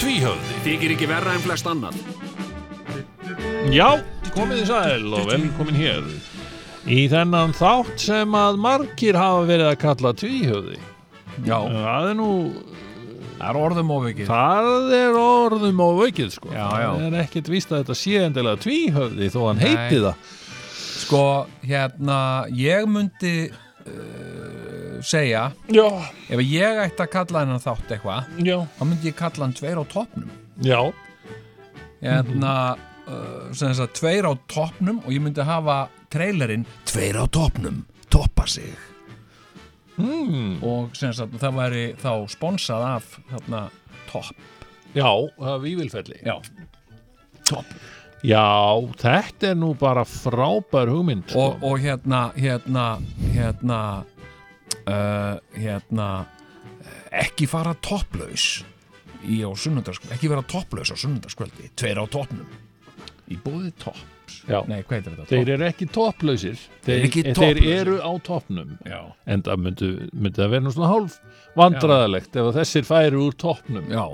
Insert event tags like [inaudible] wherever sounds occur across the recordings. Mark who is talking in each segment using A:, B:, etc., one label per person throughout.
A: Tvíhöfði
B: Þykir ekki verra en flest annar.
C: Já, komið í sæl og velkomin hér í þennan þátt sem að margir hafa verið að kalla tvíhöfði.
D: Já,
C: Það er nú,
D: það er orðum ofikið
C: það er orðum á aukið sko.
D: Já, já.
C: Það er ekkert víst að þetta sé endilega tvíhöfði þó hann
D: Nei.
C: heiti það.
D: Sko, hérna, ég myndi uh, segja
C: Já,
D: Ef ég ætti að kalla hennan þátt eitthvað
C: já.
D: Þá myndi ég kalla hann tveir á toppnum
C: Já,
D: Hérna, uh, sem þess að tveir á toppnum Og ég myndi hafa trailerinn Tveir á toppnum, toppa sig
C: mm,
D: Og sem þess að það væri þá sponsað af Hérna, topp
C: já, það er vívilfelli.
D: Já, topp
C: Já, þetta er nú bara frábær hugmynd sko.
D: og, og hérna hérna hérna uh, hérna ekki fara topplaus í á sunnundarskvöldi, ekki vera topplaus á sunnundarskvöldi, tveir á toppnum í bóði topps
C: Já.
D: nei, hvað er þetta?
C: Þeir eru ekki topplausir Þeir,
D: ekki
C: en
D: topplausir.
C: þeir eru á toppnum
D: Topp? já,
C: en það myndi, myndi það vera nú svona hálf vandræðalegt ef að þessir færi úr toppnum
D: já.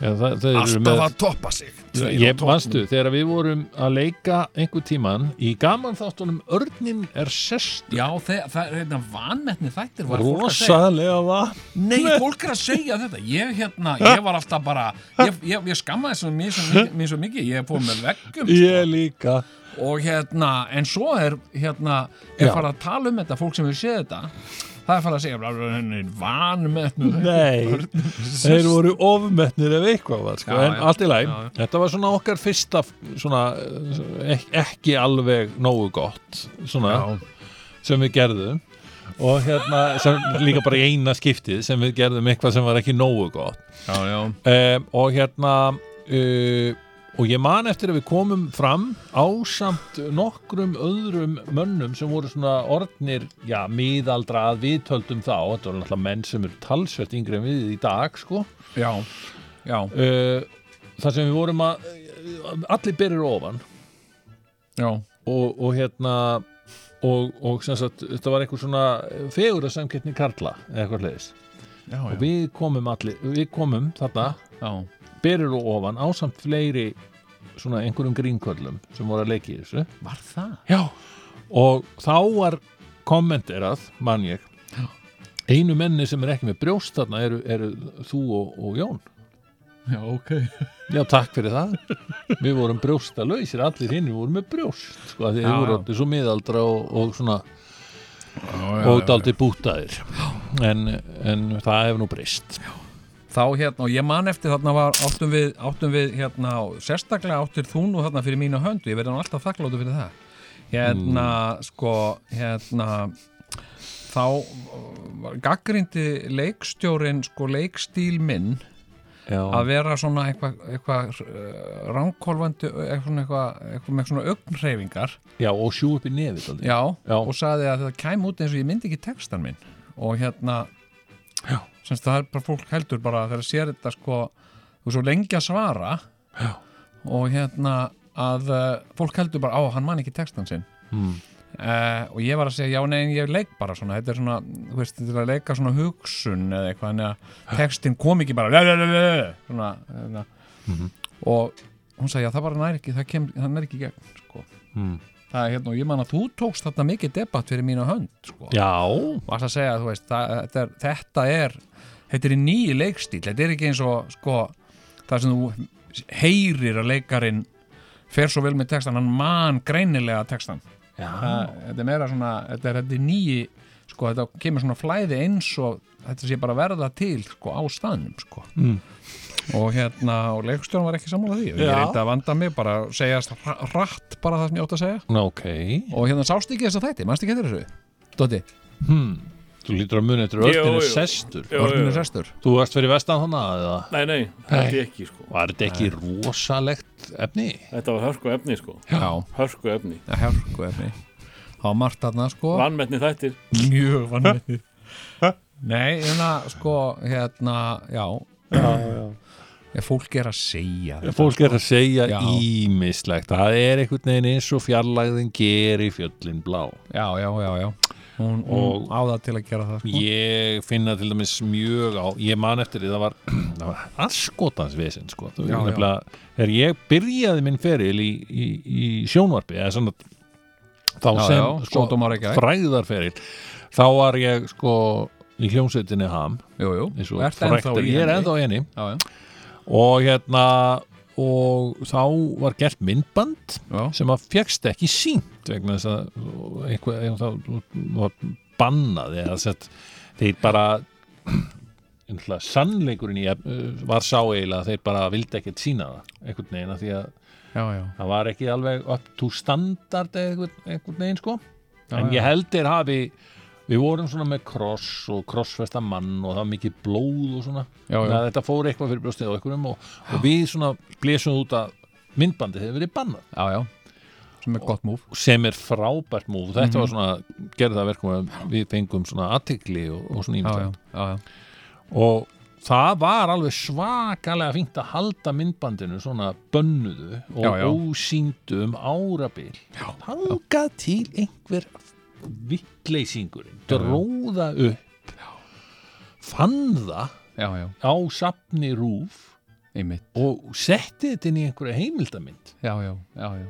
C: En það, þeir eru
D: alltaf
C: með,
D: að toppa sig tveir á
C: ég
D: toppnum.
C: manstu, þegar við vorum að leika einhver tíman í gaman þáttunum Örnin er sest
D: já, þe- það er hérna vanmetni þættir var fólk að segja
C: rosalega vatn
D: Nei, fólk er að segja þetta Ég, hérna, ég var alltaf bara Ég, ég, ég skammaði svo mér svo mikið, mér svo mikið. Ég er fór með sko. veggum
C: ég líka
D: og hérna, en svo er hérna, er
C: Já.
D: farið að tala um þetta fólk sem hefur séð þetta það er farið að segja henni vanmetnu
C: nei, þeir voru ofmetnir ef eitthvað var sko.
D: Já,
C: en
D: já,
C: allt í læg,
D: já, já.
C: þetta var svona okkar fyrsta svona, eh, ek- ekki alveg nógu gott svona, sem við gerðum og hérna, sem, líka bara í eina skiptið sem við gerðum eitthvað sem var ekki nógu gott
D: já, já,
C: um, og hérna uh, og ég man eftir að við komum fram ásamt nokkrum öðrum mönnum sem voru svona orðnir, já, miðaldra að við töldum þá, þetta voru náttúrulega menn sem eru talsvert yngri en við í dag sko
D: já, já,
C: uh, þar sem við vorum að eh, allir berir ofan
D: já.
C: og, og hérna og, og sem sagt, þetta var einhver svona fegur að samkettni Karla eða eitthvað hliðis
D: Já,
C: og við komum allir, við komum þarna
D: já,
C: berir og ofan ásamt fleiri svona einhverjum grínköllum sem voru að leiki í þessu
D: var það?
C: Já. og þá var kommenterað, mann ég einu menni sem er ekki með brjóst þarna eru, eru þú og, og Jón
D: Já, ok
C: Já, takk fyrir það. Við vorum brjóstalausir, allir hinn voru með brjóst, sko, af því
D: Já,
C: þið voru
D: já.
C: allir svo miðaldra og, og svona,
D: já,
C: og daldi bútaðir. En, en það hefur nú breyst.
D: Þá hérna, og ég man eftir þarna var áttum við, áttum við hérna, og sérstaklega áttir þú nú þarna fyrir mínu höndu ég verði nú alltaf þakkláttu fyrir það hérna, sko, hérna þá gaggrindi leikstjórin sko leikstíl minn
C: Já,
D: að vera svona eitthvað eitthva, ránkólfandi eitthvað, svona eitthvað, eitthvað með svona augnreifingar
C: já og sjú upp í nefið aldrei.
D: já,
C: Já.
D: og sagði að þetta kæm út eins og ég myndi ekki textan minn og hérna
C: Já.
D: semst það er bara fólk heldur bara þegar sér þetta sko þú er svo lengi að svara já. og hérna að uh, fólk heldur bara á hann man ekki textan sinn
C: Mm.
D: Uh, og ég var að segja, já nein, ég leik bara svona þetta er svona, þú veist, til að leika svona hugsun eða eitthvað, en að textin kom ekki bara lalalala, svona, svona.
C: Mhm.
D: og hún sagði, já það bara nær ekki, það, kem, það nær ekki í gegn, sko
C: Mm.
D: það er hérna, og ég man að þú tókst þarna mikið debatt fyrir mínu hönd, sko
C: Já,
D: og varst að segja, þú veist, það, þetta, er, þetta er þetta er í nýju leikstíl þetta er ekki eins og, sko það sem þú heyrir að leikarin fer svo vel með textan, hann man greinilega textan
C: já,
D: Það- þetta er meira svona, þetta er, þetta er nýji sko, þetta kemur svona flæði eins og þetta sé bara verða til sko, á staðnum sko.
C: Mm.
D: og hérna, og leikstjórn var ekki sammála því og ég
C: Já.
D: reyndi að vanda mig bara að segja hra- hratt bara það sem ég átt að segja
C: Ná, ok.
D: og hérna sást ekki þess að þætti, mannst ekki eftir þessu Dóti,
C: Hmm. Þú lítur að muni eftir
E: Jú,
C: öllinu
E: jú.
C: sestur
E: Jú,
D: Orðinu
E: jú.
D: sestur
C: Þú varst fyrir vestan hana eða
E: Nei, nei, þetta er ekki sko
C: var þetta ekki rosalegt efni?
E: Þetta var hörku efni sko
D: Já,
E: Hörku efni
D: hörku efni Það var margt þarna sko
E: Vannmetni þættir
D: Mjög vannmennið Nei, hérna sko hérna, já, já. Fólk er að segja þetta.
C: Fólk er að segja
D: Já.
C: ímislegt Það er einhvern veginn eins og fjarlægðin ger í fjöllin blá
D: Já, já, já, já Hún,
C: Og-
D: hún á það til að gera það sko.
C: Ég finna til dæmis mjög á Ég man eftir því það var, [clears throat] það var allskotans vesinn sko. Þú
D: Já,
C: veist nefnilega, Þegar ég byrjaði minn feril í, í, í sjónvarpi eða svona þá
D: Já,
C: sem
D: já, sótum á Reykjavík.
C: fræðarferil þá var ég sko í hljómsveitinni ham
D: Jú, jú,
C: eins og
D: ert
C: frækt
D: ennþá
C: er-
D: í
C: ég er
D: henni.
C: ennþá í henni
D: Já, já,
C: og hérna og þá var gert myndband
D: já,
C: sem að fegst ekki sínt vegna þess að einhver, einhver, það var bannað eða sett, þeir bara [clears throat] einhverja sannleikurinn í efn- var sá eiginlega að þeir bara vildi ekkert sína það einhvern veginn að því að
D: já, já.
C: það var ekki alveg up to standard eða einhvern, einhvern veginn sko
D: Já,
C: en
D: já.
C: ég held þeir hafi við vorum svona með kross og krossfesta mann og það var mikið blóð og svona
D: Já, já.
C: Þannig að þetta fór eitthvað fyrir brjóstið á einhverjum og, og við svona blésum út að myndbandið hefur verið bannað
D: já, já. Sem er gott múf
C: sem er frábært múf þetta
D: Mhm.
C: var svona, gerði það verkum að við fengum svona aðtikli og, og svona
D: já, já,
C: ímynd
D: já, já.
C: og það var alveg svakalega fínt að halda myndbandinu svona bönnuðu og
D: Já, já.
C: ósýndu um árabil hangað til einhver vittleysingurinn dróða upp fann það
D: Já, já,
C: á safni rúf
D: einmitt
C: og setti þetta inn í einhverja heimildamynd
D: Já, já, já, já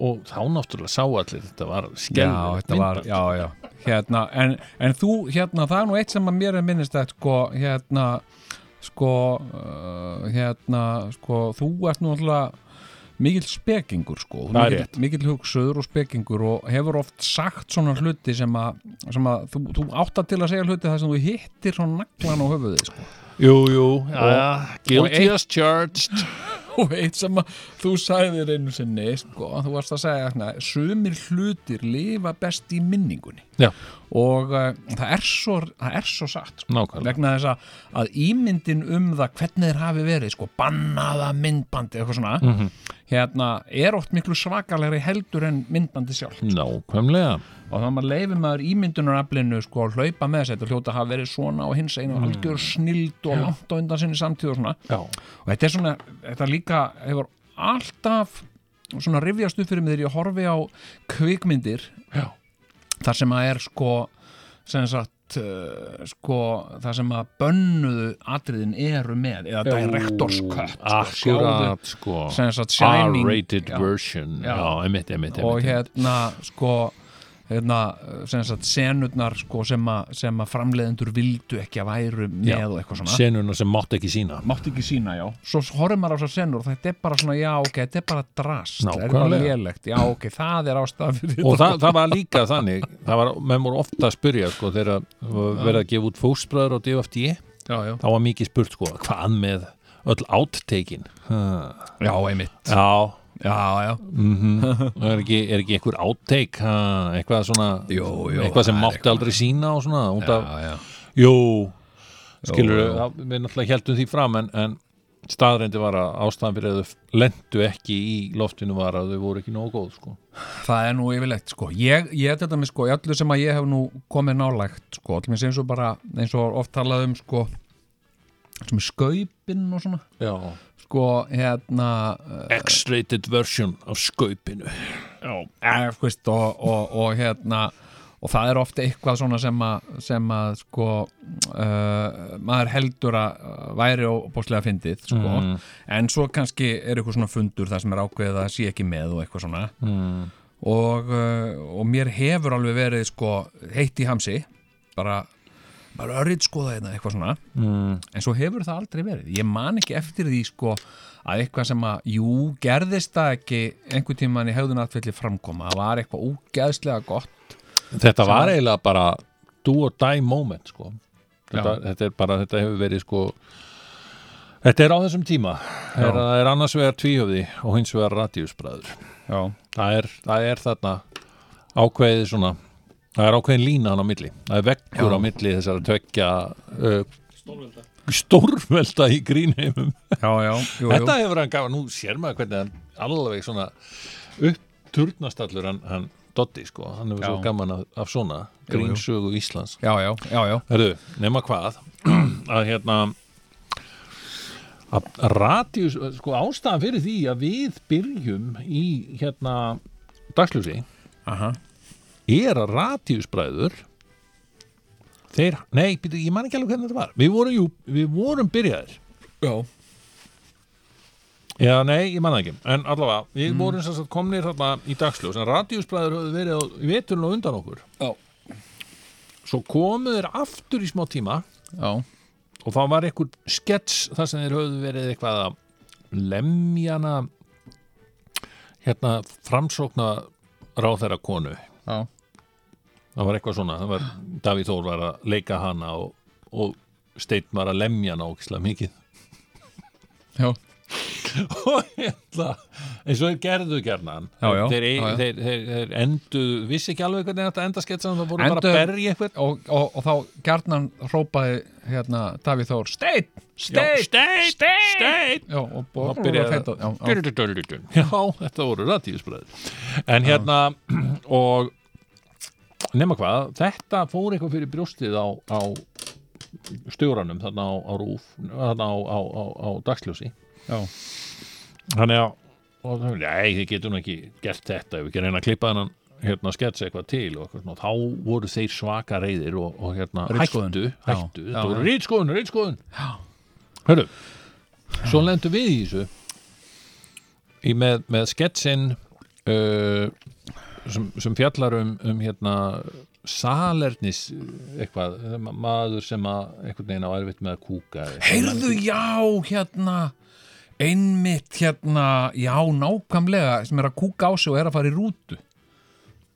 C: og þá náttúrulega sá allir þetta var
D: Já,
C: skelfilegt
D: þetta var,
C: myndband.
D: já, já hérna, en, en þú, hérna, það er nú eitt sem að mér er minnist að, sko, hérna sko, uh, hérna sko, þú ert nú alltaf mikill spekingur, sko Þú
C: Það er
D: mikill, mikill hugsuður og spekingur og hefur oft sagt svona hluti sem að, sem að þú, þú áttar til að segja hluti þar sem þú hittir svona naglan á höfuði, sko [laughs]
C: Jú, jú, já, já, guilty
D: og
C: as charged
D: og eitt sem að þú sagðir einu sinni sko, þú varst að segja hérna, sumir hlutir lifa best í minningunni
C: Já.
D: og uh, það, er svo, það er svo satt sko,
C: Nákvæmlega
D: vegna þess að, að ímyndin um það hvernig þeir hafi verið sko, bannaða myndbandi eitthvað svona hérna, er oft miklu svakalegri heldur en myndbandi
C: Mm.
D: sjálf
C: Nákvæmlega
D: og þá maður leifir maður ímyndunaraflinu sko að hlaupa með þess, þetta hljóta að hafa verið svona og hins einu algjör snild og langt á undan sinni samtíð og svona
C: Já,
D: og þetta er svona, þetta líka hefur alltaf svona rifjast upp fyrir mig þegar ég horfi á kvikmyndir
C: Já.
D: þar sem að er sko sem sagt uh, sko þar sem að bönnuðu atriðin eru með eða director's cut sko, sjáðu-
C: Akkurat, sko
D: sem sagt shining
C: R-rated
D: Já.
C: version
D: Já.
C: Já, emitt, emitt,
D: og
C: emitt
D: hérna sko hérna uh, sem sagt senurnar sko sem að, sem að framleiðendur vildu ekki að væru með
C: Já.
D: og eitthvað svona
C: Senuna sem mátt ekki sína
D: mátti ekki sína, já svo horfum maður á þessar senur og þetta er bara svona, já, ok, þetta er bara drast þetta er bara
C: Nákvæmlega.
D: lélegt, já, ok, það er ástaf
C: Og það, það var líka þannig Það var, menn voru ofta að spyrja, sko Þegar verið að gefa út fóstbræður á DFD
D: já, já,
C: E, Þá var mikið spurt, sko, hvað með öll átteikin Já,
D: já, einmitt já, já,
C: Mhm. er ekki, er ekki einhver átteik Eitthvað svona
D: Jú, jú,
C: Eitthvað sem
D: það er
C: mátti aldrei sína og svona út af-
D: já, já.
C: Jú, skilur
D: jú.
C: við náttúrulega heldum því fram en, en staðrendi var að ástæðan fyrir að þau lendu ekki í loftinu var að þau voru ekki nógu góð sko.
D: það er nú yfirlegt, sko ég, ég þetta með, sko, í öllu sem að ég hef nú komið nálægt, sko, allir minn eins og bara eins og oft talað um, sko sem er skaupin og svona
C: Já.
D: sko, hérna uh,
C: X-rated version af skaupinu
D: Eh, þú veist, og, og, og hérna og það er ofta eitthvað svona sem að, sem að sko uh, maður heldur að uh, væri óbúslega fyndið sko. en svo kannski er eitthvað svona fundur það sem er ákveðið að sé ekki með og eitthvað svona
C: mm.
D: og, uh, og mér hefur alveg verið sko heitt í hamsi bara, bara örrið skoða þetta eitthvað svona
C: Mm.
D: en svo hefur það aldrei verið ég man ekki eftir því sko að eitthvað sem að, jú, gerðist það ekki einhvern tímann í hegðunatfelli framkoma það var eitthvað ógeðslega gott
C: Þetta var eiginlega bara do or die moment sko. þetta,
D: Já.
C: þetta er bara, þetta hefur verið sko Þetta er á þessum tíma er, Það er annars vegar tvíhöfði og hins vegar radíusbræður
D: já,
C: það er, það er þarna ákveðið svona það er ákveðin lína hann á milli það er vekkur á milli þessar að tvekja uh, stórvelda í grínheimum
D: já, já, jú, jú.
C: þetta hefur hann gafa, nú sér maður hvernig hann alveg svona uppturnastallur hann, hann Doddi sko, hann hefur
D: Já.
C: svo gaman af, af svona
D: Jú, jú.
C: grínsögu Íslands
D: já, já, já, já,
C: Herru, nema hvað [clears throat] að hérna að radius, sko ástæðan fyrir því að við byrjum í hérna dagsljósi
D: aha
C: er að radiusbræður þeir, nei, býtu, ég man ekki alveg hvernig þetta var við vorum, jú, við vorum byrjaðir
D: já,
C: já, nei, ég man það ekki, en allavega við vorum sem sagt komnir þarna í dagsljós en radiusbræður höfðu verið á veturinn og undan okkur
D: Já.
C: svo komu þeir aftur í smá tíma
D: já,
C: og það var einhver skets þar sem þeir höfðu verið eitthvað að lemjana hérna framsókna ráðherra hérna, konu
D: já,
C: það var eitthvað svona, það var Davíð Þór var að leika hana og, og Steinn var að lemja hana ógislega mikið
D: já,
C: [laughs] og hérna eins og þeir gerðu gernan
D: Já, já,
C: þeir,
D: já, já.
C: þeir, þeir, þeir endu, vissi ekki alveg hvernig þetta enda sketsan, það voru bara
D: Enduðu-
C: að berja eitthvað
D: og, og, og þá gjarnan hrópaði hérna Davíð Þór Steinn, Steinn,
C: Steinn, Steinn
D: já, og
C: Og
D: bóður
C: byrjaði
D: að feita já, já,
C: Já, þetta voru ratíðsbræður En hérna [clears throat] og nema hvað, þetta fór eitthvað fyrir brjóstið á, á stjóranum þarna á, á rúf þarna á, á, á, á dagsljósi
D: já,
C: Þannig að og, það- Nei, þið getum ekki gert þetta ef við ekki reyna að klippa hennan hérna sketsa eitthvað til og eitthvað, svona. þá voru þeir svaka reyðir og, og hérna
D: Ritskoðun.
C: hættu,
D: Já,
C: hættu
D: já,
C: þetta voru
D: já.
C: rýtskoðun, rýtskoðun Hörru, svo lendum við í þessu í með, með sketsin uh, sem, sem fjallar um, um hérna salernis uh, eitthvað, ma- maður sem að einhvern veginn á erfitt með að kúka eða eitthvað.
D: heyrðu, já, hérna einmitt hérna já, nákvæmlega, sem er að kúka á sig og er að fara í rútu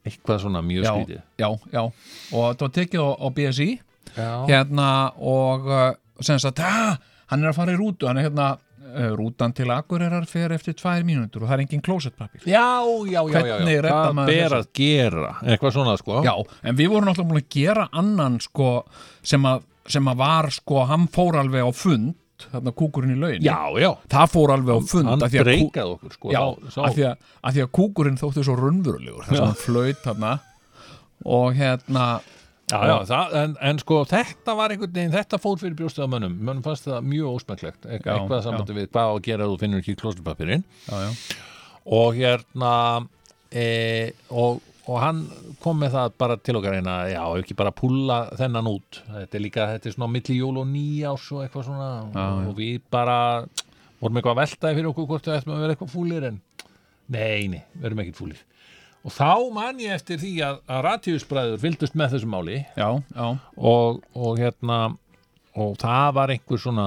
C: eitthvað svona mjög
D: já,
C: skrítið
D: já, já, og þetta var tekið á, á BSI
C: Já,
D: hérna og uh, sem sagt, hæ, hann er að fara í rútu hann er hérna, uh, rútan til Akureyrar fer eftir tvær mínútur og það er engin klósettpapir
C: já, já, já, já,
D: Hvernig
C: já.
D: redda maður
C: ber
D: þessu?
C: að gera eitthvað svona sko
D: Já, en við vorum náttúrulega múin að gera annan sko, sem, að, sem að var sko, hann fór alveg á fund þarna kúkurinn í laun
C: já, já.
D: það fór alveg á fund
C: hann
D: af því að kú-
C: breykaði okkur sko
D: já,
C: þá- þá-
D: af, því að, af því að kúkurinn þótti svo raunverulegur þess að hann flöyt þarna og hérna
C: Já, já, það, en, en sko þetta var einhvern veginn, þetta fór fyrir brjóstið á mönnum mönnum fannst það mjög ósmæklegt Eit-
D: Já,
C: eitthvað samvættu við hvað á að gera ef þú finnur ekki klósturpapirinn
D: já, já,
C: og hérna e, og, og hann kom með það bara til okkar eina, já, ef ekki bara púlla þennan út, þetta er líka þetta er svona á milli jól og nýjás og eitthvað svona
D: Já, já.
C: og við bara vorum eitthvað að veltaði fyrir okkur hvort við ættum að vera eitthvað fúlir en nei, nei, við erum ekkert fúlir og þá man ég eftir því að, að ratíusbræður fylgdust með þessu máli
D: já, já,
C: og, og hérna og það var einhver svona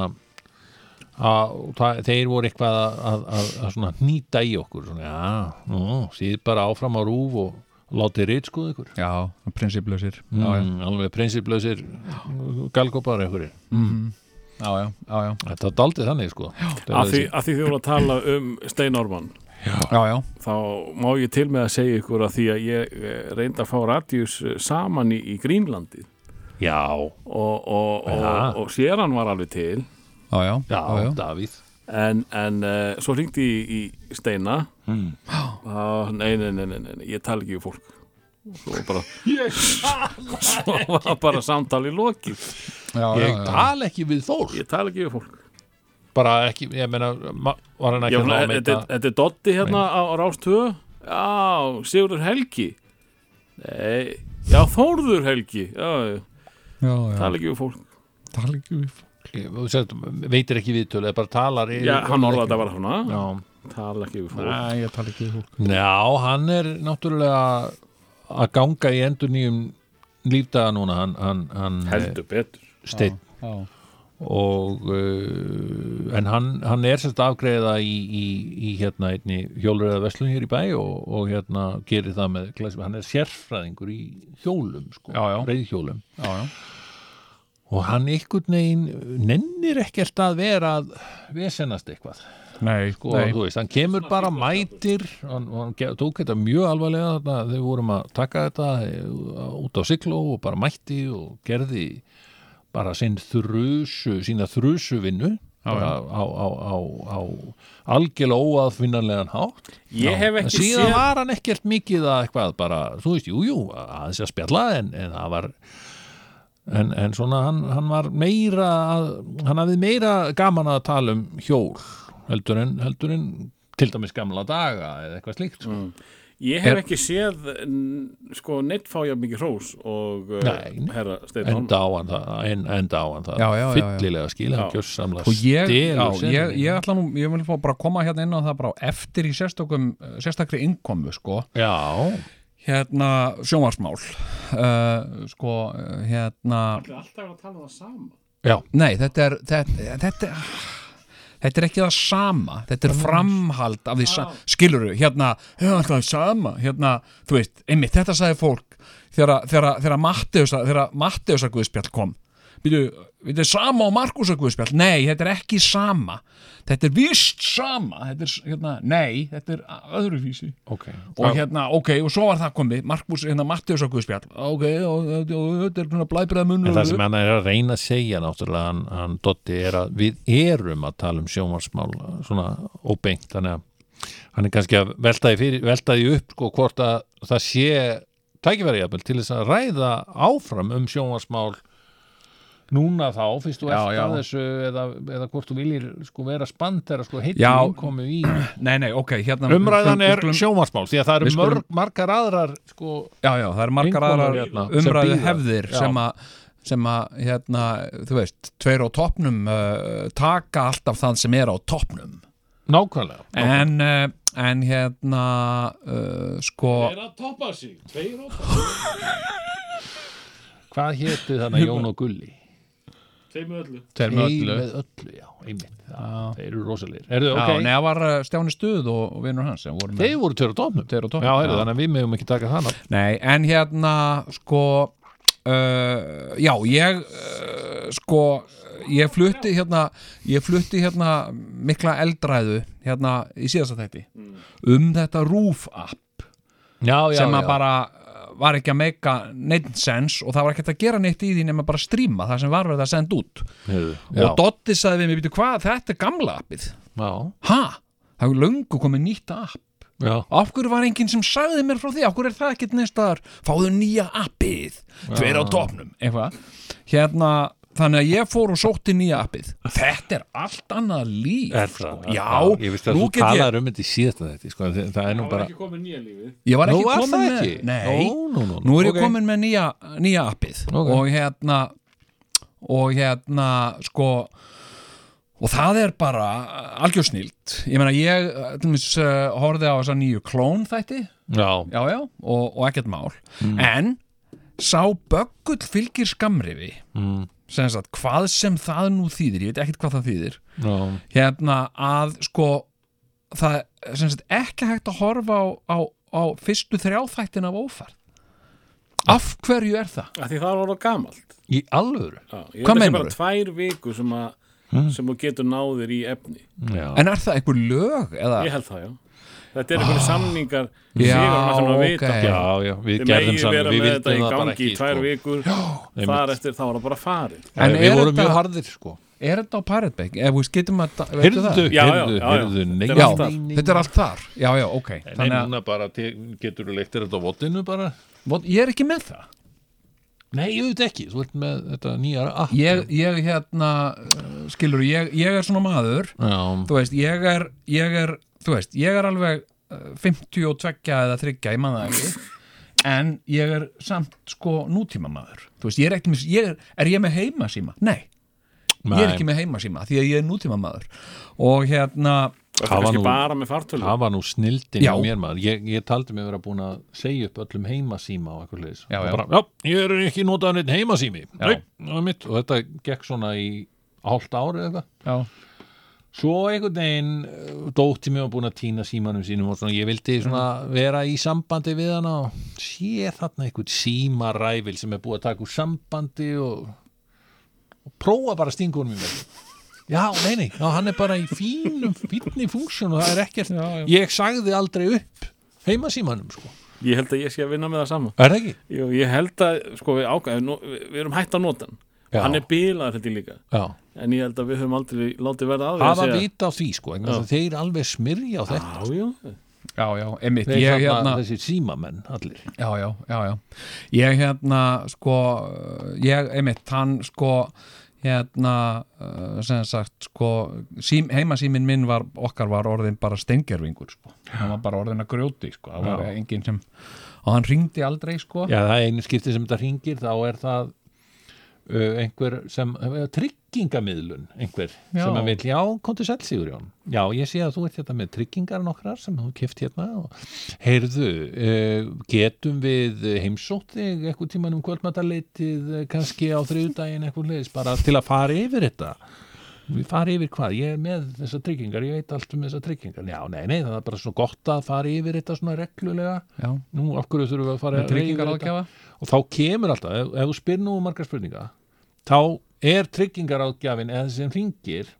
C: að, og það, þeir voru eitthvað að, að, að, að svona hnýta í okkur svona, já, nú, síð bara áfram á rúf og látið rýt skoðu ykkur
D: já, prinsiplausir já, já,
C: mm, alveg prinsiplausir galgópar ykkur
D: já, já, já,
C: þetta daldi þannig sko Þetta er
E: Af því,
C: þessi-
E: af því þið voru að tala um Steinórmann
D: já, já,
E: þá má ég til með að segja ykkur að því að ég eh, reyndi að fá Radius eh, saman í, í Grínlandi
C: já,
E: og, og, og,
C: Ja.
E: og séran var alveg til
D: já, já,
C: já,
D: já, já.
C: Davíð
E: en, en uh, svo hringdi í, í Steina
D: Hmm.
E: Á, nei, nei, nei, nei, nei, nei, ég tala ekki við fólk svo var bara [laughs] svo var bara samtali lokið
D: já, já,
C: ég
D: já.
C: tala ekki við Þór
E: ég tala ekki við fólk
C: bara ekki, ég meina, ma- var hann
E: Ég
C: ekki að
E: meina, þetta
C: lámeita
E: er- þetta er Dotti hérna á, á Rástöðu já, Sigurður Helgi nei, já, Þórður Helgi já, já,
D: já, já.
E: tala ekki við fólk
D: tala ekki við
C: veitir ekki viðtölu, eða bara talar
E: já, hann orðaði þetta bara svona
C: já
E: tala ekki við fólk
D: Nei, ég tala ekki við fólk
C: Já, hann er náttúrulega að ganga í endur nýjum lífdaga núna hann, hann, hann
E: heldur betur
C: steinn
D: Já,
C: og uh, en hann, hann er sérst afgreiða í, í, í hérna einni hjólur eða veslun hér í bæ og, og hérna gerir það með glæsum, hann er sérfræðingur í hjólum sko,
D: Já, já.
C: reiðhjólum
D: já, já,
C: og hann einhvern veginn nennir ekkert að vera að vesennast eitthvað
D: Nei,
C: sko,
D: nei.
C: þú veist, hann kemur bara mætir hann, hann ge- tók þetta mjög alvarlega þarna, þau vorum að taka þetta eh, út á sigló og bara mætti og gerði bara sinn þrusu, sína þrusu vinnu á, á, á, á, á algjörlega óaðfinnanlegan hátt
E: Ég hef
C: en
E: ekki
C: síðan
E: séð-
C: var hann ekkert mikið að eitthvað bara, þú veist, jújú, jú, aðeins að spjalla en, en það var en, en svona hann, hann var meira að- hann hafði meira gaman að tala um hjól heldur en, heldur en til dæmis gamla daga eða eitthvað slíkt sko.
E: Ég hef
D: Er-
E: ekki séð n- sko neitt fá ég mikið hrós og uh,
C: Nei, nei.
E: herra Steinan
C: enda á hann það, en, enda á hann það
D: Mm. Já, já, já, já.
C: fyllilega skil, hann
E: Já.
C: gjörsamlega
D: og ég, já,
C: stelur sinni.
D: ég, ég ætla nú ég vil fá bara að koma hérna inn á það bara á eftir í sérstökum, eh, sérstakri innkomu sko.
C: já,
D: hérna sjónvarsmál uh, sko uh, hérna
E: Alltaf er að tala það sama
C: já,
D: nei þetta er þetta, þetta, þetta er ekki það sama þetta er framhald af því sa- skilurðu, hérna, já, alltaf það sama hérna, þú veist, einmitt, þetta sagði fólk þegar, þegar, þegar Matteus þegar Matteus að Guðspjall kom Býtu, þetta er sama og Markus að Guðspjall nei, þetta er ekki sama þetta er vist sama þetta er, hérna, nei, þetta er öðruvísi
C: ok
D: og hérna, ok, og svo var það komið Markus, hérna Mattius og Guðspjall ok, og og- og þetta er svona blæbreða munur
C: En það sem hann er að reyna að segja náttúrulega hann, hann Dotti er að við erum að tala um sjónvarsmál svona óbeint þannig að hann er kannski að veltaði, fyrir, veltaði upp sko hvort að það sé tækifæri jafnvel til þess að ræða áfram um sjónvarsmál núna þá, fyrst þú
D: Já,
C: eftir
D: já.
C: að þessu eða, eða hvort þú viljir sko vera spann þegar sko heitt
D: Já.
C: komu
D: [clears throat]
C: í
D: nei, nei, ok, hérna
C: umræðan
D: við
C: er
D: skulum-
C: sjónvarsmál því að það
D: Við
C: eru
D: skulum-
C: mörg, margar aðrar sko,
D: já, já, það er margar
C: Vinkonur
D: aðrar
C: hérna sem
D: umræðu
C: bíða.
D: hefðir
C: Já.
D: sem að sem að, hérna, þú veist tveir á toppnum uh, taka alltaf það sem er á toppnum
C: nákvæmlega
D: en, uh, en hérna uh, sko
E: að toppa sig, tveir og
C: hvað hétti þannig Jón og Gulli?
E: tveir með öllu
D: þeir
C: Þeir með öllu, já, einmitt já. Þeir eru rosalegir Erðu,
D: já,
C: ok,
D: okay. neða var uh, Stjáni Stuð og, og vinnur hans sem voru með
C: þeir voru tveir á topnum
D: Tveir á toppnum,
C: Já, heyrðu,
D: já.
C: þannig að við meðum ekki taka þann af
D: Nei, en hérna sko uh, já, ég uh, sko, ég flutti hérna ég flutti hérna mikla eldræðu hérna í síðasta þætti um þetta Roof app
C: Mm. Já,
D: sem að bara uh, var ekki að meika neitt sens og það var ekkert að gera neitt í því nema bara stríma það sem var verið að senda út
C: Heyrðu,
D: og Dotti sagði við mig, býtu hvað, þetta er gamla appið
C: já,
D: ha, það er löngu komið nýtt app
C: já,
D: af hverju var enginn sem sagði mér frá því af hverju er það ekkert neistar fáðu nýja appið, tveir á topnum eitthvað, hérna þannig að ég fór og sótti nýja appið þetta er allt annað líf
C: Er
D: sko.
C: það? Ég
D: já,
C: veist að
D: nú
C: þú
D: get ég
C: talar um þetta í síðasta þetta sko, það, það er nú bara
E: ekki komið nýja lífið
D: ég var
C: Nú
D: ekki
C: var
D: komin
C: það
D: með
C: ekki?
D: Nei,
C: Nú, nú, nú, nú.
D: nú er ég
C: Ok.
D: komin með nýja, nýja appið
C: Ok.
D: og hérna og hérna sko og það er bara algjör snilt ég meina ég til dæmis, uh, horfði á þessa nýju klón þætti
C: Já,
D: já, já, og, og ekkert mál
C: Mm.
D: en sá böggull fylgir skamrifi
C: Mm.
D: sem sagt, hvað sem það nú þýðir ég veit ekkert hvað það þýðir
C: já,
D: hérna að sko það er sem sagt ekki hægt að horfa á, á, á fyrstu þrjáþættin af ófærð af hverju er það?
E: Því það er orðað gamalt
C: í alvöru
E: Já, Ég
D: Hvað
E: held að sé
D: meinarðu?
E: bara tvær viku sem, að, sem þú getur náðir í efni
C: Hmm? Já,
D: en er það einhver lög? Eða?
E: Ég held það, já Þetta er einhverju samningar
D: Já,
E: Sigurinn að
D: ok.
E: vita
C: já, já, Ah. við
E: Þið
C: gerðum
E: megi
C: saman
E: vera
C: Við
E: með þetta
C: vildum
E: í
C: það bara
E: gangi
C: ekki
E: í tvær
C: sko.
E: vikur
C: einmitt.
E: Þar eftir þá var það bara farið
D: En
C: Við
D: er
C: vorum mjög
D: þetta-
C: harðir sko
D: er þetta á Pirate Bay? Ef við getum að veitu
C: Heyrðu,
D: það?
E: Já, já,
C: heyrðu,
E: já, já.
C: heyrðu nei,
E: Þetta er
D: Já,
E: allt þar.
C: nei, nei.
D: þetta er allt þar Já, já, ok
C: Nei,
D: Þannig að
C: núna bara te- geturðu leiktir þetta á vottinu bara
D: Vot, ég er ekki með það
C: Nei, ég veit ekki, þú ert með þetta nýjara app
D: Ég, ég hérna, skilur, ég, ég er svona maður
C: Já,
D: þú veist, ég er, ég er þú veist, ég er alveg eh, 52 eða 30, ég man það ekki en ég er samt sko nútíma maður, þú veist, ég er ekki með, ég er, er ég með heimasíma? Nei, ég er
C: Nei.
D: ekki með heimasíma því að ég er nútíma maður og hérna,
C: Það
E: Það
C: var
E: er kannski
C: nú-
E: bara með fartölu
C: Það var nú snildin
D: Já.
C: hjá mér maður Ég, ég taldi mig vera búin að segja upp öllum heimasíma og eitthvað leis
D: Já, já.
C: Bara, já, ég er ekki notað neitt heimasími Nei, það er mitt Og þetta gekk svona í hálft ári eða eitthvað
D: já,
C: Svo einhvern veginn eh, dótti mér var búin að týna símanum sínum og svona, ég vildi
D: Mm.
C: svona vera í sambandi við hana og sé þarna einhvern símaræfil sem er búið að taka úr sambandi og, og prófa bara stingunum í mig já, nei, nei, já, hann er bara í fínum fínni funksjón og það er ekkert
D: Já, já.
C: ég sagði aldrei upp heimasímanum, sko,
E: Ég held að ég sé að vinna með það sama
C: er það ekki?
E: Jú, ég held að, sko, við ákveðum nú- við, við erum hætt að nota hann
C: Já.
E: Hann er bílaður held ég líka
C: Já,
E: En ég held að við höfum aldrei látið verða að því að
C: hafa
E: segja-
C: vita á því, sko vegna þess að þeir alveg smyrja á þetta
E: Já, já,
D: já, já, einmitt
C: þeir
D: ég,
C: þarna,
D: hérna,
C: þessi símamenn allir
D: já, já, já, já ég hérna, sko ég, einmitt, hann, sko hérna, uh, sem sagt sko, sím, heimasímin minn var okkar var orðin bara steingerfingur sko. hann var bara orðin að grjóti sko. það var enginn sem, og hann ringdi aldrei sko,
C: Já, það er einu skipti sem þetta ringir þá er það uh, einhver sem, uh, tryggingamiðlun einhver
D: Já.
C: sem að vil, já, kom til Selsigur Jón Já, ég sé að þú ert hérna með tryggingar nokkrar sem þú kift hérna og heyrðu, uh, getum við heimsótt þig eitthvað tíman um kvöldmataleitið eh, kannski á þriðudaginn eitthvað leis, bara til að fara yfir þetta Við fara yfir hvað, ég er með þessar tryggingar, ég veit allt um þessar tryggingar. Já, nei, nei, það er bara svo gott að fara yfir þetta svona reglulega
D: já,
C: nú af hverju þurfum við að fara
D: með tryggingaráðgjafa
C: og þá kemur alltaf, ef, ef þú spyr nú um margar spurninga þá er tryggingaráðgjafin eða þessi sem hringir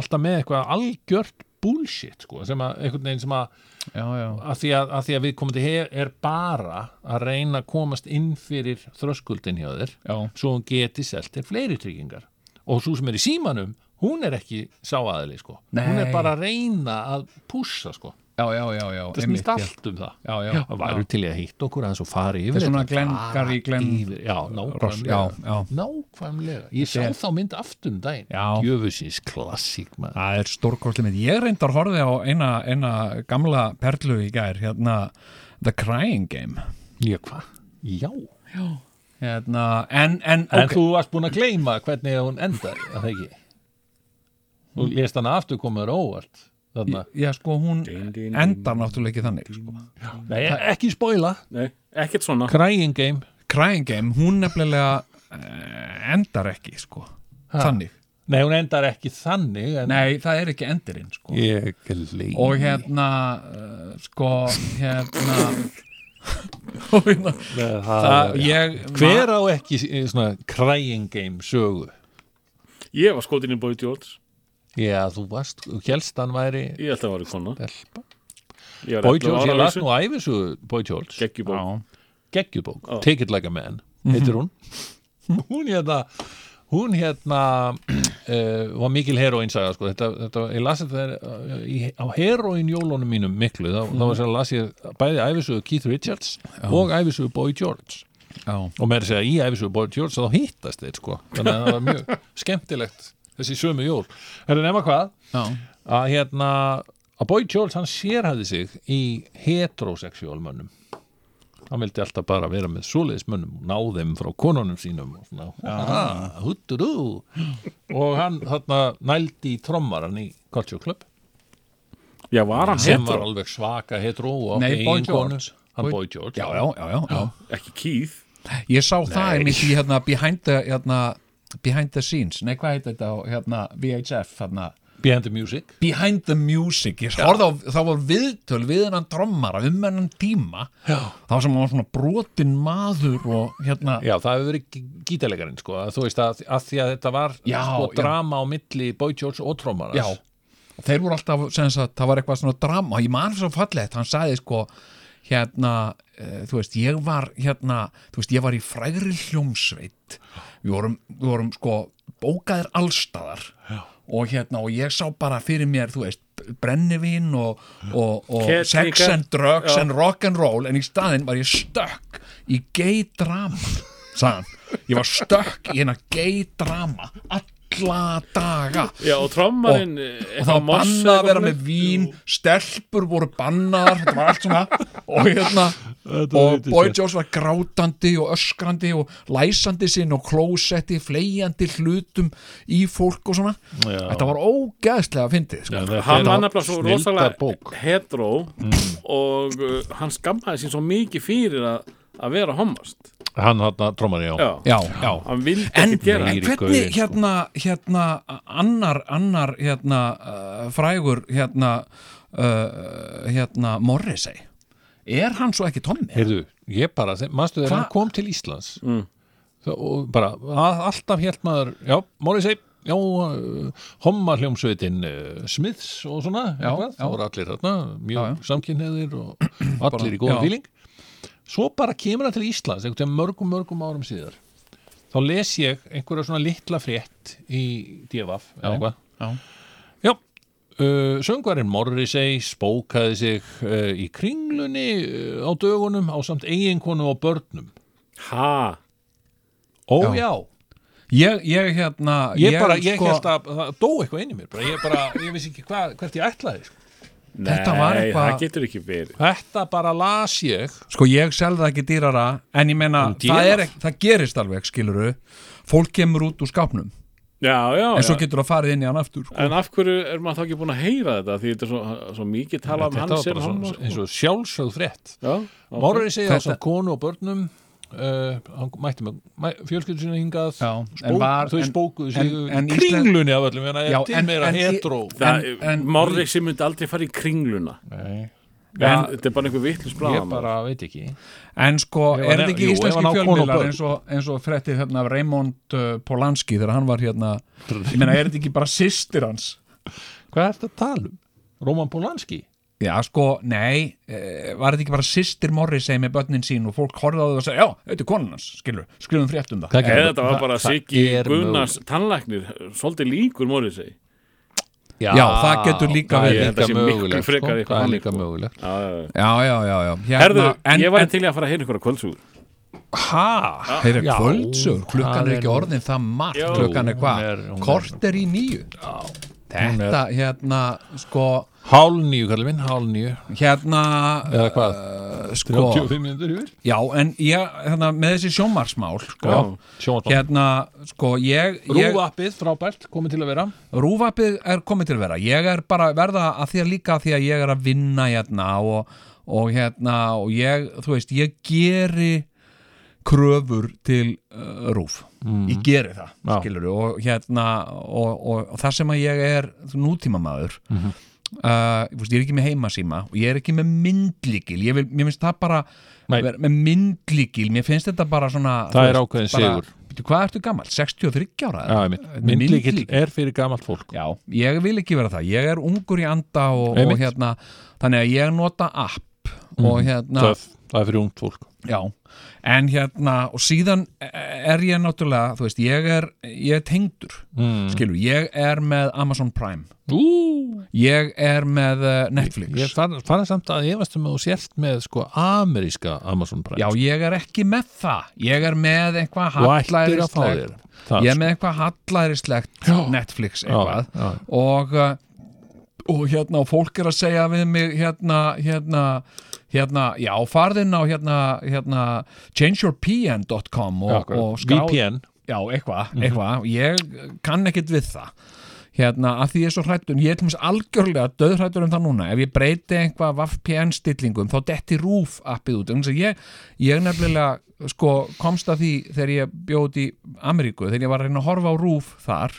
C: alltaf með eitthvað algjört bullshit sko, sem að einhvern veginn sem að
D: já, já,
C: að því að, að, því að við komandi hef, er bara að reyna að komast inn fyrir þröskuldin hjá þér
D: já,
C: svo hún geti selt þér fleiri tryggingar og svo sem er í símanum, hún er ekki sáaðili sko, hún
D: Nei.
C: er bara að reyna að pússa sko,
D: já, já, já, já
C: það
D: einmitt,
C: snýst
D: já.
C: allt um það
D: já, já,
C: Já, það væri til í að hitta okkur aðeins og fara yfir
D: Þetta er svona
C: þetta.
D: Glenn
C: Fara
D: Garry, Glenn
C: yfir, Já,
D: Ross, já,
C: nákvæmlega
D: já.
C: Nákvæmlega, ég sá
D: Þetta er-
C: þá mynd aftur um daginn
D: Já.
C: Djöfusins klassík maður
D: Það er stórkostlega mynd. Ég reyndar horfið á eina, eina gamla perlu í gær, hérna The Crying Game.
C: Já, hvað? Já
D: Hérna, en, en,
C: En
D: ok.
C: þú varst búin að gleyma hvernig hún endar að það ekki Þú lést hana aftur komaður óvart Þarna,
D: Já, sko, hún endar náttúrulega ekki þannig, sko.
C: nei, ekki spoila
E: nei, ekkert svona
C: Crying Game
D: Crying Game, hún nefnilega eh, endar ekki, sko. Þannig.
C: Nei, hún endar ekki þannig en...
D: Nei, það er ekki endirinn, sko.
C: Ég gleyma
D: Og hérna, eh, sko, hérna... [laughs] og hérna, það, ég...
C: Hver á ekki eh, svona Crying Game sögu
E: Ég var skotin í Boy George
C: Já, þú varst, þú helst hann væri
E: Ég held að það var í kona
C: Delpa.
E: Ég var
C: Boy
E: 11 ára
C: George, ég las
E: vissu.
C: nú æfisugu Boy George,
E: Geggjubók.
D: Já.
C: geggjubók
E: Já.
C: Take It Like a Man, heitir hún [laughs] hún hérna hún hérna [clears throat] uh, var mikil heroín saga sko. þetta, þetta, ég lasi þetta uh, í, á heroín jólunum mínum miklu þá, þá var sér að las ég bæði æfisugu Keith Richards og æfisugu Boy George
D: Já,
C: og með þess að segja í æfisugu Boy George þá hittast þeir sko, þannig að það var mjög skemmtilegt þessi sömu jól Herra nema hvað,
D: já,
C: að hérna að Boy George hann sérhæði sig í heteroseksuál mönnum hann vildi alltaf bara vera með svoleiðis mönnum og ná þeim frá konunum sínum og svona, ah, hutturú og hann þarna nældi í trommaran í Culture Club
E: Já, var hann
C: sem var
E: hetero,
C: alveg svaka hetero og
D: Nei,
C: átti
D: Boy
C: eigin konu.
D: George.
C: hann
D: Boy-
C: Boy George
D: já, já, já, já. já.
E: ekki Keith
D: Ég sá það einmitt í hérna behind the, hérna, behind the scenes Nei, hvað heit þetta á hérna, VHF hérna.
C: Behind the Music
D: Behind the music Ég horfði á, þá var viðtöl við hennan drommara um hennan tíma já. þá sem hann var svona brotin maður og hérna
C: Já, það hefur verið gí- gítalegarinn sko, að þú veist að, að því að þetta var
D: Já,
C: sko,
D: já.
C: drama á milli Boy George og trommarans
D: Já, þeir voru alltaf sem sagt, það var eitthvað svona drama, ég man svo fallegt hann sagði sko hérna, uh, þú veist, ég var hérna, þú veist, ég var í frægri hljómsveit við vorum, við vorum sko bókaðir allstaðar Já. og hérna, og ég sá bara fyrir mér þú veist, brennivín og, og, og
E: Ketiga.
D: sex and drugs
E: Já.
D: and rock and roll, en í staðinn var ég stökk í gay drama sagðan, ég var stökk í hérna gay drama alla daga
E: Já, og eh, trommarinn
D: og það var bannað að vera með vín stelpur voru bannaðar þetta var allt svona og hérna og Boy George var grátandi og öskrandi og læsandi sinn og klósetti, flegjandi hlutum í fólk og svona þetta var ógeðslega að fyndið sko.
E: Hann var nefnilega svo
C: bók.
E: rosalega hetero og uh, hann skammaði sín svo mikið fyrir að, að vera homast
C: Hann hann trommari,
E: Já,
D: já, já
E: hann vildi
D: En,
E: ekki gera
D: en
E: það.
C: meiri
D: hvernig
C: gaurinn, sko.
D: hérna, hérna annar, annar hérna, uh, frægur hérna, uh, hérna Morrissey er hann svo ekki Tommy?
C: Heyrðu, ég bara, mannstu þegar
D: Hva?
C: hann kom til Íslands mm. og bara, að, alltaf hélt maður já, Morrissey, já, uh, homma hljómsveitin uh, Smiths og svona
D: Já,
C: eitthvað.
D: já.
C: það voru allir þarna, mjög
D: Já, já.
C: samkynneðir og
D: [clears throat]
C: allir í góðan
D: já.
C: fíling svo bara kemur hann til Íslands einhvern veginn mörgum, mörgum árum síðar þá les ég einhverja svona litla frétt í DFF eða eitthvað
D: já.
C: Já, uh, söngvarinn Morrissey spókaði sig uh, í kringlunni uh, á dögunum á samt eiginkonu og börnum.
E: ha,
C: Ó já,
D: Já.
C: ég,
D: Ég, ég hérna
C: bara, ég sko- held að það dó eitthvað inn í mér, bara, ég bara, ég vissi ekki hva, hvert ég ætlaði. Sko.
E: nei,
D: Þetta var eitthvað-
E: það getur ekki verið
C: Þetta bara las ég,
D: Sko ég sel það ekki dýrara En ég meina,
C: En
D: það,
C: dýrar?
D: er, ekki- það gerist alveg, skiluru Fólk kemur út úr skápnum
E: já, já,
D: En svo
E: já.
D: getur það farið inn í hann aftur sko.
E: en af hverju er maður þá ekki búin að heyra þetta því þetta er svo, svo mikið tala um
C: þetta
E: hans
C: var
E: er
C: bara
E: hann
C: svo, eins og sjálfsögð frétt.
E: já,
C: Okay. Morrissey á
D: Þetta-
C: samt konu og börnum, uh, hann mætti með mæ, fjölskyldur sinna hingað,
D: Já, en
C: spók,
D: var-
C: þau
D: en-
C: spókuðu sig
D: en- en
C: í
D: Ísland-
C: kringlunni af öllum, þannig að
D: Já,
C: ég er til
D: en-
C: meira
D: en-
C: hetro.
E: það,
D: En- en-
E: Morrissey myndi aldrei fara í kringluna en,
D: Já,
E: þetta er bara einhver vitlis
C: Ég
E: blaðamann
C: bara veit ekki.
D: En sko,
C: Ef hann
D: er
C: er-
D: þetta ekki
C: jú, ef hann á
D: íslenski
C: konu og
D: fjölmiðlar
C: börn.
D: eins og, eins og frettið hérna af Raymond uh, Polanski þegar hann var hérna Ég meina, er þetta ekki bara systir hans?
C: Hvað er þetta að tala um? Roman Polanski?
D: Já, sko, nei, eh, var þetta ekki bara systir Morrissey með börnin sín og fólk horfði á það og sagði, já, þetta er konan hans, skilur, skrifum frétt um það.
C: Hvað
E: eða þetta var bara
C: það-
E: Siggi
C: það er
E: Gunnars tannlæknir svolítið líkur Morrissey
C: Já,
D: það getur líka
C: það er
D: verið.
E: Ég held að sé miklu
C: mögulegt,
E: frekar
C: sko.
E: eitthvað
C: Það er
E: þannig,
C: líka
E: sko.
C: mögulegt
E: Já, já, já.
D: Já, já, já, já. Hérna,
E: Herðu,
D: en,
E: ég væri til í að fara að heyra ykkur á kvöldsúr
D: Hæ? Heyra,
C: Já,
D: kvöldsögur,
C: það
D: klukkan er
C: er
D: ekki
C: nú-
D: orðin það margt,
E: Jú,
D: klukkan er
C: hún
D: hvað?
C: er- hún er-
D: Kort er í nýju. Já. Þetta, hérna, sko,
C: Hál nýju, kallið minn, hál nýju
D: hérna,
C: Eða hvað,
D: uh, sko,
C: 35 minnundur yfir
D: já, en ég, hérna, með þessi sjómarsmál, sko,
C: Sjónvarpað
D: hérna, sko, ég, ég
C: Rúvappið, frábært, komið til að vera
D: Rúvapið er komið til að vera ég er bara að verða að því að líka að því að ég er að vinna hérna og, og hérna og ég, þú veist, ég geri kröfur til uh, rúf, ég geri það
C: Mhm. Já.
D: skilur og hérna og, og, og það sem að ég er nútíma maður mm
C: Mhm.
D: -hmm. ég er ekki með heimasíma og ég er ekki með myndlíkil, ég vil, mér finnst það bara
C: Nei.
D: vera með myndlíkil, mér finnst þetta bara svona
C: Það
D: þú
C: er
D: veist,
C: ákveðin
D: bara-
C: sigur.
D: Bíddu, Hvað ertu gammal? 63 ára? eða?
C: Myndlíkill er fyrir gamalt fólk
D: Já, ég vil ekki vera það, ég er ungur í anda og, og
C: Einmitt. Mhm,
D: hérna, þannig að ég nota app og hérna,
C: Töff, það er fyrir ungt fólk
D: já en hérna, og síðan er ég náttúrulega, þú veist, ég er ég er tengdur,
C: Mm.
D: skilur, ég er með Amazon Prime,
C: Ú,
D: ég er með eh, Netflix,
C: ég far- farið samt að efast um að þú sért með sko ameríska Amazon Prime
D: já, ég er ekki með það, ég er með
C: Þú
D: eitthvað
C: ættir að fá
D: hallærislegt,
C: þér það,
D: ég er
C: sko.
D: með eitthvað hallærislegt Netflix
C: já,
D: eitthvað,
C: já.
D: og uh, og hérna og fólk er að segja við mig hérna, hérna, hérna já, farðinn á hérna, hérna changeyourpn.com
C: Já,
D: og,
C: akkurat.
D: og skrá,
C: VPN
D: já, eitthvað,
C: Mhm.
D: eitthvað ég kann ekkit við það hérna, að því ég er svo hrættur, ég er til mér algjörlega döðhrættur um það núna, ef ég breyti einhvað VPN stillingum, þá detti rúf appið út, þannig að ég, ég nefnilega sko komst að því þegar ég bjóði í Ameríku, þegar ég var að reyna að horfa á rúf þar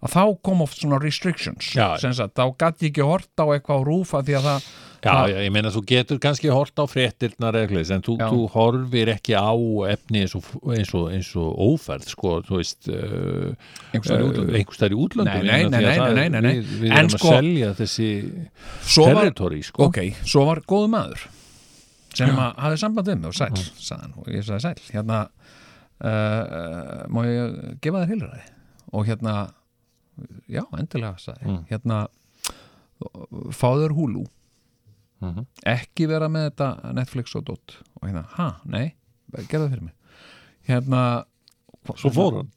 D: að þá kom oft svona restrictions
C: Mm. Já, já.
D: sem sagt, þá gæti ég ekki hort á eitthvað á rúfa því að það
C: Já,
D: það-
C: já, ég meina þú getur kannski hort á fréttirnar eða eitthvað, en þú,
D: Já.
C: þú horfir ekki á efni eins og, eins og, eins og óferð, sko, þú veist uh,
D: Einhvers staðar í útlöndum.
C: einhverstæri útlöndum
D: Nei,
C: ég meina,
D: nei,
C: því að
D: nei,
C: það er-
D: nei, nei, nei, nei.
C: Við, við
D: En
C: erum
D: sko-
C: að selja þessi eh,
D: svo var,
C: territory, sko
D: ok, svo var góðu maður sem að hafði samband við mig og sæl, sagði hann, og ég sagði sæl hérna, uh, uh, má ég gefa þér heilræði og hérna já, endilega, sagði mm. hérna, fáður húlú
C: Mhm.
D: ekki vera með þetta Netflix og dot og hérna, ha, nei, gerða fyrir mig hérna
C: Svo fór
D: [laughs]
C: hann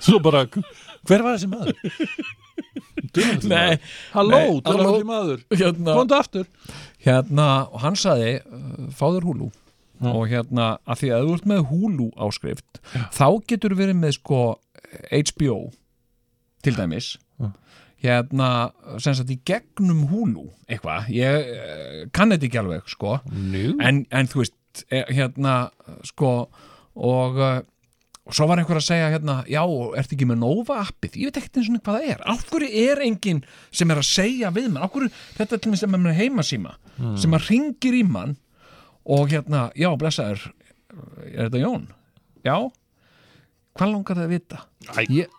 C: Svo bara, hver var þessi maður? Dumaldi
D: Nei,
C: Halló,
D: nei,
C: dumaldi
D: halló.
C: maður
D: hérna,
C: Komdu aftur
D: hérna, og hann saði uh, fáður húlú og hérna, að því að þú ert með húlú áskrift þá getur verið með sko HBO til dæmis hérna, sem sagt í gegnum húlú eitthvað, ég uh, kann þetta ekki alveg sko,
C: Nú,
D: en, en þú veist eh, hérna, sko og uh, og svo var einhver að segja hérna, já, ertu ekki með Nova appið, ég veit ekkert eins og hvað það er af hverju er enginn sem er að segja við mann, af hverju, þetta er til minnst að maður er heimasíma, sem að ringir í mann og hérna, já, blessaður er þetta Jón? Já hvað langar það að vita? Ég,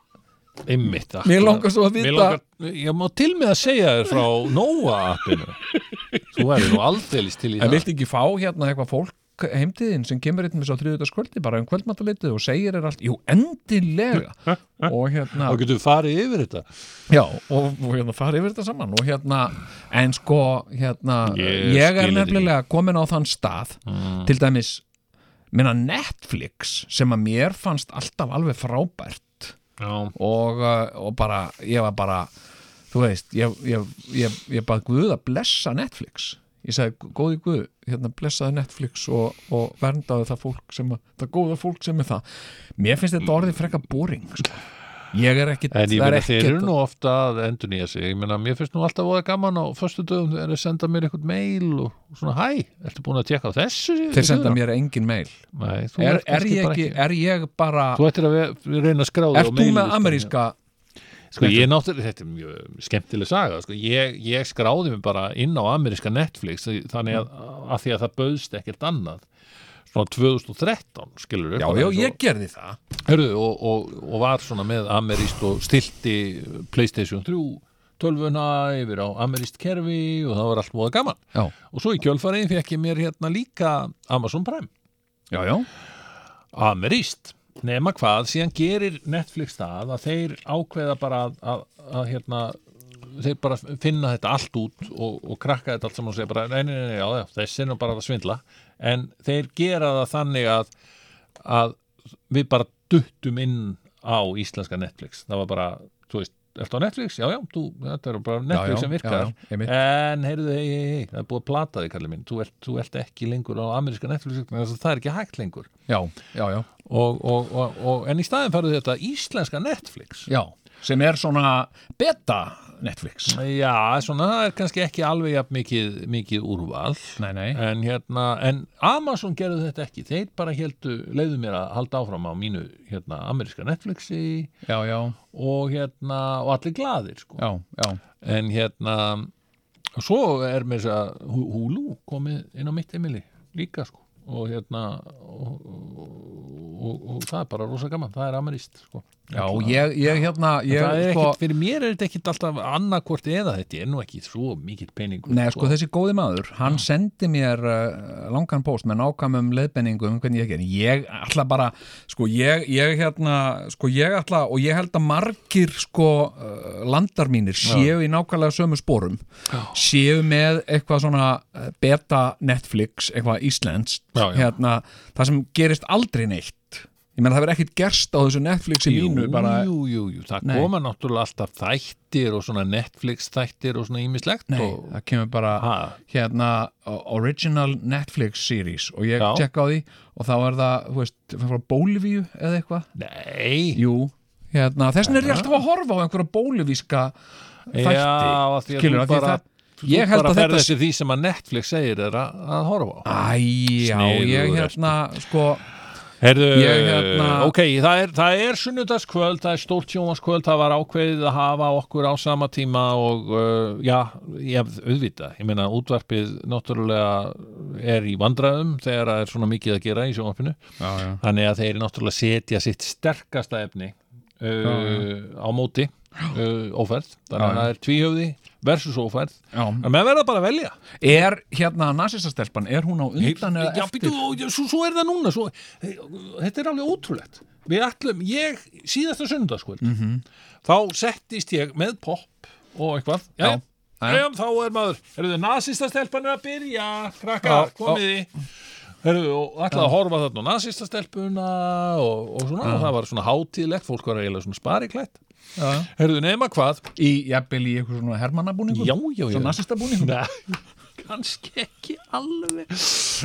C: Einmitt, akkurat.
D: Mér langar svo að
C: Mig
D: vita-
C: langar, Ég má til með að segja þér frá Nóa appinu Þú erum nú aldeilis til í
D: En
C: það
D: viltu ekki fá hérna eitthvað fólk heimtiðin sem kemur hérna með svo þriðutaskvöldi bara um kvöldmatalitið og segir er allt Jú, endilega og hérna,
C: Þá getum við farið yfir þetta
D: já, og, og hérna farið yfir þetta saman og hérna, en sko hérna,
C: Ég
D: ég, er
C: skil þetta
D: nefnilega komin á þann stað, til dæmis minna Netflix sem að mér fannst alltaf alveg frábært
C: Já,
D: og, uh, og bara, ég var bara þú veist, ég, ég, ég, ég bað Guð að blessa Netflix ég sagði, góði Guð, hérna blessaði Netflix og, og verndaði það fólk sem að, það góða fólk sem er það mér finnst þetta orðið frekka boring sko. ég er ekkit,
C: En ég
D: það er
C: meina þeir eru
D: ekkit-
C: nú ofta að endur nýja sig, ég meina mér finnst nú alltaf voða gaman á föstu dögum, þeir eru að senda mér eitthvað mail og svona hæ, ertu búin að tjekka á þessu?
D: þeir senda mér engin mail
C: Nei, þú
D: er,
C: ert
D: er,
C: kannski
D: ég
C: bara
D: ekki, er ég bara
C: Þú ættir að ve- reyna að skráða
D: ert þú með ameríska
C: Sko ég náttúrulega, þetta er mjög skemmtileg saga sko. ég, ég skráði mig bara inn á ameríska Netflix þannig að, að því að það bauðst ekkert annað svona 2013 skilur við
D: já, já, ég gerði það
C: Hörðu, og, og, og var svona með ameríst og stilti Playstation 3 tölvuna yfir á ameríst kerfi og það var allt móða gaman
D: já,
C: og svo í kjölfarið fekk ég mér hérna líka Amazon Prime
D: já, já,
C: ameríst nema hvað, síðan gerir Netflix það að þeir ákveða bara að, að, að hérna þeir bara finna þetta allt út og, og krakka þetta allt saman og segja bara nei, nei, nei, nei, já, já, þessi er nú bara að svindla en þeir gera það þannig að að við bara duttum inn á íslenska Netflix það var bara, þú veist, ertu á Netflix? Já, já, þú, þetta er bara Netflix
D: já,
C: sem virkar
D: já, já, einmitt.
C: en heyrðu, hei, hei, hei, það er búið að plata þig kallið minn, þú ert, þú ert ekki lengur á ameríska Netflix, vegna þess að það er ekki hægt lengur
D: já, já, já.
C: og, og, og, og, en í staðin færðu þetta íslenska Netflix
D: Já, sem er svona beta Netflix
C: Já, svona, það er kannski ekki alveg jafn mikið, mikið úrval
D: Nei, nei,
C: en, hérna, en Amazon gerðu þetta ekki þeir bara heldu, leiðu mér að halda áfram á mínu hérna, ameríska Netflixi
D: já, já,
C: og, hérna, og allir glaðir sko.
D: já, já
C: en hérna og svo er mér þess að Hu- Hulu komið inn á mitt emili líka sko og hérna og, og, og, og það er bara rosa gaman, það er ameríst sko.
D: Já, ég, ég hérna
C: En
D: ég,
C: það er
D: sko,
C: ekkit, fyrir mér er þetta ekkit alltaf annarkvort eða þetta er nú ekki svo mikill peningur
D: Nei, sko þessi góði maður, hann sendi mér uh, langan post með nákvæmum leiðbenningum um hvernig ég ger, ég ætla bara sko ég, ég hérna sko ég ætla og ég held að margir sko uh, landar mínir séu í nákvæmlega sömu sporum séu með eitthvað svona eh, beta Netflix, eitthvað Íslands
C: Já, já.
D: hérna, það sem gerist aldrei neitt ég menn það verður ekkit gerst á þessu Netflixi
C: jú,
D: mínu bara,
C: jú, jú, jú, það
D: Nei.
C: koma náttúrulega alltaf þættir og svona Netflix þættir og svona ímislegt
D: nei,
C: og
D: það kemur bara
C: ha,
D: hérna o- original Netflix series og ég
C: Já.
D: tjekka á því og þá er það, þú veist, frá Bólivíu eða eitthvað,
C: nei
D: jú hérna, þess vegna er ég alltaf að horfa á einhverja bólivíska þætti
C: já, af því að
D: skilur,
C: þú
D: af því
C: bara
D: það, ég held
C: bara
D: að
C: ferð
D: þetta
C: eftir því sem að Netflix segir er að, að horfa á
D: æ, já, ég
C: Sniðugur
D: hérna sko,
C: Herðu,
D: Ég hérna-
C: ok, það er, það er sunnudagskvöld, það er stórt sjónvaskvöld, það var ákveðið að hafa okkur á sama tíma og uh, já, ég auðvita, ég meina útvarpið náttúrulega er í vandræðum þegar það er svona mikið að gera í sjónvarpinu,
D: já, já,
C: þannig að þeir náttúrulega setja sitt sterkasta efni uh, á móti, uh, ófærð, þannig að
D: Já, já.
C: það er tvíhöfði versus ófærð,
D: já.
C: en menn verða bara að velja.
D: er hérna nasistastelpan, er hún á undan eða
C: Já,
D: eftir
C: býtu, og svo, svo er það núna svo, eh, þetta er alveg ótrúlegt við ætlum, ég, síðasta sundarskvöld þá settist ég með popp og eitthvað já, já.
D: Já,
C: Já, þá er maður, eru þið nasista stelpan er að byrja, krakkar,
D: Já,
C: komiði Heru, og ætlaði að horfa þarna á nasista stelpuna og, og svona, og það var svona hátíðlegt fólk var eiginlega svona spariklætt
D: Já, já.
C: Herðu, nema hvað
D: í, jafnvel í eitthvað svona hermannabúningum
C: Já, já, já.
D: svona nasistabúningum
C: Nei, kannski ekki alveg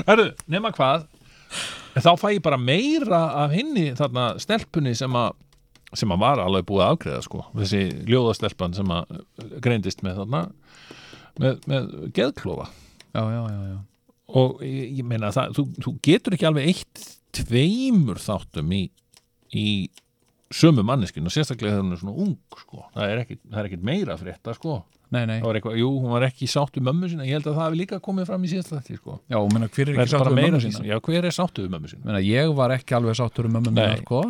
C: Herru, nema hvað þá fæ ég bara meira af hinni þarna stelpunni sem að sem að var alveg búið að afgreða sko þessi ljóðastelpan sem að eh, greindist með þarna með, með geðklofa
D: já, já, já, já.
C: og ég, ég meina það, þú, þú getur ekki alveg eitt tveimur þáttum í, í sömu manneskinu og sérstaklega þegar hún er svona ung sko, það er ekkit, það er ekkit meira að frétta sko
D: Nei, nei.
C: það var eitthvað, jú, hún var ekki sátt við mömmu sína ég held að það hafi líka komið fram í síðast þetta sko.
D: já, og menna hver er
C: Það
D: ekki
C: er bara
D: sáttur með
C: meira
D: mömmu
C: því
D: sína
C: sem- já, hver er sáttu við mömmu sína
F: sko.
D: Meina, ég var ekki alveg sáttur um mömmu mína
C: Nei.
D: sko,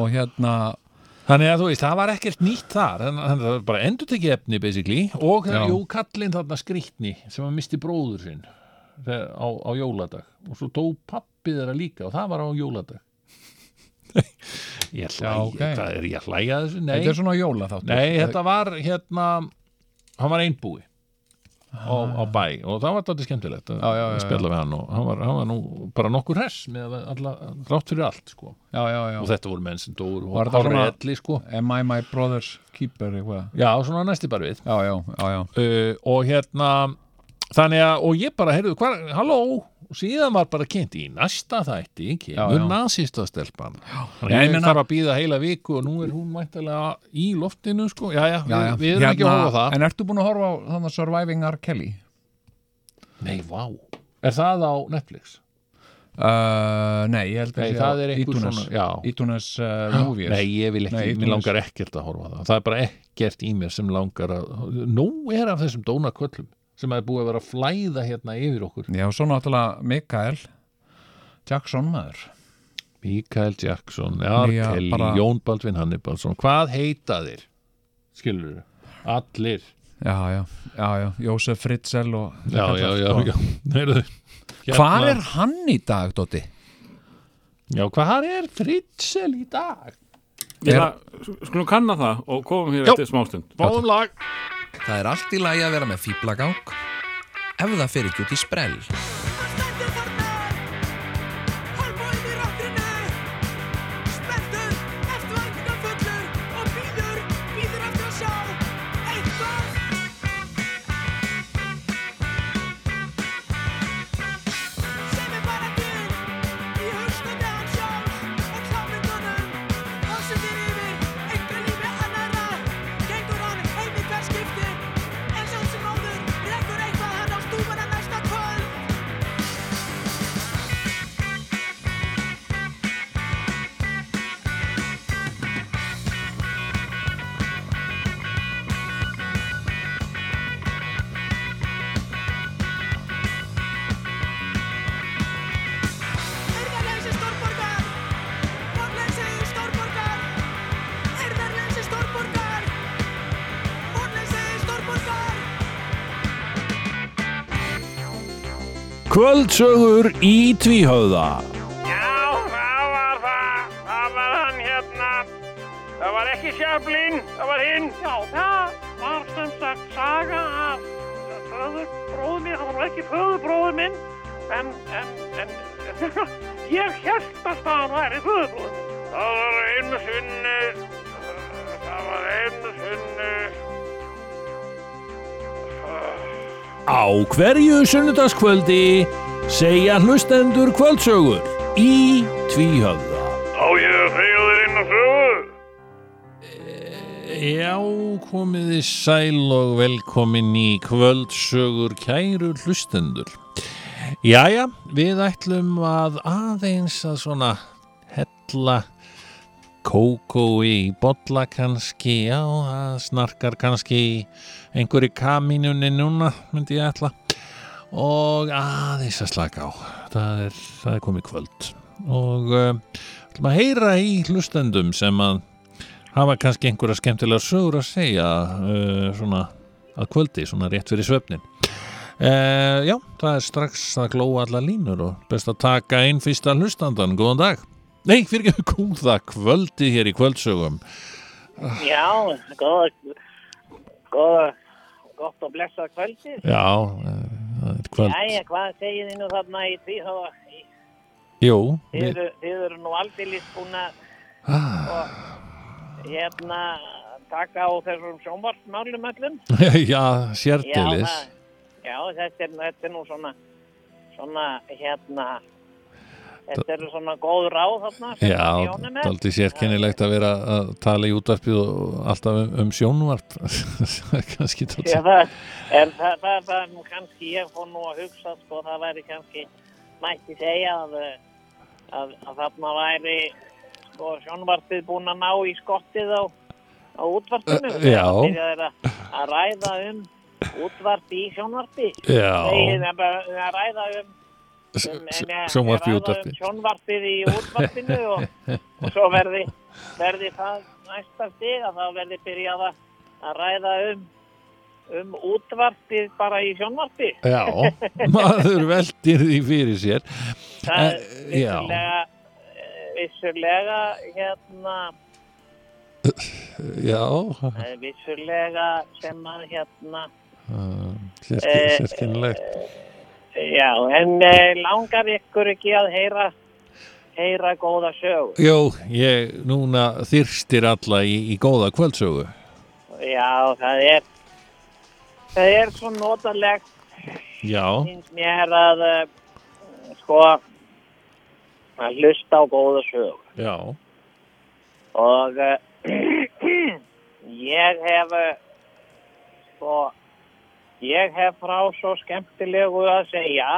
D: og hérna
C: Þannig að þú veist, það var ekkert nýtt þar þannig að það var bara endur tekið efni basically og það,
F: Já.
C: jú, kallinn þarna skrýtni sem að misti bróður sinn þegar- á, á jóladag og svo dó pappi þeirra líka og það var á jóladag Ég hlæja,
F: Já, ok.
C: hvað er ég að hlæja að þessu? Nei,
F: Þetta er svona jóla þáttur
C: Nei, þetta var hérna hann var einbúi á, á bæ og það var þetta skemmtilegt að
F: Já, já, já,
C: að spjalla við hann og hann var, hann var nú bara nokkur hress með að alla, rátt fyrir allt sko.
F: Já, já, já
C: og þetta voru menn sem
F: Var
C: dóru og
F: þetta
C: hárið
F: svona-
C: elli sko.
F: Am I my brother's keeper eitthvað
C: Já, svona næsti bara við
F: Já, já, já, já
C: uh, og hérna þannig að, og ég bara, heyrðu, hvar, halló og síðan var bara kynnt í næsta þætti
F: Já,
C: kemur
F: já.
C: nasista stelpan og
F: Já, ég
C: ég
F: meina-
C: þarf að býða heila viku og nú er hún mæntalega í loftinu sko, já, já,
F: Já, já.
C: við, við erum ekki að
F: Hérna,
C: horfa á það
F: En ertu búin að horfa á þannig Surviving R. Kelly?
C: Nei, vá. Er það á Netflix?
F: Uh, nei, ég held að
C: Nei,
F: sé
C: það
F: á
C: er einhver
F: iTunes,
C: svona- já.
F: Ítunes uh, Movies
C: Nei, ég vil ekki,
F: Nei,
C: mér
F: þú
C: langar ekkert að horfa á það. Það er bara ekkert í mér sem langar að, nú er af þessum dónaköllum sem að er búið að vera að flæða hérna yfir okkur.
F: Já, svo náttúrulega Mikael Jackson maður
C: Mikael Jackson, Arkel,
F: Nýja, bara-
C: Jón Baldvin Hannibalsson, hvað heita þér? Skilur Allir.
F: Já, já, já, já, Jósef Fritzl og Sko,
C: Já, já, já, já. [laughs] Heyrðu, hérna-
F: Hvar er hann í dag, Dóti?
C: Já, hvað er Fritzl í dag?
E: Ég ætla- Skulum kanna það og komum hér eftir smástund
C: Báðum lag.
D: Það er allt í lagi að vera með fýblagang ef það fer ekki út í sprell.
G: Spenntur varnar Hálfóinn í ráttinni Spenntur Eftirvæntingar fullur Og býður, býður eftir að sjá Eitthvað Sem er bara til Í hausnum er hann sjálf Og klámyndunum Og sem þér yfir Einhver lífi annara Gengur hann heim í hver skipti En samt sem áður Rekur eitthvað hann á stúfana næsta kvöld Eirðarleysi stórborgar Vonleysi stórborgar Eirðarleysi stórborgar Vonleysi stórborgar
H: Kvöldsögur í tvíhöða
I: Já, það var það. Það var hann hérna. Það var ekki sjöflín, það var hinn. Já, það var sem sagt saga af föðurbróðu minn. Það var nú ekki föðurbróðu minn, en, en, en, [laughs] ég held að staðan væri föðurbróðu minn. Það var einu sinni, það var einu sinni.
H: Á hverju sunnudaskvöldi segja hlustendur kvöldsögur í tvíhöða
I: Á ég að segja þér einu sögu?
C: Já, komið þið sæl og velkomin í kvöldsögur kæru hlustendur. Jæja, við ætlum að aðeins að svona hella kókói í bolla kannski, já, það snarkar kannski í einhverju kaminunni núna, myndi ég ætla. Og aðeins að slaka á, það er, það er komið kvöld. Og uh, ætlum að heyra í hlustendum sem að hafa kannski einhverja skemmtilega sögur að segja uh, svona að kvöldi, svona rétt fyrir svefnin uh, Já, það er strax að glóa alla línur og best að taka einn fyrsta hlustandan, góðan dag Nei, fyrir ekki góða kvöldi hér í kvöldsögum
I: Já, góða, góða, gott og blessað kvöldið.
C: Já, uh, það er kvöld
I: Jæja, hvað segir þið nú þarna í tvíhóða?
C: Jú,
I: Þið
C: við, Ah.
I: eru, þið eru nú aldeilis búin að og hérna taka á þessum sjónvarsmálum öllum.
C: [laughs] já, sérdilis
I: það- já, þetta er, þetta er nú svona, svona hérna, þetta eru svona góð ráð þarna. sem
C: Já,
I: hann Jón er með.
C: daldi sérkennilegt að vera að tala í útvarpið og alltaf um, um sjónvarp [laughs] kannski tótt
I: Já, það, en það, það, það er nú kannski, ég fór nú að hugsa, sko, það væri kannski, mætti segja að, eh, að, að þarna væri, sko, sjónvarpið búin að ná í skottið á, á útvarpinu.
C: Ö, Eh, já.
I: Þegar þeir að, að ræða um útvarp í sjónvarpi.
C: Já,
I: Þegar að, að ræða um, um en, eh,
C: sjónvarp í
I: ræða um
C: útvarpið
I: Sjónvarpið í útvarpinu og, og svo verði, verði það næsta stig að þá verði byrjað að að ræða um, um útvarpið bara í sjónvarpi.
C: Já, maður veldir því fyrir sér
I: Það er
C: Eh, já.
I: vissulega, eh, vissulega, hérna,
C: Já,
I: það er vissulega sem að hérna, Eh,
C: sérskynlegt
I: já, en eh, langar ykkur ekki að heyra, heyra góða sögur.
C: Jó, ég núna þyrstir alla í, í góða kvöldsögu
I: Já, það er, það er svo notalegt
C: Já,
I: finnst mér að uh, sko að hlusta á góða sög
C: já,
I: og uh, [clears throat] ég hef uh, sko ég hef frá svo skemmtilegu að segja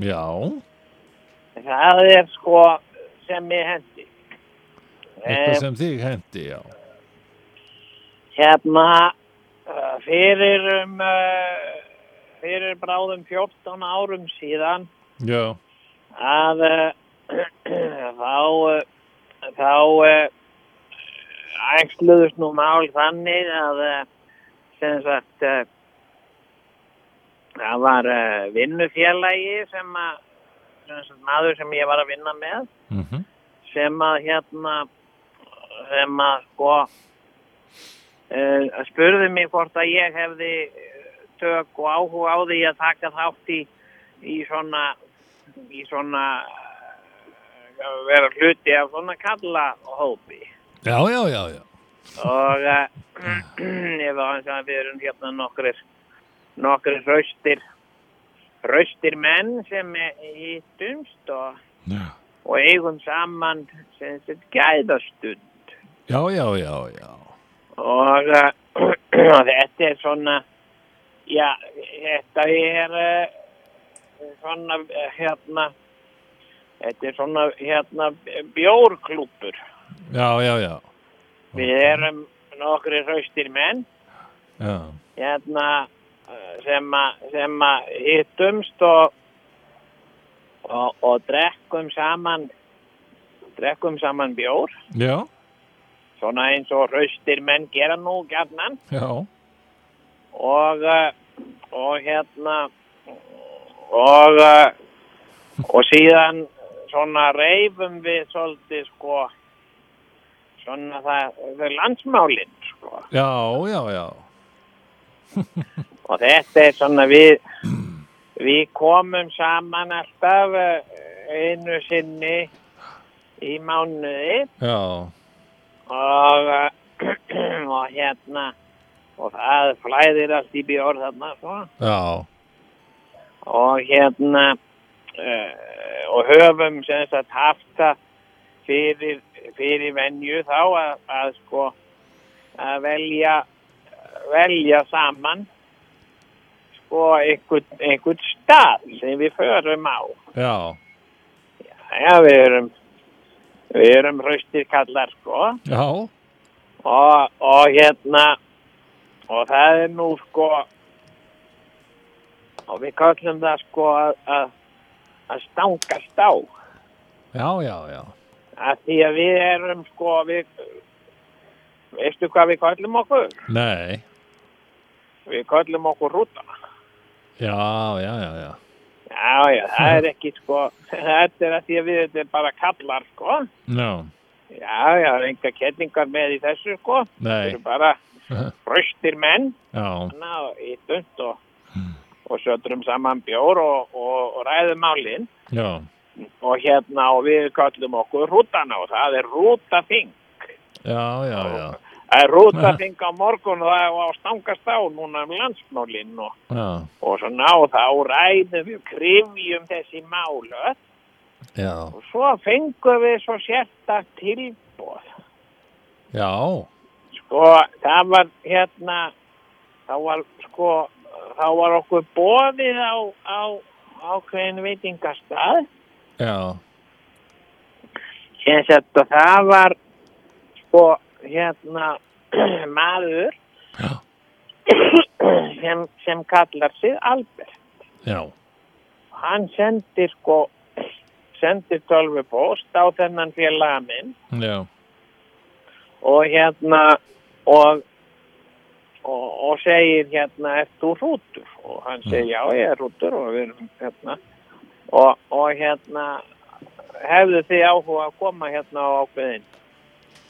C: já
I: það er sko sem ég hendi
C: Eitthvað
I: um,
C: sem þig hendi, já
I: hérna uh, fyrir um uh, fyrir bráðum 14 árum síðan
C: Já,
I: að eh, [clears throat] þá eh, þá eh, æxluðust nú mál þannig að eh, sem sagt eh, það var eh, vinnufélagi sem að sem sagt, maður sem ég var að vinna með
C: mm -hmm.
I: sem að hérna sem að sko uh, spurði mig hvort að ég hefði eh, tök og áhuga á því að taka þátt í, í svona í svona eh, vera hluti af svona kalla hópi
C: já, já, já, já
I: og [clears throat] uh, ég var hans að við erum hérna nokkrir nokkrir raustir raustir menn sem eh, hittumst og,
C: Já.
I: og eigum saman sem þetta gæðastund
C: Já, já, já, já
I: og eh, [clears throat] þetta er svona já, þetta er eh, svona eh, hérna þetta er svona hérna bjórklúpur
C: Já, já, já,
I: við erum nokkri hraustir menn
C: já.
I: hérna eh, sem að sem að hittumst og, og og drekkum saman drekkum saman bjór
C: Já,
I: svona eins og hraustir menn gera nú gjarnan
C: já,
I: og eh, og hérna og eh, og síðan svona reyfum við svolítið sko svona það, þau landsmálin sko
C: já, já, já
I: og þetta er svona við við komum saman alltaf eh, einu sinni í mánuði
C: Já,
I: og, eh, [clears throat] og hérna og það flæðir allt í bjór þarna sko
C: já,
I: og hérna uh, og höfum sem sagt haft það fyrir, fyrir venju þá að, að sko að velja velja saman sko einhvern, einhvern stað sem við förum á
C: já,
I: já við erum við erum hraustir kallar sko
C: já,
I: og, og hérna og það er nú sko og við kallum það sko að- að að stangast á
C: já, já, já.
I: að því að við erum sko við veistu hvað við kallum okkur?
C: Nei,
I: Við kallum okkur rúta
C: já, já, já, já.
I: Já, já, það er ekki sko [laughs] þetta er að því að við þetta er bara kallar sko
C: No.
I: Já, já, það er enga kettingar með í þessu sko Við
C: Nei,
I: erum bara fröstir menn
C: já,
I: hérna og hittust og, og sötrum saman bjór og, og, og ræðum málin
C: já,
I: og hérna og við kallum okkur rútana og það er rútaþing.
C: já, já, já,
I: Það er rútaþing á morgun og það er á stangast á núna um landsmálin og,
C: já,
I: og svona og þá ræðum við krifjum þessi mál öll
C: já,
I: og svo fengum við svo sérta tilbóð.
C: já,
I: Sko, það var hérna, þá var sko, þá var okkur bóðið á, á ákveðin veitingastað.
C: já,
I: Ég sett og það var sko, hérna, [clears throat] maður
C: Já.
I: [clears throat] sem, sem kallar sig Albert.
C: já,
I: Hann sendi sko, [clears throat] sendi tölvupóst á þennan félaga minn
C: já,
I: og hérna og og, og segir hérna ert þú hrútur og hann segir
C: Mm.
I: já ég er hrútur og við erum hérna og, og hérna hefðu þið áhuga að koma hérna á ákveðin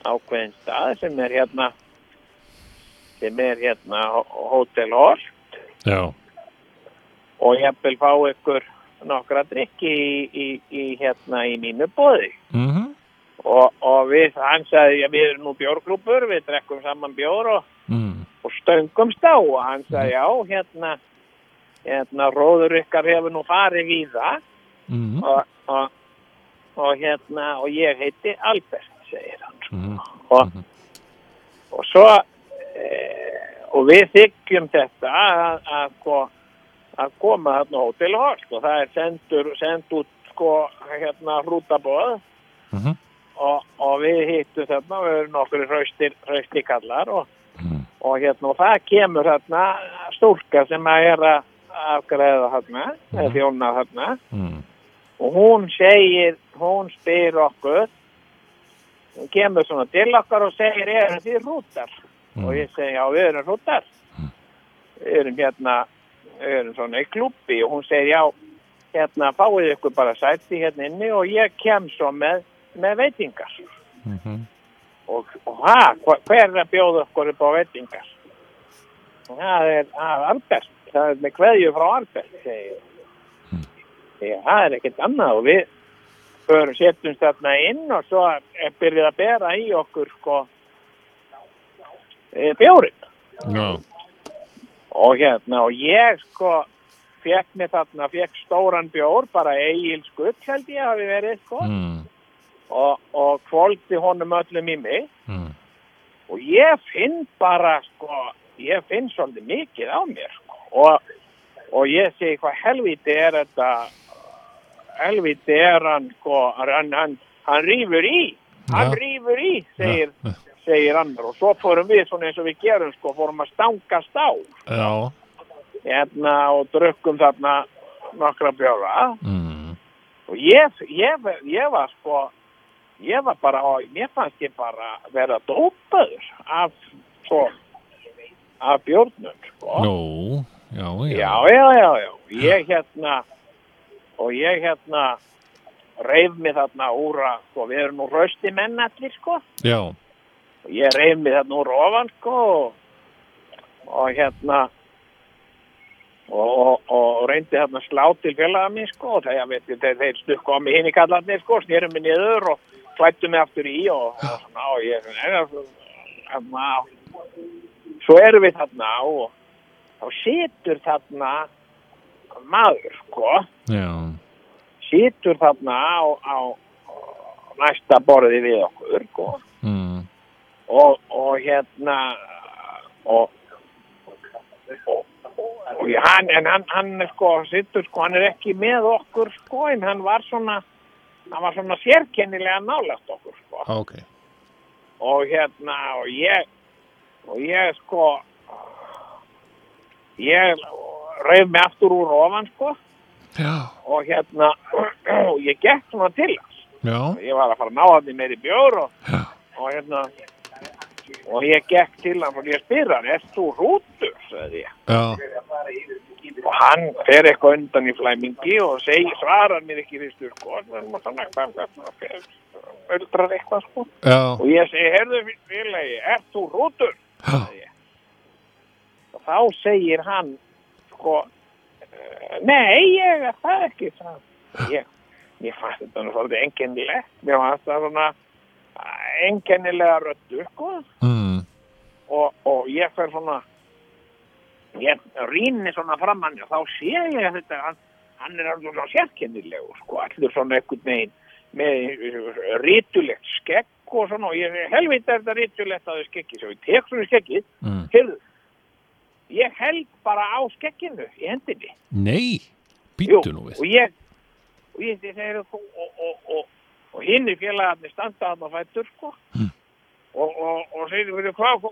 I: ákveðin stað sem er hérna sem er hérna Hó- Hótel Holt
C: Já,
I: og ég vil fá ykkur nokkra drikki í, í, í hérna í mínu bóði
C: mhm,
I: og, og við, hann sagði, já, við erum nú bjórgrúpur, við drekkum saman bjór og,
C: mhm,
I: og stöngumst á og hann sagði, já, hérna, hérna, róður ykkar hefur nú farið víða
C: mhm,
I: og, og, og hérna, og ég heiti Albert, segir hann. sko.
C: mhm.
I: Og, og svo, e, og við þykjum þetta að, að, sko, að koma þarna á Hotel Horst og það er sendur, send út sko, hérna, hrútabóð
C: Mhm.
I: og, og við hittum þarna, við erum nokkur hraustir, hraustir kallar og,
C: Mhm.
I: og hérna, og það kemur þarna stúlka sem að er að afgræða þarna, eða
C: Mhm.
I: þjóna þarna og hún segir, hún spyr okkur hún kemur svona til okkar og segir eru þið hrútar og ég segi já við erum hrútar við erum hérna við erum svona í klubbi og hún segir já hérna fáið ykkur bara sæti hérna inni og ég kem svo með, með veitingar og, og ha, hva- hver er að bjóða okkur upp á veitingar og það er það er Albert það er með kveðju frá Albert segir ég. Já, það er ekkert annað og við förum setjumst þarna inn og svo er byrjað að bera í okkur sko e, bjórin
C: Já,
I: og hérna og ég sko fekk mér þarna, fekk stóran bjór bara eigin skull held ég hafi verið sko
C: mhm,
I: og, og kvóldi honum öllum í mig
C: Mm.
I: og ég finn bara sko, ég finn svolítið mikið á mér sko og, og ég segi hvað helviti er þetta helviti er hann sko, hann, hann, hann rýfur í hann
C: Ja.
I: rýfur í, segir segir annar og svo fórum við svona eins og við gerum sko, fórum að stangast á
C: já,
I: hérna og drukkum þarna nokkra bjóra
C: mhm,
I: og ég, ég, ég var sko ég var bara og mér fannst ég bara vera dópaður af svo af bjórnum sko
C: Jó, já, já,
I: já, já, já, já, ég hérna og ég hérna reyf mig þarna úr að sko, við erum nú rausti menn allir sko
C: já,
I: og ég reyf mig þarna úr ofan sko og, og hérna og, og, og reyndi þarna að slá til félaga mín sko og þegar veit, ég, þeir, þeir stukku á mig hinn í kallarnir sko snýrum mig niður og klættu mig aftur í og, og svona og ég hérna, hérna svo erum við þarna og þá situr þarna maður sko
C: já,
I: situr þarna á, á, á næsta borði við okkur sko
C: mhm,
I: og, og hérna og, og, og já, hann, en hann, hann er sko, sittur sko, hann er ekki með okkur sko, en hann var svona hann var svona sérkennilega nálægt okkur sko,
C: ok,
I: og hérna og ég og ég sko ég reyf mig aftur úr ofan sko
C: já,
I: og hérna [clears throat] og ég gekk svona til hans
C: já,
I: ég var að fara að ná hann í meiri bjór og, og hérna og ég gekk til hann og ég spyr hann er þú rútur, sagði ég
C: já,
I: og hann fer eitthvað undan í flæmingi og seg, svarar mér ekki fyrstu sko, og svona hvað- hvað- hvað- hvað- öldrar eitthvað sko
C: já,
I: og ég segi, heyrðu félagi, er þú rútur sagði ég og þá segir hann sko, eh, nei, ég er það ekki sagði hann. ég, ég fannst þetta nú svolítið einkennilegt mér fannst það svona eh, einkennilega röddu sko
C: mhm,
I: og, og ég fer svona ég rýni svona fram hann og þá sé ég að þetta hann, hann er alveg svona sérkennilegu sko, allir svona einhvern veginn með rítulegt skegg og svona og ég segi, helvita er þetta rítulegt að þau skeggi svo ég tek svona skeggið,
C: Mm.
I: heyrðu ég held bara á skegginu í hendinni
C: nei,
I: Jú,
C: býttu nú við,
I: og ég og ég segir og, og, og, og, og hinni félagarnir standa hann á fættur sko
C: Hmm.
I: og, og, og segir fyrir hvað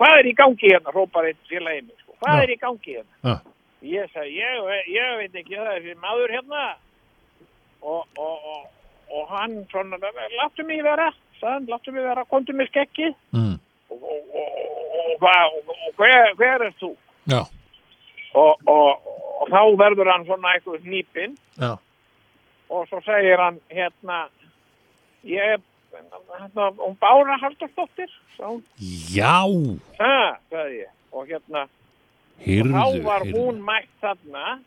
I: hvað er í gangi hérna, hrópar einn félagið mig sko, hvað
C: Já.
I: er í gangi hérna
C: Já.
I: ég sagði, ég, ég veit ekki það er fyrir maður hérna og, og, og, og hann svona, láttu mig vera, sann, láttu mig vera, komdu mig skekki
C: Mm.
I: og, og, og, og, hvað- og, og hver, hver er þú?
C: Já.
I: Og, og, og þá verður hann svona eitthvað nýpinn
C: Já.
I: og svo segir hann hérna, ég er, hérna, hún Bára Halldórsdóttir, sá hún,
H: Já,
I: það, sagði ég, og hérna,
H: heyrðu,
I: þá var
H: heyrðu.
I: hún mætt þarna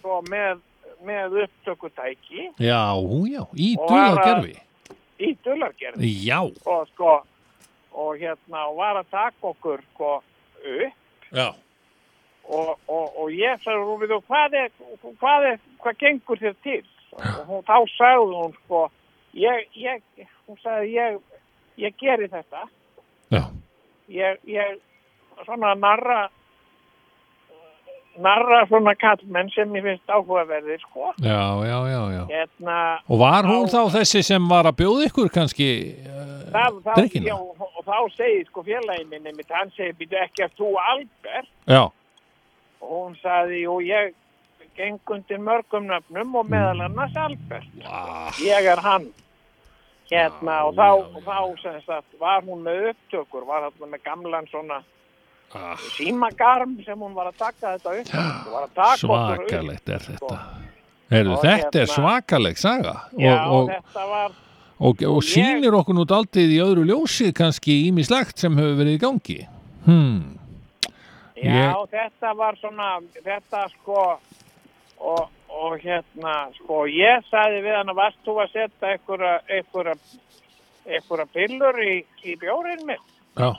I: svo með, með upptökutæki
C: Já, já, í
I: Og
C: duða
I: var að-
C: gerfi.
I: í dullargerð
C: Já.
I: og sko og hérna og var að taka okkur sko upp
C: Já.
I: og, og, og ég sagði hún við þú hvað er, hvað er, hvað gengur þér til og hún, þá sagði hún sko ég, ég, hún sagði ég, ég geri þetta
C: Já.
I: ég, ég svona narra narra svona kallmenn sem ég finnst áhugaverðir sko
C: Já, já, já, já.
I: hérna
C: Og var hún
I: Á-
C: þá þessi sem var að bjóða ykkur kannski? eh?
I: það, þá,
C: Drykkina?
I: já, og þá segir sko félagin minni mitt, hann segir, býtu ekki að þú Albert,
C: Já.
I: og hún sagði, jú, ég geng undir mörgum nöfnum og meðal annars Albert, ég er hann hérna, og þá, og þá sem sagt, var hún með upptökur, var þarna með gamlan svona
C: Ah,
I: símagarm sem hún var að taka þetta upp, hún var að taka okkur upp
C: Svakalegt er þetta. Heyrðu,
I: Og
C: þetta er
I: hérna-
C: svakaleg saga
I: já,
C: og, og,
I: þetta var
C: og, og
I: ég-
C: sýnir okkur nút aldrei í öðru ljósi kannski ímislegt sem hefur verið í gangi. Hmm.
I: Já, þetta var svona, þetta sko, og, og hérna, sko, ég sagði við hann að varst þú að setja einhverja, einhverja, einhverja pillur í, í bjórinn minn.
C: Já.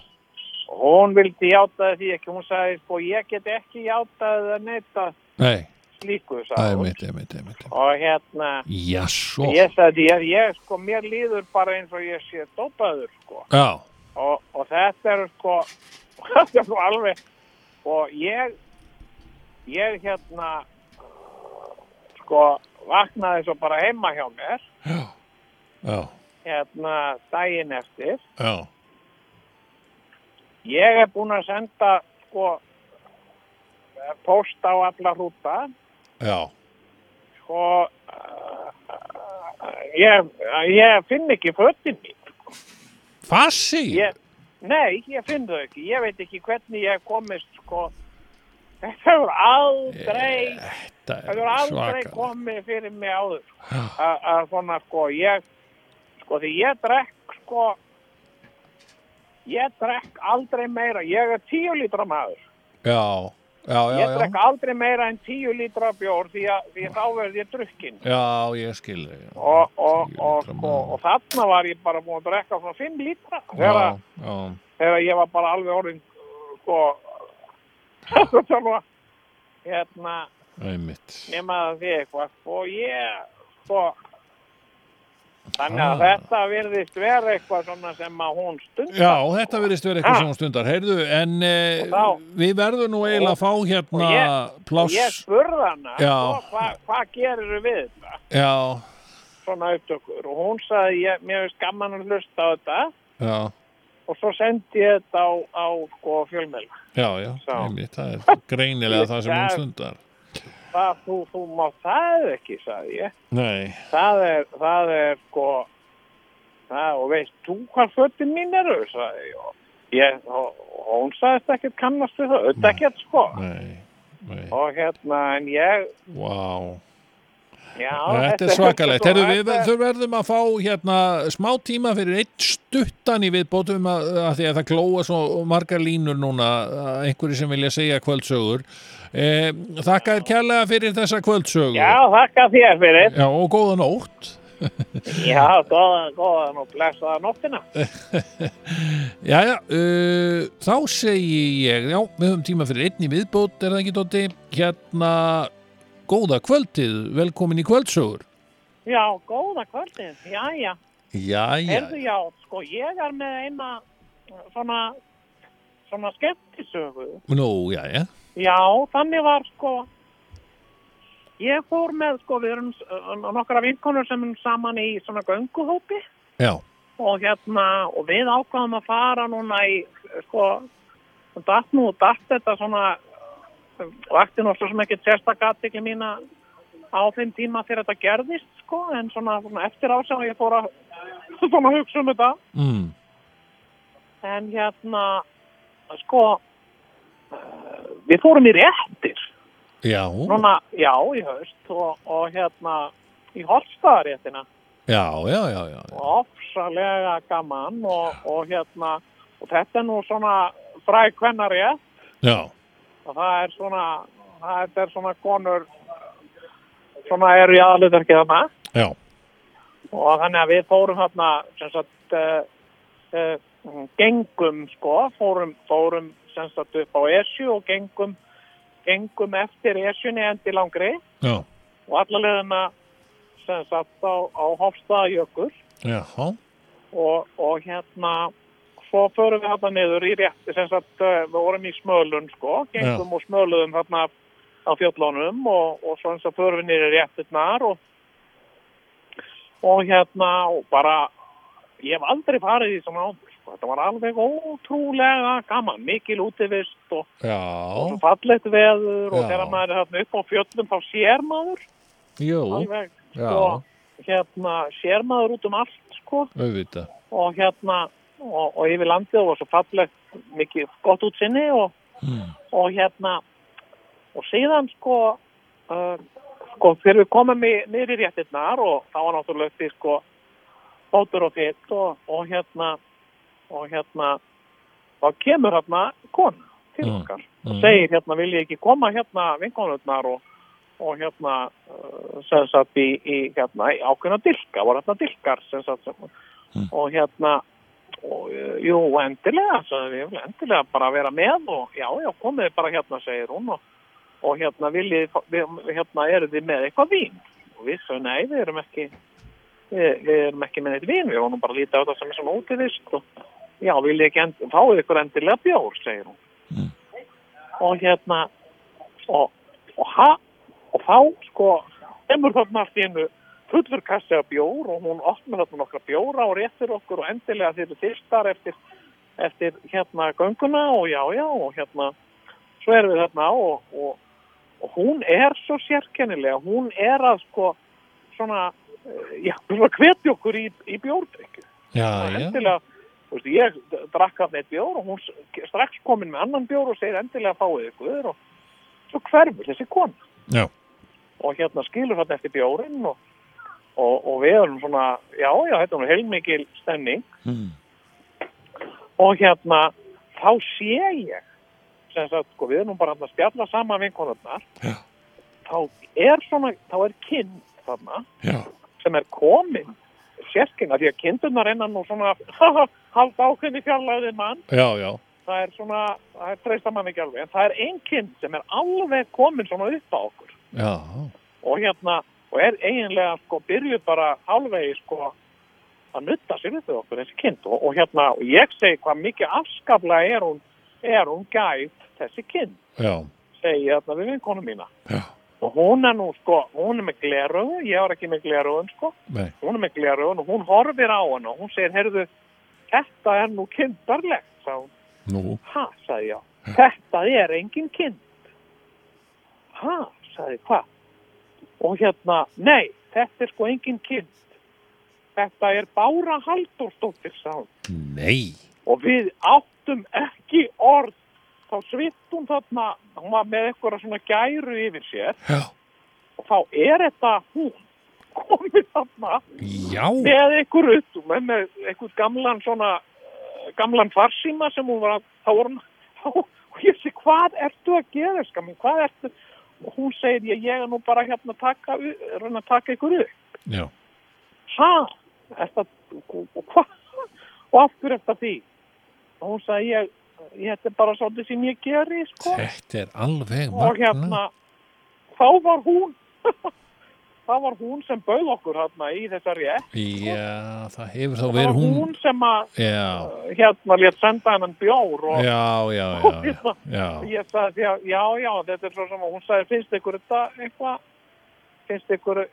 I: Og hún vildi játaði því ekki, hún sagði, sko, ég get ekki játaði að neyta
C: Nei,
I: slíku,
C: það
I: sagði
C: er
I: hún.
C: mitt, það er mitt, það er mitt.
I: Og hérna,
C: Jassó.
I: ég sagði, ég, ég, sko, mér líður bara eins og ég sé dópaður, sko.
C: Já.
I: og, og þetta er sko [laughs] þetta er nú alveg og ég ég hérna sko vaknaði svo bara heima hjá mér
C: Já.
I: hérna daginn eftir
C: Já.
I: ég er búin að senda sko eh, póst á alla hrúta
C: Já.
I: sko eh, ég, ég finn ekki fötin mín
C: Fassi?
I: ég, nei, ég finn þau ekki ég veit ekki hvernig ég hef komist sko þetta hefur aldrei
C: Þetta
I: það
C: er
I: hefur aldrei
C: svakaleg.
I: komið fyrir mig áður sko. A- að svona sko ég sko því ég drekk sko ég drekk aldrei meira ég er tíu lítra maður
C: Já. Já, já,
I: ég
C: já.
I: drekk aldrei meira en tíu lítra bjór því að, því að þá verð ég drukkin
C: Já, ég skil þig. já.
I: og, og, og,
C: Tíu lítra
I: sko,
C: maður.
I: og þarna var ég bara búin að drekka svona fimm lítra þegar
C: Já, já.
I: þegar ég var bara alveg orðin sko þetta var hérna
C: Einmitt.
I: nema að því eitthvað og ég sko þannig
C: Ah.
I: að þetta virðist vera eitthvað svona sem að hún stund
C: Já, þetta verðist verið eitthvað
I: Ha.
C: sem hún stundar. Heyrðu, en eh,
I: Ah. Og þá-
C: við verðum nú eiginlega að fá hérna
I: og
C: pláss.
I: ég spurði hana
C: Já.
I: sko, hvað hva gerir við þetta
C: Já,
I: svona upptökur og hún sagði ég, mér finnst gaman að hlusta á þetta
C: já,
I: og svo sendi ég þetta á, á sko fjölmjöla
C: já, já.
I: Sá.
C: Einmitt, það er greinilega það sem hún
I: Ég-
C: stundar.
I: það þú, þú má það ekki sagði ég
C: Nei.
I: það er, það er sko það, og veist þú hvað fötin mín eru sagði ég og, ég, og, og hún sagðist ekkert kannast við það, auðvitað ekkert sko
C: Nei. Nei.
I: og hérna en ég
C: Vá.
I: já,
C: Þetta er svakalegt. Heyrðu, við ver- þurfum verðum að fá hérna smá tíma fyrir einn stuttan í viðbótum að, að því að það glóa svo margar línur núna að einhverju sem vilja segja kvöldsögur. Eh, þakka þér kærlega fyrir þessa kvöldsögur.
I: já, þakka þér fyrir
C: Já, og góða nótt.
I: já, góðan, góðan og blessaða nóttina
C: Já, já, uh, þá segi ég, já, við höfum tíma fyrir einn í viðbót, er það ekki, Dótti? Hérna, góða kvöldið, velkomin í kvöldsögur.
I: já, góða kvöldið, já, já
C: Já, já,
I: Herðu, já, sko, ég er með eina svona svona skemmtisögu
C: nú, já, já,
I: Já, þannig var sko ég fór með sko við erum uh, nokkra vinkonur sem erum saman í svona gönguhópi
C: já,
I: og hérna og við ákvaðum að fara núna í sko og datt eh, nú, datt þetta svona uh, vakti nú svo sem ekki sérstak aðtekli mína á þeim tíma þegar þetta gerðist sko, en svona, svona eftir á sem ég fór að, [laughs] fór að hugsa um þetta
C: mm.
I: en hérna sko eh, við fórum í réttir
C: Já,
I: núna, já, í haust og, og hérna í Holstaðaréttina
C: já, já, já, já.
I: og ofsalega gaman og, og hérna og þetta er nú svona fræk kvennarétt
C: já.
I: og það er svona það er svona konur svona eru í aðlutverki þarna
C: Já.
I: og þannig að við fórum þarna sem sagt uh, uh, gengum sko fórum, fórum sem sagt upp á Esju og gengum gengum eftir Esjunni endi langri
C: Já.
I: og alla leðina sem sagt á, á Hofstaðajökul
C: Já,
I: og, og hérna svo förum við þarna niður í rétti sem sagt eh, við vorum í smölun sko gengum og smöluðum þarna á fjöllunum og, og svo eins og förum við niður í réttirnar og, og hérna og bara ég hef aldrei farið í svona áður sko. þetta var alveg ótrúlega gaman mikil útivist og,
C: já,
I: og fallegt veður og
C: Já.
I: þegar maður er þarna upp á fjöllum þá sér maður
C: jú,
I: alveg
C: já,
I: sko hérna sér maður út um allt sko
C: auðvitað.
I: og hérna og, og yfir landið og var svo fallegt mikið gott útsinni og, og hérna og síðan sko uh, sko þegar við komum í, niður í réttirnar og þá var náttúrulega uppi sko bótur og fyrt og, og hérna og hérna þá kemur hérna kona til
C: Mm,
I: okkar
C: mm.
I: og segir hérna vil ég ekki koma hérna vinkonurnar og og hérna uh, sem sagt í, í hérna í ákveðna dilka, voru hérna dilkar sem sagt sem, og hérna og, uh, jú, endilega sagði við, ég vil endilega bara vera með og já, já, komið bara hérna, segir hún og, og hérna, viljið, fá- við- hérna eru þið með eitthvað vín og við sagði, nei, við erum ekki við, við erum ekki með eitthvað vín við vonum bara að líta á það sem er svona útivist og já, viljið ekki end, fáið ykkur endilega bjór, segir hún og hérna og, og ha og þá sko, kemur þarna allt í einu fullur kassi af bjór og hún opnar þarna nokkra bjóra og réttir okkur og endilega þeir eru fyrstar eftir, eftir hérna gönguna og já, já, og hérna svo erum við þarna og, og, og hún er svo sérkennilega, hún er að sko svona, eh, já, svona hveti okkur í, í bjórdrykju
C: Já,
I: og
C: já,
I: endilega, þú veist, ég d- drakk af neitt bjór og hún s- strax komin með annan bjór og segir endilega fáið ykkur og svo hverfur þessi kona
C: Já.
I: og hérna skilur þarna eftir bjórinn og, og, og við erum svona já, já, þetta er nú heilmikil stemning
C: Hmm.
I: og hérna þá sé ég sem sagt, sko, við erum bara þarna að spjalla saman vinkonarnar
C: Já.
I: þá er svona, þá er kinn þarna
C: já,
I: sem er komin sérkina því að kindurnar innan nú svona halda ákveðni fjarlæðin mann
C: já, já,
I: það er svona, það er treysta mann ekki alveg en það er ein kind sem er alveg komin svona upp á okkur
C: já,
I: og hérna, og er eiginlega sko byrjuð bara halvegi sko að nutta sér upp við okkur þessi kind og, og hérna, og ég segi hvað mikið afskaplega er hún, er hún gæt þessi kind
C: já,
I: segi ég þarna við vinkonu mína
C: Já.
I: og hún er nú sko, hún er með gleröðu ég var ekki með gleröðun sko
C: Nei.
I: hún er með gleröðun og hún horfir á hann og hún segir, heyrðu, þetta er nú kindarlegt, sagði hún
C: nú,
I: ha, sagði ég, þetta er engin kind. Ha, sagði ég, hva? Og hérna, nei, þetta er sko engin kind. Þetta er Bára Halldórsdóttir, sagði hún.
C: nei,
I: Og við áttum ekki orð. Þá svitt hún þarna, hún var með eitthvað svona gæru yfir sér.
C: já,
I: Og þá er þetta hún komið þarna
D: Já,
I: með einhver upp, með, með einhver gamlan svona, eh, gamlan farsíma sem hún var að, þá voru hún, [laughs] þá, og ég segi, hvað ertu að gera, skamum, hvað ertu, og hún segir, ég, ég er nú bara hérna að taka, u- reyna að taka ykkur upp.
C: já,
I: Ha, ertu að, og- og hvað, og af hverju ertu að því? Og hún sagði, ég, ég, þetta er bara svolítið sem ég geri, sko
C: þetta er alveg
I: og
C: magna,
I: hérna þá var hún [laughs] þá var hún sem bauð okkur hérna í þessari rétt
C: já, það hefur þá
I: það var
C: verið
I: hún,
C: hún,
I: sem að
C: já,
I: hérna létt senda hennan bjór
C: já,
I: og
C: já,
I: og
C: já,
I: hérna,
C: já, já,
I: ég sagði já, já, já, þetta er svo sem að hún sagði finnst ykkur þetta eitthvað finnst ykkur eh,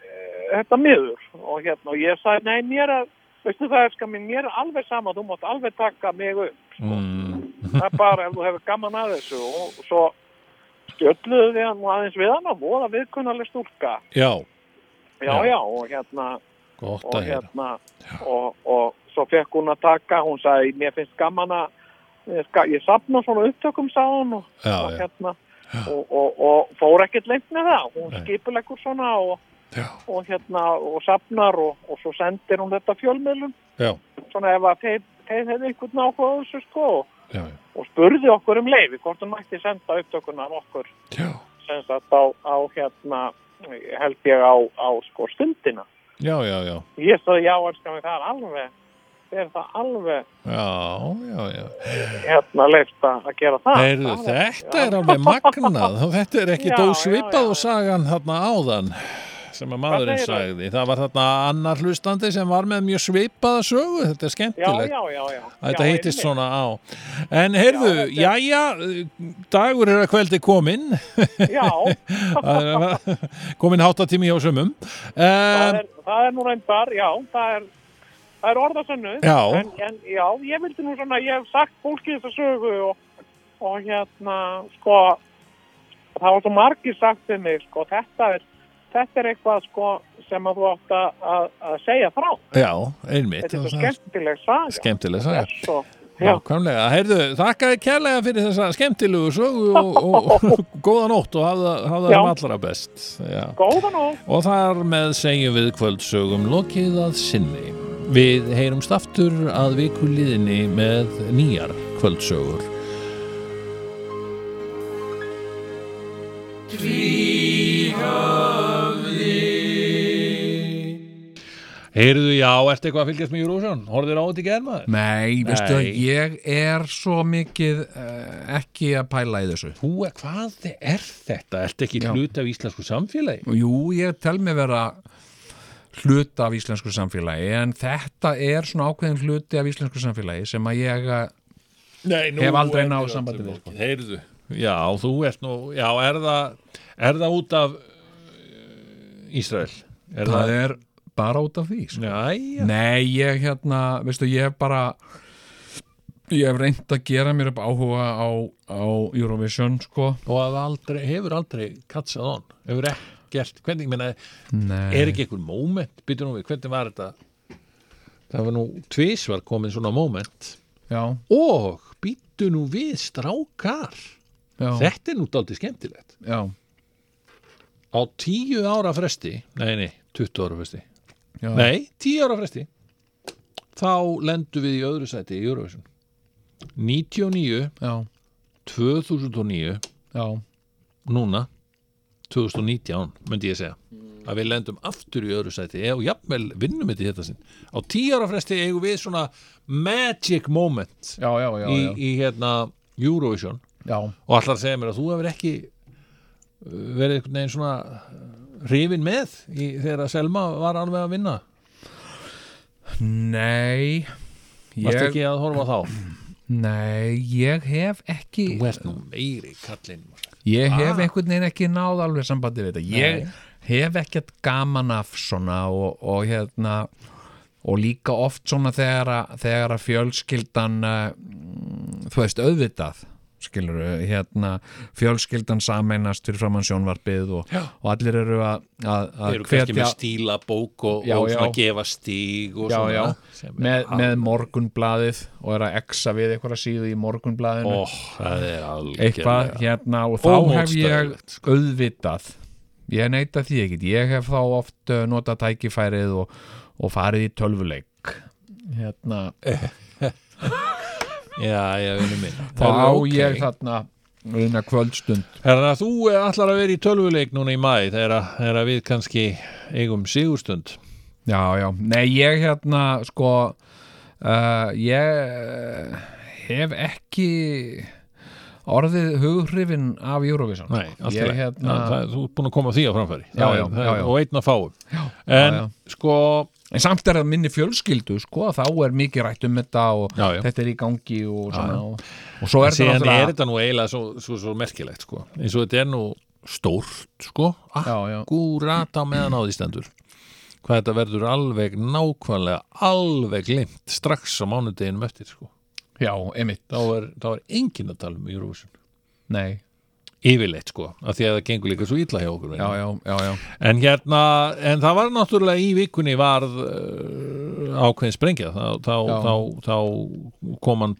I: þetta miður og hérna, og ég sagði nei, mér er veistu það, skal mín, mér er alveg sama þú mátt alveg taka mig upp
C: mm,
I: það er bara ef þú hefur gaman að þessu og svo spjölluðu við hann og aðeins við hann og voða viðkunnaleg stúlka.
C: Já,
I: Já,
C: Já.
I: já, og hérna,
C: gott
I: og
C: að hérna
I: hérna, og, og svo fekk hún að taka, hún sagði, mér finnst gaman að, ég ska- ég sapna svona upptökum, sagði hún, og, og
C: Já, já,
I: hérna, og, og, og fór ekkert lengt með það, hún
C: Nei.
I: skipulegur svona og,
C: Já.
I: og hérna, og sapnar og, og svo sendir hún þetta fjölmiðlum,
C: Já.
I: svona ef að þeir, þeir hefði einhvern áhuga á þessu, sko, og
C: já, já.
I: og spurði okkur um leifi hvort hún mætti senda upptökuna af okkur
C: Já.
I: sem sagt á, á hérna held ég á, á sko stundina
C: Já, já, já,
I: ég stöði já elskan mig það er alveg það er það alveg
C: já, já, já.
I: hérna leift að að gera það
C: Heyrðu,
I: Það er-
C: þetta er alveg
I: [laughs]
C: magnað þetta er
I: Já,
C: ekkit
I: já,
C: ósvipað
I: já,
C: og
I: já.
C: sagan þarna áðan sem að maðurinn
I: segirðu?
C: sagði það var þarna annar hlustandi sem var með mjög svipaða sögu, þetta er
I: já,
C: skemmtilegt
I: já, já, já
C: Þetta
I: Já,
C: heitist
I: einmitt.
C: svona á. En heyrðu,
I: Já,
C: jæja, dagur er að kveldi komin,
I: [laughs] já,
C: komin háttatími hjá sumum.
I: það
C: Um,
I: er, það er nú reyndar já, það er það er orðasönnu
C: Já.
I: en, en já, ég vildi nú svona ég hef sagt fólki þessa sögu og, og hérna sko það var svo margir sagt við mig sko, þetta er þetta er eitthvað sko sem að þú átt að, að, að segja frá
C: Eh, já, einmitt.
I: þetta er
C: og
I: svo
C: það
I: skemmtileg saga
C: Skemmtileg saga.
I: Þess og- já,
C: Nákvæmlega. Heyrðu, þakkaði kærlega fyrir þessa skemmtilegu sögu og, og, og
I: [laughs]
C: góða nótt og hafða, hafða
I: Já.
C: um allra best. Já.
I: góðan og
C: Og þar með segjum við kvöldsögum lokið að sinni. Við heyrumst aftur að viku liðinni með nýjar kvöldsögur. Heyrðu, já, ertu eitthvað að fylgjast með Júrússon? Horður á þetta í germaður?
D: Nei, veistu að
C: Nei.
D: ég er svo mikið uh, ekki að pæla í þessu
C: Þú, hvað er þetta? Ertu ekki
D: Já.
C: hluti af íslensku samfélagi?
D: Jú, ég tel mig vera hluta af íslensku samfélagi en þetta er svona ákveðin hluti af íslensku samfélagi sem að ég eh,
C: Nei, nú
D: Hef aldrei
C: er
D: náð
C: þetta
D: sambandi við,
C: lokið. Heyrðu, já, þú ert nú, já, er það, er það út af uh, Ísrael? Er
D: það er bara út af því sko.
C: Næja,
D: Nei, ég hérna, veistu, ég hef bara ég hef reynd að gera mér upp áhuga á, á Eurovision, sko
C: og að aldrei, hefur aldrei katsað on, hefur ekkert, hvernig, menna,
D: Nei.
C: er ekki einhver moment, býtur nú við, hvernig var þetta? Það var nú tvisvar komin svona moment
D: Já,
C: og býtu nú við strákar,
D: já,
C: þetta er nú daldið skemmtilegt.
D: já,
C: Á tíu ára fresti, nei, nei, 20 ára fresti,
D: já
C: nei, tíu ára fresti, þá lendu við í öðru sæti í Eurovision. 99,
D: Já,
C: 2009
D: já,
C: núna 2019, myndi ég segja að við lendum aftur í öðru sæti og jafnvel vinnum þetta í þetta sinn á tíu ára fresti eigum við svona magic moment
D: já, já, já,
C: í,
D: já,
C: í hérna Eurovision
D: já.
C: og allar að segja mér að þú hefur ekki uh, verið einhvern veginn svona uh, hrifin með í, þegar að Selma var alveg að vinna
D: Nei
C: varst
D: ég,
C: ekki að horfa á þá
D: Nei, ég hef ekki
C: þú ert nú meiri kallinn maður.
D: Ég
C: Ah.
D: hef einhvern veginn ekki náð alveg sambandi við þetta Ég hef ekkert gaman af svona og, og hérna og líka oft svona þegar að, þegar að fjölskyldan eh, mm, þú veist auðvitað skilur hérna fjölskyldan sameinast fyrir framann sjónvarpið og, og allir eru að, að,
C: þeir
D: að
C: eru kannski með stíla bók og,
D: Já,
C: og
D: já.
C: svona gefa stíg og
D: já,
C: svona
D: já,
C: sem er
D: með, með
C: alveg-
D: morgunblaðið og er að exa við einhverja síðu í morgunblaðinu
C: Ó, það er algjörlega
D: eitthvað hérna og þá hef ég
C: Ómótstæðilegt, sko.
D: auðvitað ég neita því ekkit, ég hef þá oft eh, notað tækifærið og, og farið í tölvuleik hérna,
C: Já, já, vinnum minn
D: þá á
C: Herðu,
D: ég
C: ókei.
D: þarna eina kvöldstund
C: Herra, þú eh, ætlar að vera í tölvuleik núna í mæ þegar að- þegar að við kannski eigum sigurstund
D: já, já, nei ég hérna sko uh, ég eh, hef ekki orðið hughrifin af Eurovision
C: Nei, allt í
D: ég
C: lagi.
D: hérna
C: Já, það- Þú ert búin að koma því á framfæri
D: Já,
C: Það er-
D: já,
C: það er-
D: já, já.
C: Og einn að fáum En
D: já.
C: sko,
D: En samt er það minni fjölskyldu, sko, þá er mikið rætt um þetta og
C: Já, já.
D: þetta er í gangi og svona. Og, og svo er þetta
C: síðan er
D: náttúrulega...
C: þetta nú eiginlega svo, svo, svo merkilegt sko eins og þetta er nú stórt sko
D: Já, já.
C: akkurat á meðan á því stendur hvað þetta verður alveg nákvæmlega alveg glimt strax á mánudeginum eftir sko
D: Já, einmitt.
C: þá er, þá er engin að tala um Eurovision
D: Nei,
C: yfirleitt sko, af því að það gengur líka svo illa hjá okkur
D: já, já, já, já.
C: En hérna, en það var náttúrulega í vikunni varð uh, ákveðin sprengja þá, þá, þá, þá kom hann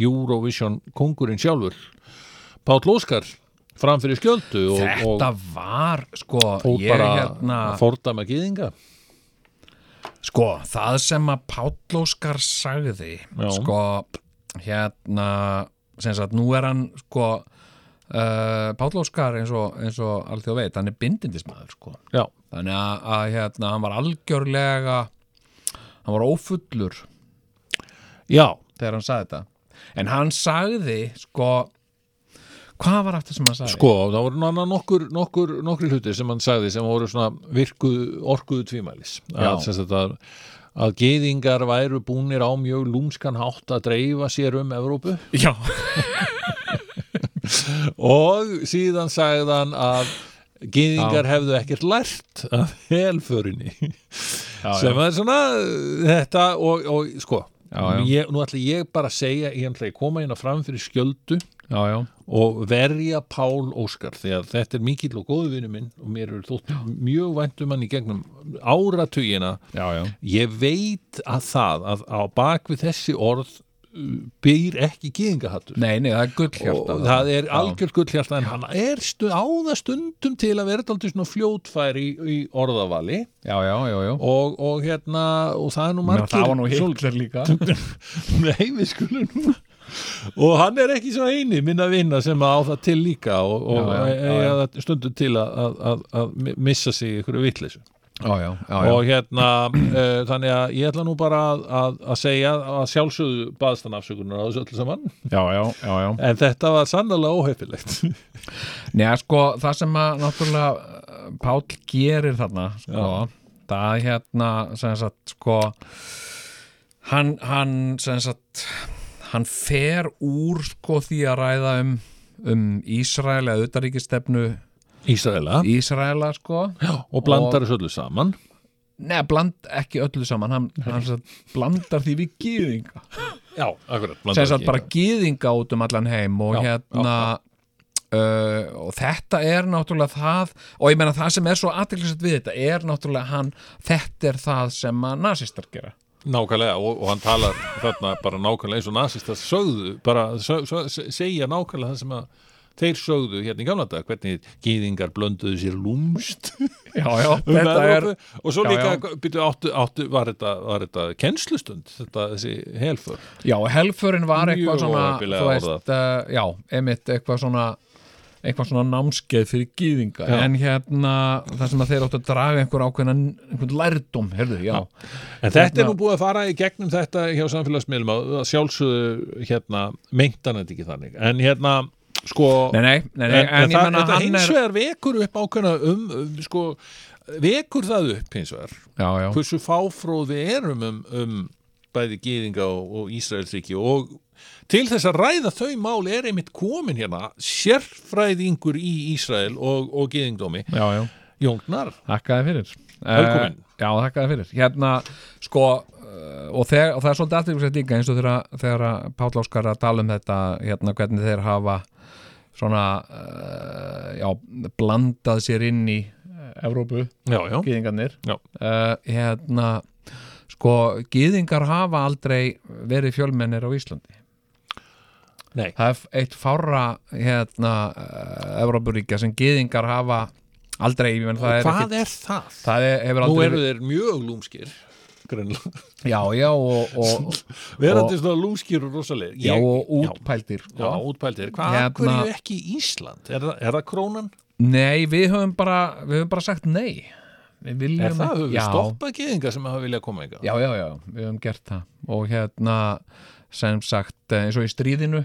C: Eurovision kongurinn sjálfur Páll Óskar fram fyrir skjöldu og,
D: Þetta var, sko,
C: og fór
D: ég
C: bara
D: hérna
C: að fordama gýðinga
D: Sko, það sem að Páll Óskar sagði
C: Já.
D: Sko, hérna sem sagt, nú er hann, sko uh, Páll Óskar eins og, eins og alþjóð veit, hann er bindindismæður, sko
C: Já,
D: Þannig að, að hérna, hann var algjörlega hann var ófullur
C: já,
D: þegar hann sagði þetta en hann sagði, sko hvað var aftur sem hann sagði?
C: sko, það voru nána nokkur, nokkur, nokkur hlutir sem hann sagði sem voru svona virkuð, orkuðu tvímælis
D: Já.
C: að, sem sagt, að, að gýðingar væru búnir á mjög lúmskan hátt að dreifa sér um Evrópu
D: Já,
C: og síðan sagðan að gyðingar hefðu ekkert lært af helförinni sem er svona uh, þetta og, og sko
D: Já, já.
C: Ég, nú ætla ég bara að segja ég ætla að koma hérna fram fyrir skjöldu
D: já, já,
C: og verja Pál Óskar því að þetta er mikill og góðu vinnu minn og mér eru þótt mjög vænt um hann í gegnum áratugina
D: já, já.
C: ég veit að það að á bakvið þessi orð uh, býr ekki gyðingahattur
D: Nei, nei, það er gullhjarta
C: og það er algjör gullhjarta en hann er stu, á það stundum til að vera aldrei svona fljótfær í, í orðavali
D: Já, já, já, já
C: og, og hérna og það er nú margir
D: Það var nú Hitler líka
C: [laughs] Nei, við skulum nú og hann er ekki svo eini minna vinna sem á það til líka og, og e-
D: Já, já, já,
C: eiga það stundum til að, að, að, að missa sig í ykkur vitleysu
D: Já, já, já, já,
C: og hérna [clears throat] uh, þannig að ég ætla nú bara að, að, að segja að sjálfsögðu baðst hann afsökunar á þessu öllu saman
D: já, já, já, já.
C: en þetta var sannlega óheppilegt [laughs]
D: Nei, sko, það sem að náttúrulega uh, Páll gerir þarna sko, það er hérna sem sagt, sko hann, hann sem sagt hann fer úr sko því að ræða um, um Ísrael eða utaríkistefnu
C: Ísraela
D: Ísraela sko
C: og blandar þessu öllu saman
D: Nei, bland ekki öllu saman hann, hann sem sagt, blandar því við gýðinga
C: já, akkurat
D: sem sagt bara gýðinga út um allan heim og
C: Já,
D: hérna Uh, og þetta er náttúrulega það og ég meina það sem er svo aðtillisett við þetta er náttúrulega hann þetta er það sem að nasistar gera
C: nákvæmlega og, og hann talar þarna bara nákvæmlega eins og nazistar sögðu bara sög, sög, segja nákvæmlega það sem að þeir sögðu hérna í gamla dag hvernig gýðingar blönduðu sér lúmst
D: já, já,
C: um
D: þetta er
C: Evrópu. og svo
D: já,
C: líka
D: já.
C: byrju, áttu, áttu, var þetta, var þetta kennslustund þetta þessi helför
D: já, helförin var
C: Mjög
D: eitthvað svona
C: óheppilega
D: þú veist, uh, já, emitt eitthvað svona eitthvað svona námskeið fyrir gýðinga en hérna, það sem að þeir áttu að draga einhver ákveðna, einhvern lærdum heyrðu, já,
C: En þetta er nú búið að fara í gegnum þetta hjá samfélagsmiðlum að að sjálfsögðu hérna, meintan þetta ekki þannig en hérna, sko
D: nei, nei, nei, nei
C: en, en,
D: ég
C: það,
D: meina
C: þetta
D: hann
C: hins vegar
D: er
C: vekur upp ákveðna um, um sko, vekur það upp hins vegar,
D: já, já,
C: hversu fáfróð við erum um, um bæði gýðinga og, og Ísraelsríki og til þess að ræða þau mál er einmitt komin hérna sérfræðingur í Ísrael og, og gýðingdómi,
D: já, já
C: Jóngnar
D: Þakkaði fyrir
C: Velkomin.
D: Eh, Já, þakkaði fyrir Hérna, sko eh, og, þeir, og það er svolítið aðtryggsett líka eins og þegar, að- þegar að Páll Óskar er að tala um þetta hérna hvernig þeir hafa svona uh, já, blandað sér inn í eh, Evrópu,
C: Já, já,
D: gýðingarnir
C: Já.
D: Eh, Hérna sko, gýðingar hafa aldrei verið fjölmennir á Íslandi
C: Nei.
D: Það er f- eitt fára hérna eh, Evrópuríkja sem gýðingar hafa aldrei, ég menn það er
C: hvað er það?
D: Það er, hefur
C: Nú
D: aldrei
C: eru þeir mjög lúmskir greinlega.
D: Já, já, og,
C: [laughs]
D: og,
C: Verandi svona lúmskir og rosalegir
D: já,
C: Ég-
D: og útpældir
C: Já,
D: sko.
C: útpæltir. Hvað
D: Hérna-
C: hérna... hverju ekki Ísland? Er, það- er það krónan?
D: Nei, við höfum bara Við höfum bara sagt nei Við viljum
C: Er það? Höfum við
D: já,
C: stoppað geðinga sem hafa viljað koma enga?
D: já, já, já, við höfum gert það Og hérna, sem sagt eh, eins og í stríðinu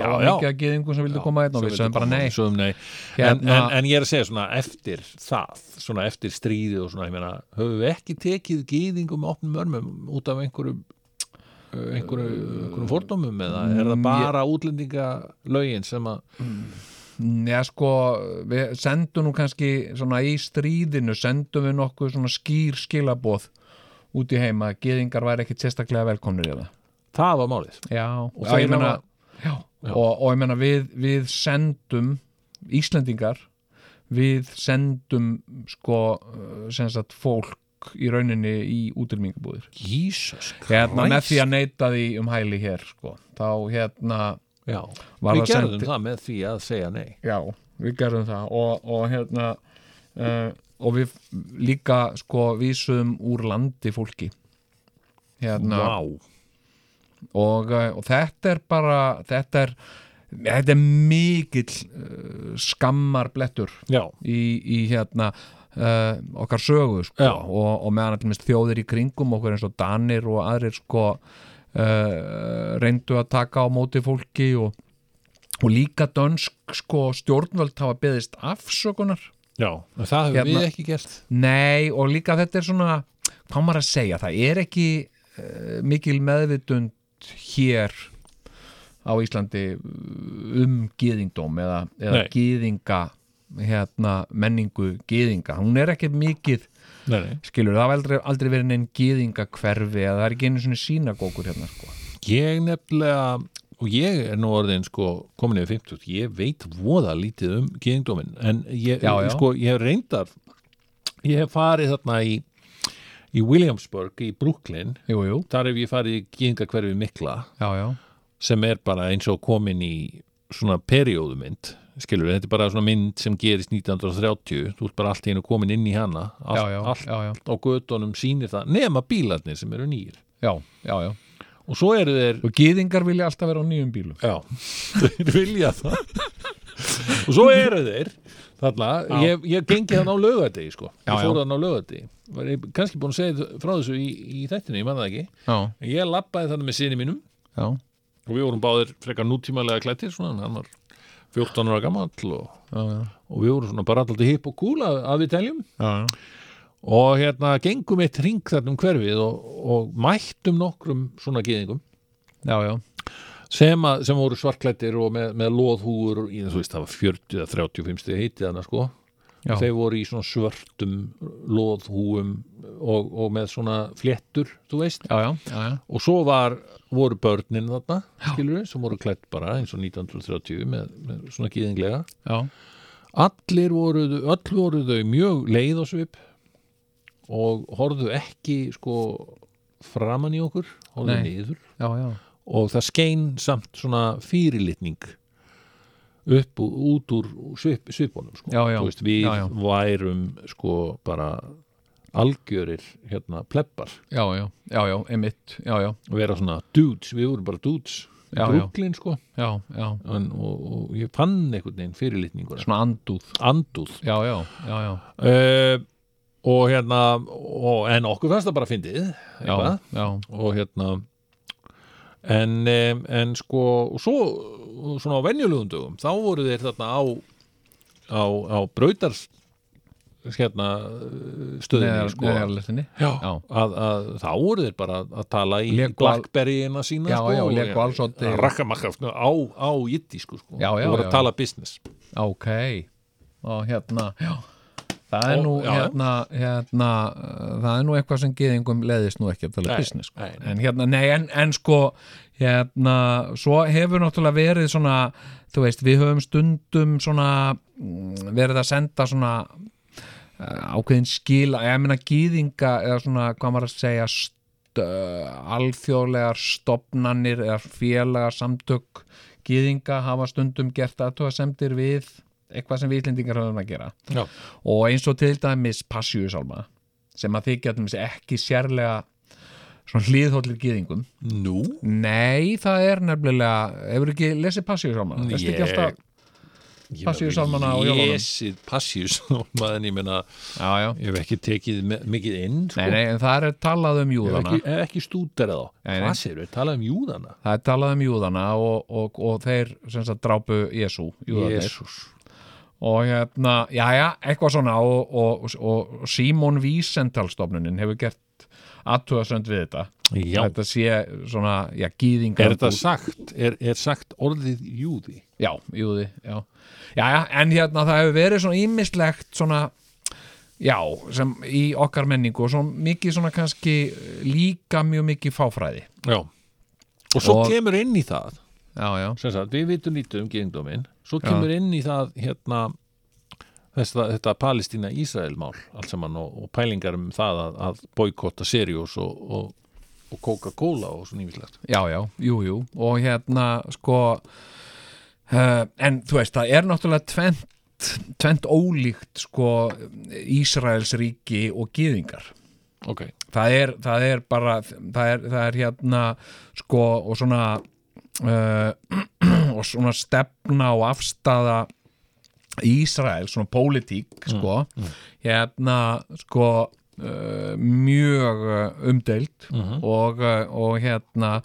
D: þá
C: Já,
D: var
C: já.
D: mikið að geðingum sem vildu koma einn og við sögum bara nei
C: Sögum nei. En,
D: Hérna-
C: en, en ég er að segja svona eftir það, svona eftir stríði og svona, ég meina, höfum við ekki tekið geðingum opnum örmum út af einhverju eh, einhverju, einhverjum fordómum eða er
D: Mm,
C: það bara útlendingalögin sem að
D: Já, sko, við sendum nú kannski svona í stríðinu sendum við nokkuð svona skýr skilaboð út í heima, að geðingar væri ekkit sérstaklega velkomnir í það
C: það var málið
D: Já, og
C: þeir
D: ég meina
C: hafa-
D: já, Og, og ég meina við, við sendum Íslendingar við sendum sko eh, sem sagt fólk í rauninni í útrýmingabúðir
C: Jesus
D: hérna með
C: Christ.
D: því að neyta því um hæli hér sko. þá hérna
C: Já,
D: Var
C: við
D: það
C: gerðum
D: sendi-
C: það með því að segja nei
D: já, við gerðum það og, og hérna uh, og við líka sko vísum úr landi fólki hérna og, eh, og þetta er bara þetta er, þetta er mikill uh, skammar blettur
C: Já,
D: í, í hérna uh, okkar sögu sko.
C: Já.
D: og, og meðan allir minnst þjóðir í kringum okkur eins og Danir og aðrir sko uh, reyndu að taka á móti fólki og, og líka dönsk sko stjórnvöld hafa beðist afsökunar
C: já, en það hefur
D: Hérna-
C: við ekki gert
D: Nei, og líka þetta er svona hvað á maður að segja, það er ekki uh, mikil meðvitund hér á Íslandi um gýðingdóm eða, eða
C: Nei.
D: gýðinga hérna, menningu gýðinga hún er ekki mikið,
C: Nei, nei.
D: skilur, það hafa aldrei, aldrei verið neinn gýðinga hverfi eða það er ekki einu svona sínagókur hérna sko.
C: Ég nefnilega og ég er nú orðin sko komin yfir 50, ég veit voða lítið um geðingdóminn, en ég,
D: Já, já.
C: Sko, ég hef reyndar ég hef farið þarna í í Williamsburg í Brooklyn
D: Jú, jú,
C: þar hef ég farið í geðingakverfi mikla
D: já, já,
C: sem er bara eins og komin í svona perióðumynd skilur, þetta er bara svona mynd sem gerist 1930, þú ert bara allt í einu komin inn í hana, allt,
D: já, já,
C: allt
D: já, já,
C: á göttunum sýnir það, nema bílarnir sem eru nýr
D: já, já, já.
C: og svo eru þeir
D: og gýðingar vilja alltaf vera á nýjum bílum
C: Já, þeir vilja það Og svo eru þeir Þarna, ég, ég gengi þann á laugadegi sko.
D: Já,
C: Ég fór
D: já.
C: þann á laugadegi Var ég kannski búin að segja þ- frá þessu í, í þættinu, ég man það ekki
D: Já,
C: En Ég labbaði þannig með sinni mínum
D: já,
C: Og við vorum báðir frekar nútímalega klættir svona, en Hann var 14 ára gamall og,
D: já, já,
C: og við vorum svona bara alltaf hipp og cool að, að við teljum
D: já, já.
C: Og hérna gengum eitt ring þarna um hverfið og, og mættum nokkrum svona geðingum
D: já, já.
C: sem, að, sem voru svartklættir og með, með loðhúur og í þú veist það var 40 eða 35 stið heitið hana sko
D: Já.
C: þeir voru í svona svörtum loðhúum og, og með svona fléttur, þú veist
D: já, já, já, já.
C: og svo var, voru börnin þarna skilur sem voru klætt bara eins og 1930 með, með svona gýðinglega
D: Já.
C: allir voru, öll voru þau mjög leið á svip og horfðu ekki sko framan í okkur horfðu
D: Nei.
C: niður
D: já, já,
C: og það skein samt svona fyrirlitning upp og út úr svip, svipunum sko.
D: Já, já.
C: Þú veist, við
D: Já, já.
C: værum sko bara algjörir hérna pleppar
D: já, já, já, já, emitt, já, já,
C: og vera svona dudes, við vorum bara dudes
D: Já, já.
C: Brooklyn sko
D: já, já,
C: en, og, og ég fann einhvern veginn fyrirlitningur
D: svona andúð,
C: andúð
D: já, já, já, já,
C: uh, og hérna og, en okkur fannst það bara fyndið eitthvað.
D: já, já,
C: og hérna en, em, en sko og svo svona á venjulegum dögum þá voru þeir þarna á á, á brautar hérna eh, stöðinni
D: neðar,
C: sko,
D: neðarlistinni,
C: Já,
D: já,
C: Að, að, þá voru þeir bara að tala í
D: Lego-
C: Blackberry-ina sína
D: Já,
C: sko,
D: já,
C: og-
D: Lego allsoddi.
C: að rakkamakka sko, á, á jiddísku sko.
D: Já, já,
C: og voru að
D: já, já.
C: tala business
D: ok, og hérna, já, það er
C: Og-
D: nú,
C: já, já.
D: hérna, hérna, uh, það er nú eitthvað sem geðingum leðist nú ekki að tala
C: Nei,
D: business, sko,
C: nei, nei.
D: en hérna, nei, en, en sko, hérna, svo hefur náttúrulega verið svona, þú veist, við höfum stundum svona, mm, verið að senda svona eh, ákveðin skil ég meina gýðinga eða svona hvað maður að segja st, uh, alþjóðlegar stopnanir eða félagar samtök gýðinga hafa stundum gert aðtóðasemdir við eitthvað sem við íslendingar höfum að gera
C: Já.
D: og eins og til dæmis passjúsálma sem að þykja til dæmis ekki sérlega svona hlýðhóllir gýðingum
C: Nú?
D: nei það er nefnilega hefur ekki lesið passjúsálma
C: Ég-
D: Passíusálmana á jólunum.
C: Jésið passíusálmana en ég meina,
D: já já
C: ég hef ekki tekið me- mikið inn sko.
D: Nei, nei, en það er talað um
C: Ef
D: júðana
C: ekki, ef ekki stúdera þá
D: Nei, nei.
C: Hvað segir við? Talað um júðana
D: Það er talað um júðana og, og, og þeir sem sagt drápu Jésu
C: Jésús
D: og hérna, jæja, eitthvað svona og, og, og, og Simon Vísentalstofnunin hefur gert aðtúðasönd við þetta
C: Já,
D: þetta sé svona, já, gýðingar
C: er þetta sagt? Er, er sagt orðið júði?
D: Já, júði, já Jæja, en hérna það hefur verið svona ímislegt svona, já, sem í okkar menningu og svona mikið svona kannski líka mjög mikið fáfræði
C: Já Og svo
D: Og-
C: kemur inn í það
D: já, já,
C: sem sagt, við vitum lítið um gyðingdóminn svo kemur inn í það hérna þetta, þetta Palestína-Ísrael-mál allt saman og, og pælingar um það að, að boykotta Sirius og, og, og Coca-Cola og svona nýmislegt
D: já, já, jú, jú og hérna, sko uh, en þú veist, það er náttúrulega tvent, tvent ólíkt sko Ísraels ríki og gyðingar
C: ok,
D: það er, það er bara það er, það er hérna sko og svona uh, [clears throat] og svona stefna og afstaða Ísrael, svona pólitík sko, hérna sko uh, mjög uh, umdeild og, uh, og hérna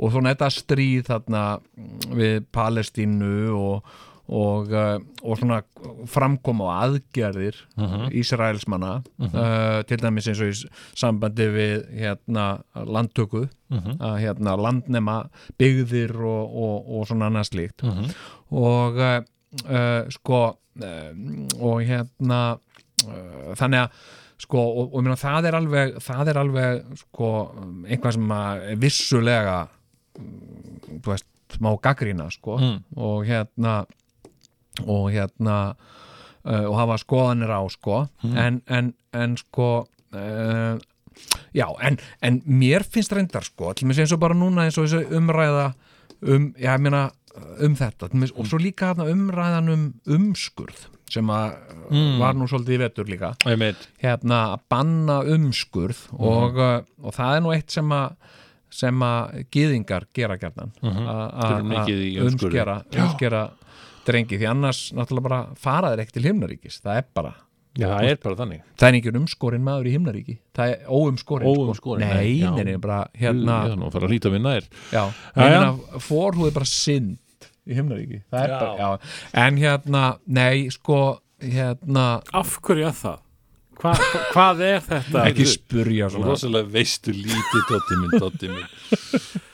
D: og svona þetta stríð þarna mm, við Palestínu og og, uh, og svona framkoma á aðgerðir Ísraelsmanna uh, til dæmis eins og í s- sambandi við hérna landtöku að hérna landnema byggðir og, og, og svona annað slíkt og uh, uh, sko uh, og hérna uh, þannig að sko og, og ég meina, það er alveg það er alveg sko einhvað sem að vissulega mm, þú veist, má gaggrýna sko og hérna og hérna uh, og hafa skoðanir á sko en, en, en sko uh, já, en, en mér finnst reyndar sko, til mér eins og bara núna eins og þessu umræða um, já, ég meina um þetta, til mér, og svo líka þarna umræðan um umskurð sem að uh,
C: Mm.
D: var nú svolítið í vetur líka
C: einmitt
D: hérna að banna umskurð
C: Mhm.
D: og, uh, og það er nú eitt sem að sem að gyðingar gera gerðan
C: Mhm. Þeir eru mikið í umskurði.
D: umskera, umskera drengi því annars náttúrulega bara fara þeir ekki til himnaríkis það er bara,
C: já, það er bara þannig
D: það er ekki umskorinn maður í himnaríki það er óumskorinn
C: Óumskorinn,
D: sko.
C: nei,
D: nei,
C: já.
D: nei, nei, bara
C: hérna, já,
D: hérna
C: nú fara að hlýta minna er
D: já,
C: já.
D: hérna fórhúði bara synd í himnaríki það er bara, já, en hérna nei, sko, hérna
E: Af hverju er það? Hva, hva, hvað er þetta?
D: ekki spurja svona
C: rosalega veistu lítið dotti minn, dotti minn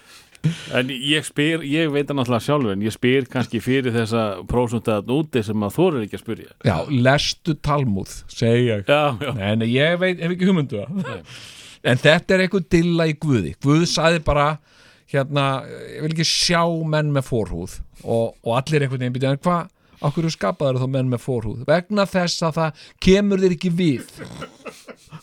E: En ég spyr, ég veit það náttúrulega sjálfur en ég spyr kannski fyrir þessa prósundaðan úti sem að þú ekki að spyrja
D: Já, lestu Talmúð, segi ég.
E: Já, já,
D: Nei, nei, ég veit, hef ekki hugmyndu það. En þetta er eitthvað dilla í Guði. Guð sagði bara, hérna, ég vil ekki sjá menn með forhúð og, og allir einhvern veginn býtja, en hvað, okkur skapaður þá menn með forhúð? Vegna þess að það kemur þér ekki við.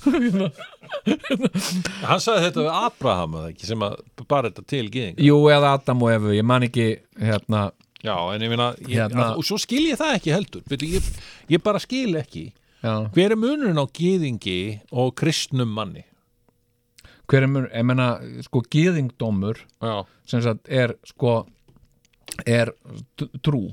C: hann sagði þetta við Abraham eða ekki, sem að bara þetta til gyðing
D: Jú, eða Adam og Efu, ég man ekki, hérna,
C: já, en ég meina, ég,
D: Hérna.
C: að, og svo skil ég það ekki heldur Veitu, ég, ég bara skil ekki
D: já,
C: hver er munurinn á gyðingi og kristnum manni
D: hver er mér, ég menna, sko, gýðingdómur,
C: já
D: sem sagt, er, sko, er t- trú.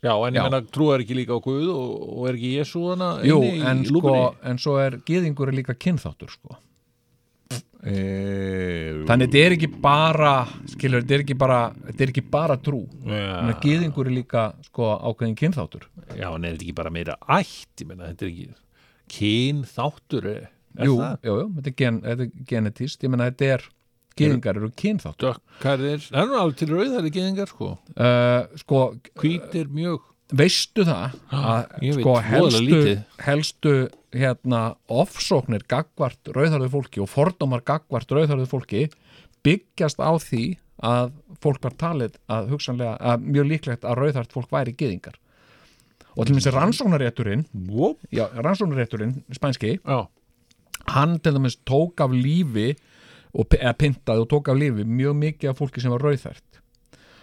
C: Já, en ég
D: Já.
C: menna trúar ekki líka á Guð og, og er ekki Jésu hana
D: Jú,
C: inni í
D: en sko,
C: lúkunni?
D: en svo er gýðingur er líka kynþáttur sko. Þannig þetta er ekki bara skilur, þetta er ekki bara, þetta er ekki bara trú yeah. gýðingur er líka sko, ákveðin kynþáttur
C: Já, en er þetta ekki bara meira ætt, ég menna þetta er ekki kyn þáttur er er
D: Jú,
C: það?
D: jú, jú, þetta er, gen, þetta er genetist ég menna þetta er, gýðingar eru kynþáttur
C: Dökkarðir, það er nú alveg til rauðari geðingar sko,
D: uh, Sko,
C: hvítir mjög
D: veistu það að
C: ég veit
D: sko
C: voðalega
D: helstu,
C: lítið.
D: helstu hérna ofsóknir gagvart rauðarðu fólki og fordómar gagvart rauðarðu fólki byggjast á því að fólk var talið að hugsanlega, að mjög líklegt að rauðart fólk væri gyðingar og til
C: Mm.
D: minnst rannsóknarétturinn
C: Vop.
D: já, rannsóknarétturinn, spænski
C: Já,
D: hann til dæmis tók af lífi og, p- eða pyntaði og tók af lífi mjög mikið af fólki sem var rauðhært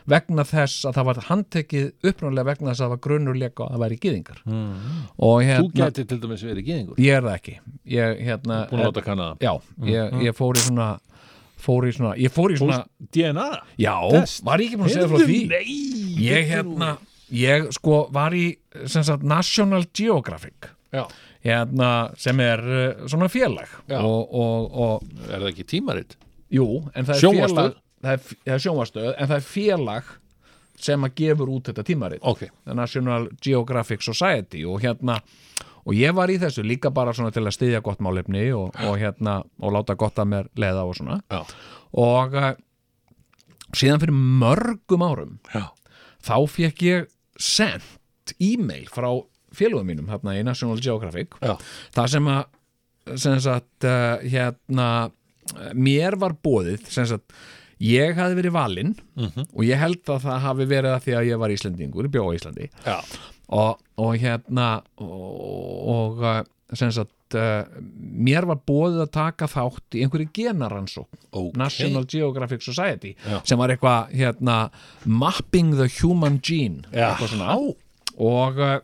D: vegna þess að það var handtekið uppnáðlega vegna þess að það var grunnurleika að það væri gyðingar mm. og
C: þú
D: hérna,
C: gæti til dæmis verið geðingur
D: ég er það ekki ég, hérna,
C: Búin að láta Mhm. kanna það
D: já, ég, ég fór í svona fór í svona, ég fór í svona
C: Fórst DNA?
D: já,
C: test.
D: var ég ekki búin að segja frá
C: Heyrðu,
D: því
C: Nei,
D: ég hérna, ég sko var í sem sagt National Geographic
C: Já.
D: hérna sem er uh, svona félag
C: Já.
D: og, og, og
C: er það ekki tímarit?
D: Jú, en það er
C: Sjónvarpsstöð?
D: félag það er, það er sjónvarstöð, en það er félag sem að gefur út þetta tímarit
C: Ok,
D: The National Geographic Society og hérna, og ég var í þessu líka bara svona til að styðja gott málefni og, og hérna, og láta gott að mér leiða og svona
C: já,
D: og eh, síðan fyrir mörgum árum
C: Já.
D: þá fekk ég sent e-mail frá félögum mínum hérna í National Geographic
C: Já.
D: það sem að sem sagt, uh, hérna, eh, mér var bóðið sem sagt, ég hafi verið valinn og ég held að það hafi verið að því að ég var Íslendingur, bjó á Íslandi
C: Já.
D: og, og hérna og, og uh, sem sagt uh, mér var bóðið að taka þátt í einhverju genaransókn National Geographic Society sem var eitthvað hérna Mapping the Human Gene
C: Já.
D: eitthvað svona og, uh,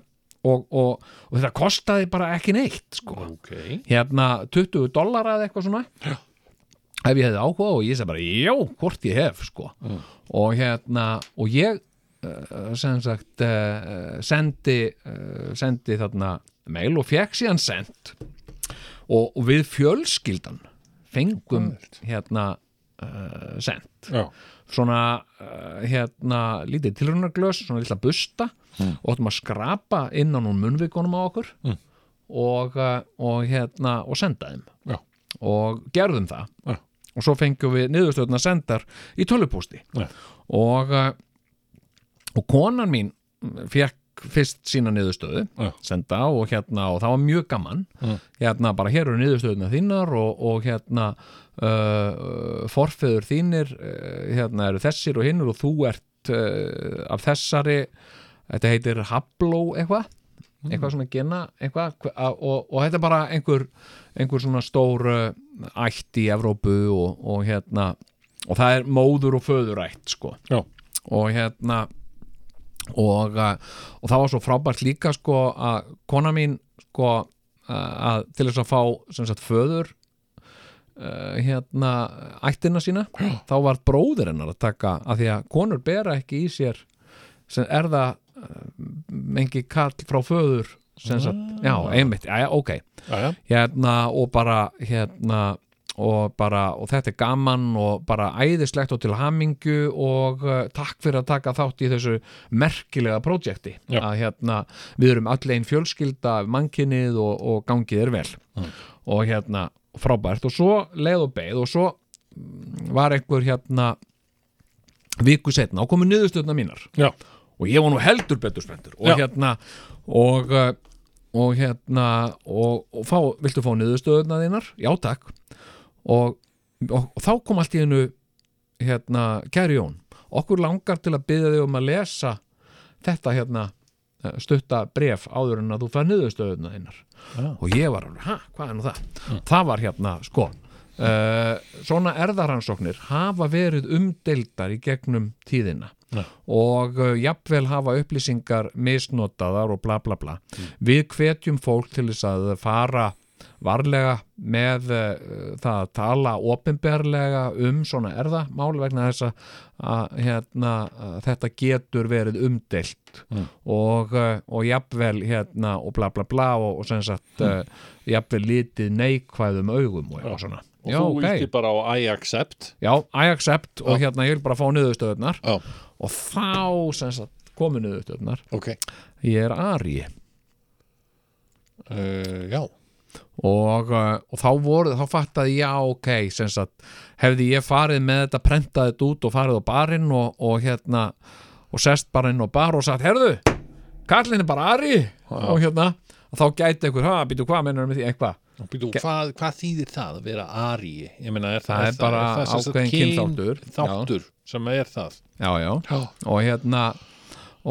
D: og, og, og þetta kostaði bara ekki neitt sko
C: Ok.
D: hérna 20 dollara eða eitthvað svona ef ég hefði áhuga og ég segi bara já, hvort ég hef sko
C: Mm.
D: og hérna, og ég uh, sem sagt uh, sendi, uh, sendi þarna mail og fekk síðan send og, og við fjölskyldan fengum hérna uh, send
C: Já.
D: svona uh, hérna lítið tilraunarglös, svona lilla busta
C: Mm.
D: og ættum að skrapa innan úr munnvikunum á okkur og, uh, og hérna og senda þeim
C: Já.
D: og gerðum það
C: Já.
D: og svo fengjum við niðurstöðna sendar í tölupústi
C: Já.
D: og uh, og konan mín fekk fyrst sína niðurstöðu
C: Já.
D: senda og hérna og það var mjög gaman
C: Já.
D: hérna bara hér eru niðurstöðuna þínar og, og hérna uh, forfeður þínir uh, hérna eru þessir og hinnur og þú ert uh, af þessari þetta heitir Hablo eitthvað eitthvað svona gena eitthvað, hve- að- og, og þetta er bara einhver, einhver svona stór uh, ætt í Evrópu og, og hérna og það er móður og föðurætt sko
C: Já.
D: og hérna og, uh, og það var svo frábært líka sko að kona mín sko uh, að til þess að fá sem sagt föður uh, hérna ættina sína þá var bróðir hennar að taka af því að konur bera ekki í sér sem er það mengi kall frá föður sem sagt, já, einmitt, já, já, ok
C: Já, já.
D: hérna og bara hérna og bara, og þetta er gaman og bara æðislegt og til hamingju og uh, takk fyrir að taka þátt í þessu merkilega projekti
C: Já.
D: að hérna, við erum öll einn fjölskylda af mannkinnið og, og gangið er vel og hérna, frábært og svo leið og beið og svo mm, var einhver hérna viku setna og komið niðurstöðna mínar
C: Já.
D: og ég var nú heldur betur spenntur og
C: Já.
D: hérna og, uh, og hérna og, og fá, viltu fá niðurstöðuna þínar? Já, takk og, og, og þá kom allt í hennu hérna, kæri Jón okkur langar til að byggja þig um að lesa þetta hérna eh, stutta bref áður en að þú fær niðurstöðuna þínar og ég var alveg, hæ, hvað er nú það? Það var hérna, sko Uh, svona erðarhansóknir hafa verið umdeildar í gegnum tíðina og uh, jafnvel hafa upplýsingar misnotaðar og bla bla bla
C: Mm.
D: við hvetjum fólk til þess að fara varlega með uh, það að tala opinberlega um svona erðamál vegna þess að, að hérna, að þetta getur verið umdelt
C: Mm.
D: og, uh, og jafnvel hérna og bla bla bla og, og sem sagt
C: Mm.
D: uh, jafnvel litið neikvæðum augum og eitthvað svona
C: Og þú vilti bara á I accept.
D: Já, I accept og hérna ég vil bara fá niðurstöðunar
C: Já.
D: og þá sem sagt komu niðurstöðunar
C: Ok.
D: ég er Ari
C: Uh, já.
D: og, uh, og þá voru, þá fattaði já ok, sem sagt, hefði ég farið með þetta, prentað þetta út og farið á barinn og, og hérna og sest bara inn á bar og sagt, herðu kallin er bara Ari og hérna, þá gæti einhver, ha, býtu hvað mennur með því, eitthvað
C: Býtu, hvað, hvað þýðir það að vera ari? Ég meina, er
D: Það er bara
C: er sem sagt
D: ákveðin
C: kyn-
D: kynþáttur. Já.
C: Þáttur sem er það.
D: já, já,
C: Já.
D: og hérna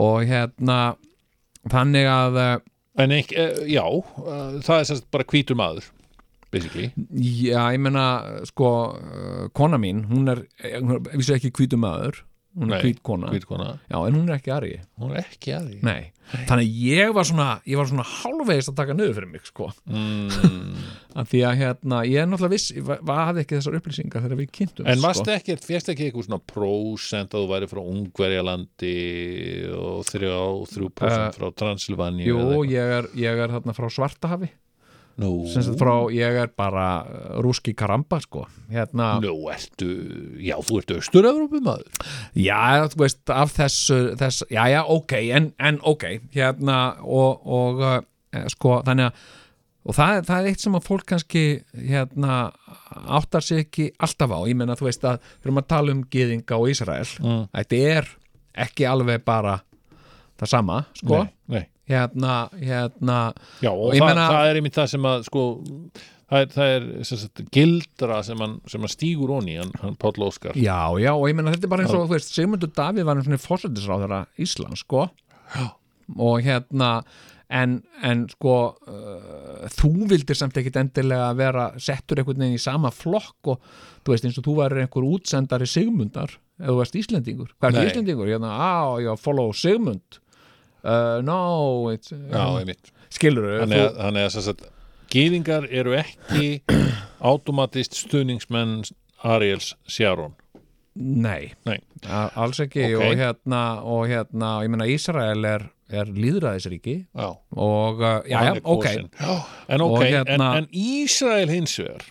D: og hérna þannig að uh,
C: En ekki, uh, já, uh, það er sem sagt bara hvítur maður, basically.
D: Já, ég meina, sko, uh, kona mín, hún er, eh, hún er vissi ekki hvítu maður, hún er hvít kona,
C: Hvít kona.
D: já, en hún er ekki ari,
C: Hún er ekki ari.
D: nei. Þannig að ég var svona, ég var svona hálfvegist að taka niður fyrir mig, sko,
C: Mm.
D: að því að hérna, ég er náttúrulega viss, ég va- hafði ekki þessar upplýsingar þegar við sko. kynntum,
C: En varst ekki, férst ekki eitthvað svona prósent að þú væri frá Ungverjalandi og þrjá, þrjú prósent frá Transylvani
D: Eh, Jú, ég er, ég er þarna frá Svartahafi,
C: Nú,
D: sem sagt frá, ég er bara eh, rúski karamba, sko, hérna,
C: nú ertu, já, þú ert austur-Európu maður
D: Já, þú veist, af þessu, þessu já, já, ok, en, en ok, hérna og, og uh, sko, þannig að og það, er- það er eitt sem að fólk kannski hérna, áttar sig ekki alltaf á, ég menna, þú veist að við erum að tala um gyðinga og Ísrael
C: Mm.
D: þetta er ekki alveg bara það sama, sko
C: Nei, nei.
D: hérna, hérna
C: Já, og,
D: Og ég
C: það,
D: meina-
C: það er einmitt það sem að sko, það er, það er sem sagt, gildra sem hann, sem hann stígur onni hann, hann Páll Óskar
D: Já, já, og ég menna þetta er bara eins og, þú veist, Sigmundur Davíð var einn svona fórsættisráðara Íslands, sko já. og hérna en, en sko uh, þú vildir samt ekkit endilega vera settur einhvern veginn í sama flokk og þú veist, eins og þú væri einhver útsendari Sigmundar, eða þú veist Íslendingur hvað er
C: Nei.
D: Íslendingur? Hérna, á, já, follow Sigmund uh, no, it's uh,
C: Já, einmitt
D: skilur
C: Þannig að, þannig að sem sagt, gýðingar eru ekki
D: [clears throat]
C: automatist stuðningsmenn Ariels Sjáron
D: Nei,
C: Nei.
D: A- alls ekki
C: Ok.
D: og hérna, og hérna, ég meina Ísrael er, er líðræðisríki
C: Já,
D: og, uh, já, já,
C: hann er
D: ok
C: kosinn. En
D: Og
C: ok, en,
D: hérna-
C: en Ísrael hins vegar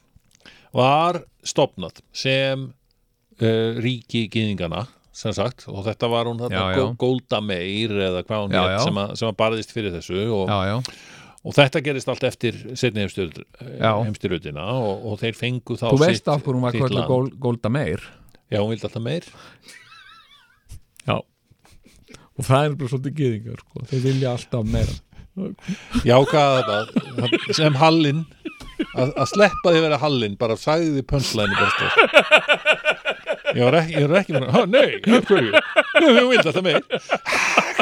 C: var stopnað sem uh, ríki gýðingana sem sagt, og þetta var hún þetta
D: Já, já.
C: Go- Golda Meir eða hvað hún
D: Já, já.
C: hétt sem, að- sem að barðist fyrir þessu og,
D: Já, já,
C: og þetta gerist allt eftir setni
D: Já.
C: heimstyrjöldina og, og þeir fengu þá
D: þú veist
C: sitt-
D: af hverju hún var
C: sitt
D: kvöldu
C: land.
D: gól, Golda Meir
C: Já, hún vildi alltaf meir
D: Já Og það er bara svolítið gyðingar sko. þeir vilja alltaf meira
C: Já, hvað þetta, það- sem Hallin að, að sleppa því að vera Hallin bara sagði því pönslæni besta Ég var ekki, ég var ekki bara, "Ha, nei, af hverju Nei, þú vildi alltaf meir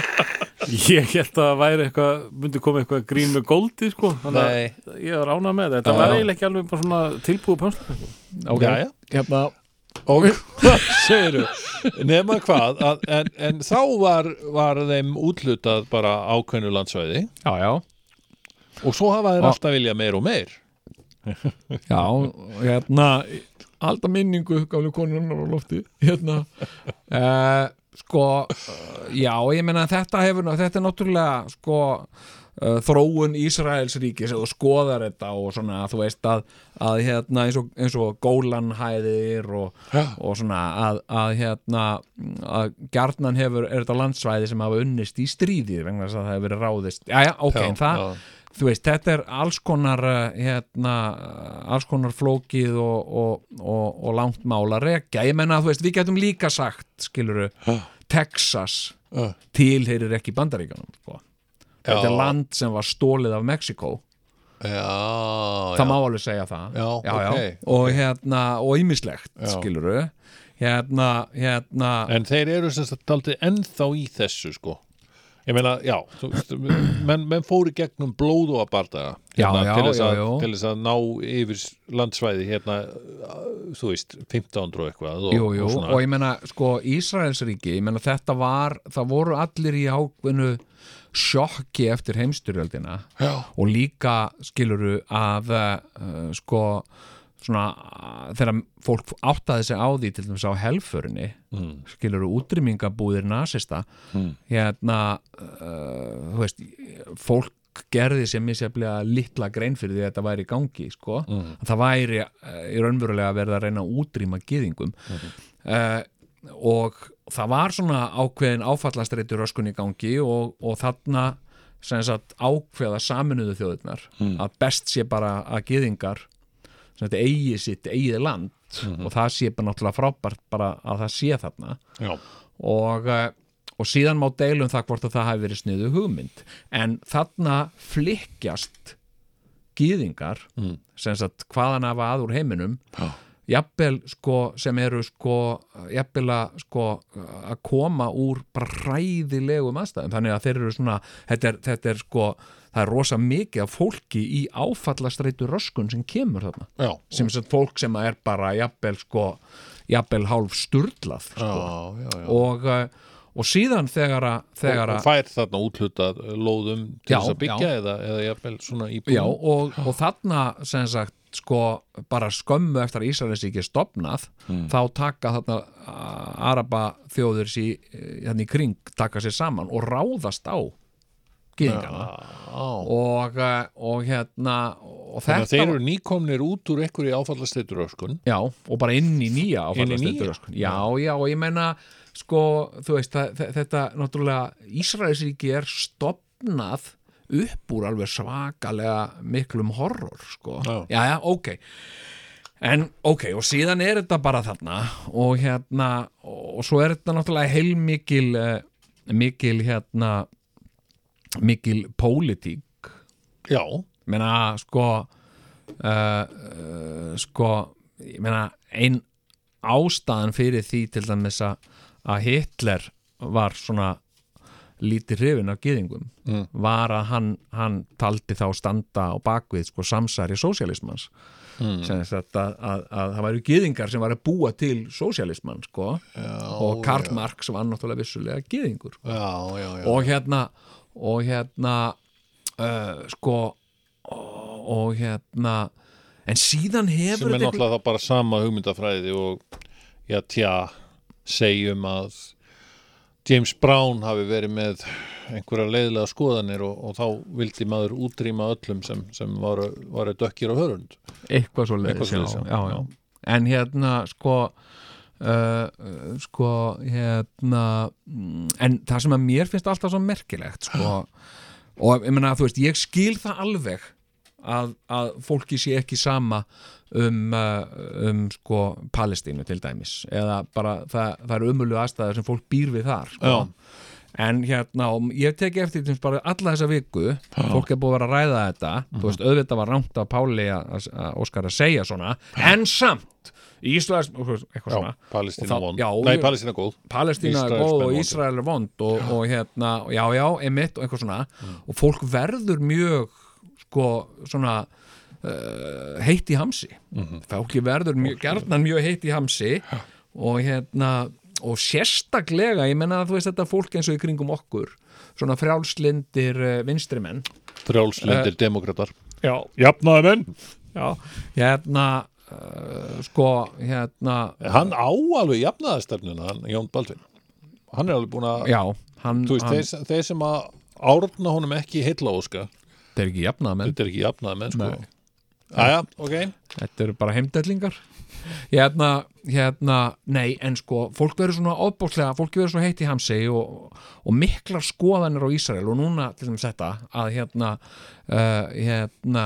E: Ég held að það væri eitthvað, myndi koma eitthvað grín með goldi, sko. Þannig að Ég var ánað með þetta. Þetta var eiginlega ekki alveg bara svona tilbúið pönsla.
D: Ok,
C: Jæja.
D: hérna
C: Og hvað segirðu? Nefna hvað, að, en, en þá var, var þeim útlutað bara ákveðnu landsvæði
D: Já, já,
C: og svo hafa þeir
D: Og-
C: alltaf vilja meir og meir
D: já, hérna Alltaf minningu, gamlu konunnar á lofti Hérna uh, Sko, eh, já, ég meina þetta hefur, nú- þetta er náttúrulega sko uh, þróun Ísraels ríkis og skoðar þetta og svona þú veist að, að hérna eins og, eins og gólanhæðir og, og svona að, að hérna að gjarnan hefur, er þetta landsvæði sem hafa unnist í stríði vegna þess að það hefur verið ráðist, já já, ok, en það þú veist, þetta er alls konar eh, hérna, eh, alls konar flókið og, og, og, og langt mál að rekja, ég menna þú veist, við getum líka sagt, skiluru Texas
C: Já.
D: tilheyrir ekki bandaríkanum sko. þetta er land sem var stólið af Mexiko
C: Já,
D: það má alveg segja það
C: Já, ok,
D: og hérna, og ímislegt skiluru hérna, hérna
C: En þeir eru sem sagt aldrei ennþá í þessu sko Ég meina, já, þú veist, menn, menn fóru gegnum blóð og að bardaga
D: Já, já,
C: til, þess
D: já,
C: að,
D: já.
C: til þess að ná yfir landsvæði hérna, uh, þú veist, 1500 og eitthvað og,
D: Jú, jú,
C: og
D: og,
C: svona
D: ég meina, sko, Ísraelsríki, ég meina þetta var, það voru allir í ákveðnu sjokki eftir heimstyrjöldina Já. og líka skiluru að uh, sko, svona uh, þegar fólk áttaði sig á því til dæmis á helförinni mm. skiluru útrýmingabúðir nasista mm. hérna uh, þú veist, fólk gerði sem misjaflega litla grein fyrir því að þetta væri í gangi sko. mm. það væri eh, í raunverulega verið að reyna að útrýma gyðingum mm. og það var svona ákveðin áfallastreitur öskun í gangi og, og þarna sem sagt ákveða saminuðu þjóðirnar að best sé bara að gyðingar sem þetta eigi sitt eigið land og það sé bara náttúrulega frábært bara að það sé þarna
C: Já.
D: og, eh, og síðan má deilum það hvort að það hafi verið sniðu hugmynd en þarna flikkjast gýðingar sem sagt hvaðan af að úr heiminum Já. jafnvel sko sem eru sko jafnvel að sko að koma úr bara ræðilegum aðstæðum þannig að þeir eru svona þetta er, þetta er sko það er rosa mikið af fólki í áfallastreitu röskun sem kemur þarna
C: Já,
D: sem sem fólk sem er bara jafnvel sko, jafnvel hálf sturlað sko.
C: já, já, já.
D: og, eh, og síðan þegar að þegar
C: og, og
D: að
C: fær þarna útlutað lóðum til
D: Já,
C: þess að byggja
D: já.
C: eða, eða jafnvel svona íbúðum
D: já, og, og þarna sem sagt sko bara skömmu eftir að Ísraels ekki stopnað
C: Hmm.
D: þá taka þarna a- araba þjóður sí, hérna í kring taka sér saman og ráðast á gyðingana og, eh, og hérna og
C: Þannig að
D: þetta
C: þeir eru nýkomnir út úr einhverju áfallasteytur öskun
D: Já, og bara inn í nýja
C: Inn í
D: áfallastreitur
C: nýja?
D: öskun. Já, já, og ég meina sko, þú veist, það, þe- þetta náttúrulega Ísraelsríki er stopnað upp úr alveg svakalega miklum horror, sko.
C: Já.
D: já, ok. En ok, og síðan er þetta bara þarna og hérna, og svo er þetta náttúrulega heilmikil eh, mikil, hérna mikil pólitík
C: Já,
D: meina sko uh, uh, sko ég meina ein ástæðan fyrir því til dæmis að að Hitler var svona lítið hrifin af gyðingum var að hann, hann taldi þá standa á bakvið sko samsæri sósjalismans mm. sem sagt að, að, að það væru gyðingar sem var að búa til sósjalismann sko já, og Karl Marx var náttúrulega vissulega gyðingur
C: já, já, já.
D: og hérna og hérna uh, sko og, og hérna en síðan hefur
C: sem er
D: þetta
C: náttúrulega þá bara sama hugmyndafræði og já, tja, segjum að James Brown hafi verið með einhverja leiðlega skoðanir og, og þá vildi maður útrýma öllum sem, sem varu, varu dökkir og hörund
D: eitthvað, eitthvað svo
C: Eitthvað
D: leiðis já,
C: svoleiðis, já.
D: já, já. en hérna sko uh, uh, sko hérna mm, en það sem að mér finnst alltaf svo merkilegt sko og ég meina þú veist ég skil það alveg að, að fólki sé ekki sama um, uh, um sko Palestínu til dæmis eða bara það, það eru umölu aðstæður sem fólk býr við þar sko. en hérna, og ég teki eftir til dæmis bara alla þessa viku, fólk er búið að vera að ræða þetta, þú veist, auðvitað var rangt af Páli að, að- að Óskar að segja svona en samt, Íslands eitthvað svona,
C: Palestína
D: Og þá-
C: vond
D: já, og-
C: Nei, Palestína góð
D: Palestína
C: Ísraelsmenn
D: er góð og
C: vondir.
D: Ísrael er vond og, og hérna, já, já, emitt og eitthvað svona og fólk verður mjög sko, svona uh, heitt í hamsi
C: Mhm.
D: fólki verður mjög, gerðnan mjög heitt í hamsi og hérna og sérstaklega, ég menna að þú veist þetta fólk eins og í kringum okkur svona frjálslindir uh, vinstrimenn Eh.
C: Frjálslindir demokratar
D: já,
C: Jafnaði menn
D: já, hérna uh, sko, hérna
C: Hann á alveg jafnaðastefnuna, hann, Jón Baldvin Hann er alveg búin að
D: já, hann,
C: Þú veist,
D: hann
C: þeir, þeir sem að árna honum ekki heilla óska
D: þeir eru ekki jafnað menn
C: Þetta er ekki jafnaði menn sko Æja, ok
D: Þetta eru bara heimdællingar Hérna, hérna, nei, en sko fólk verður svona ofbóðslega, fólk verður svo heitt í hamsi og, og miklar skoðanir á Ísrael og núna til þess þetta að hérna, uh, hérna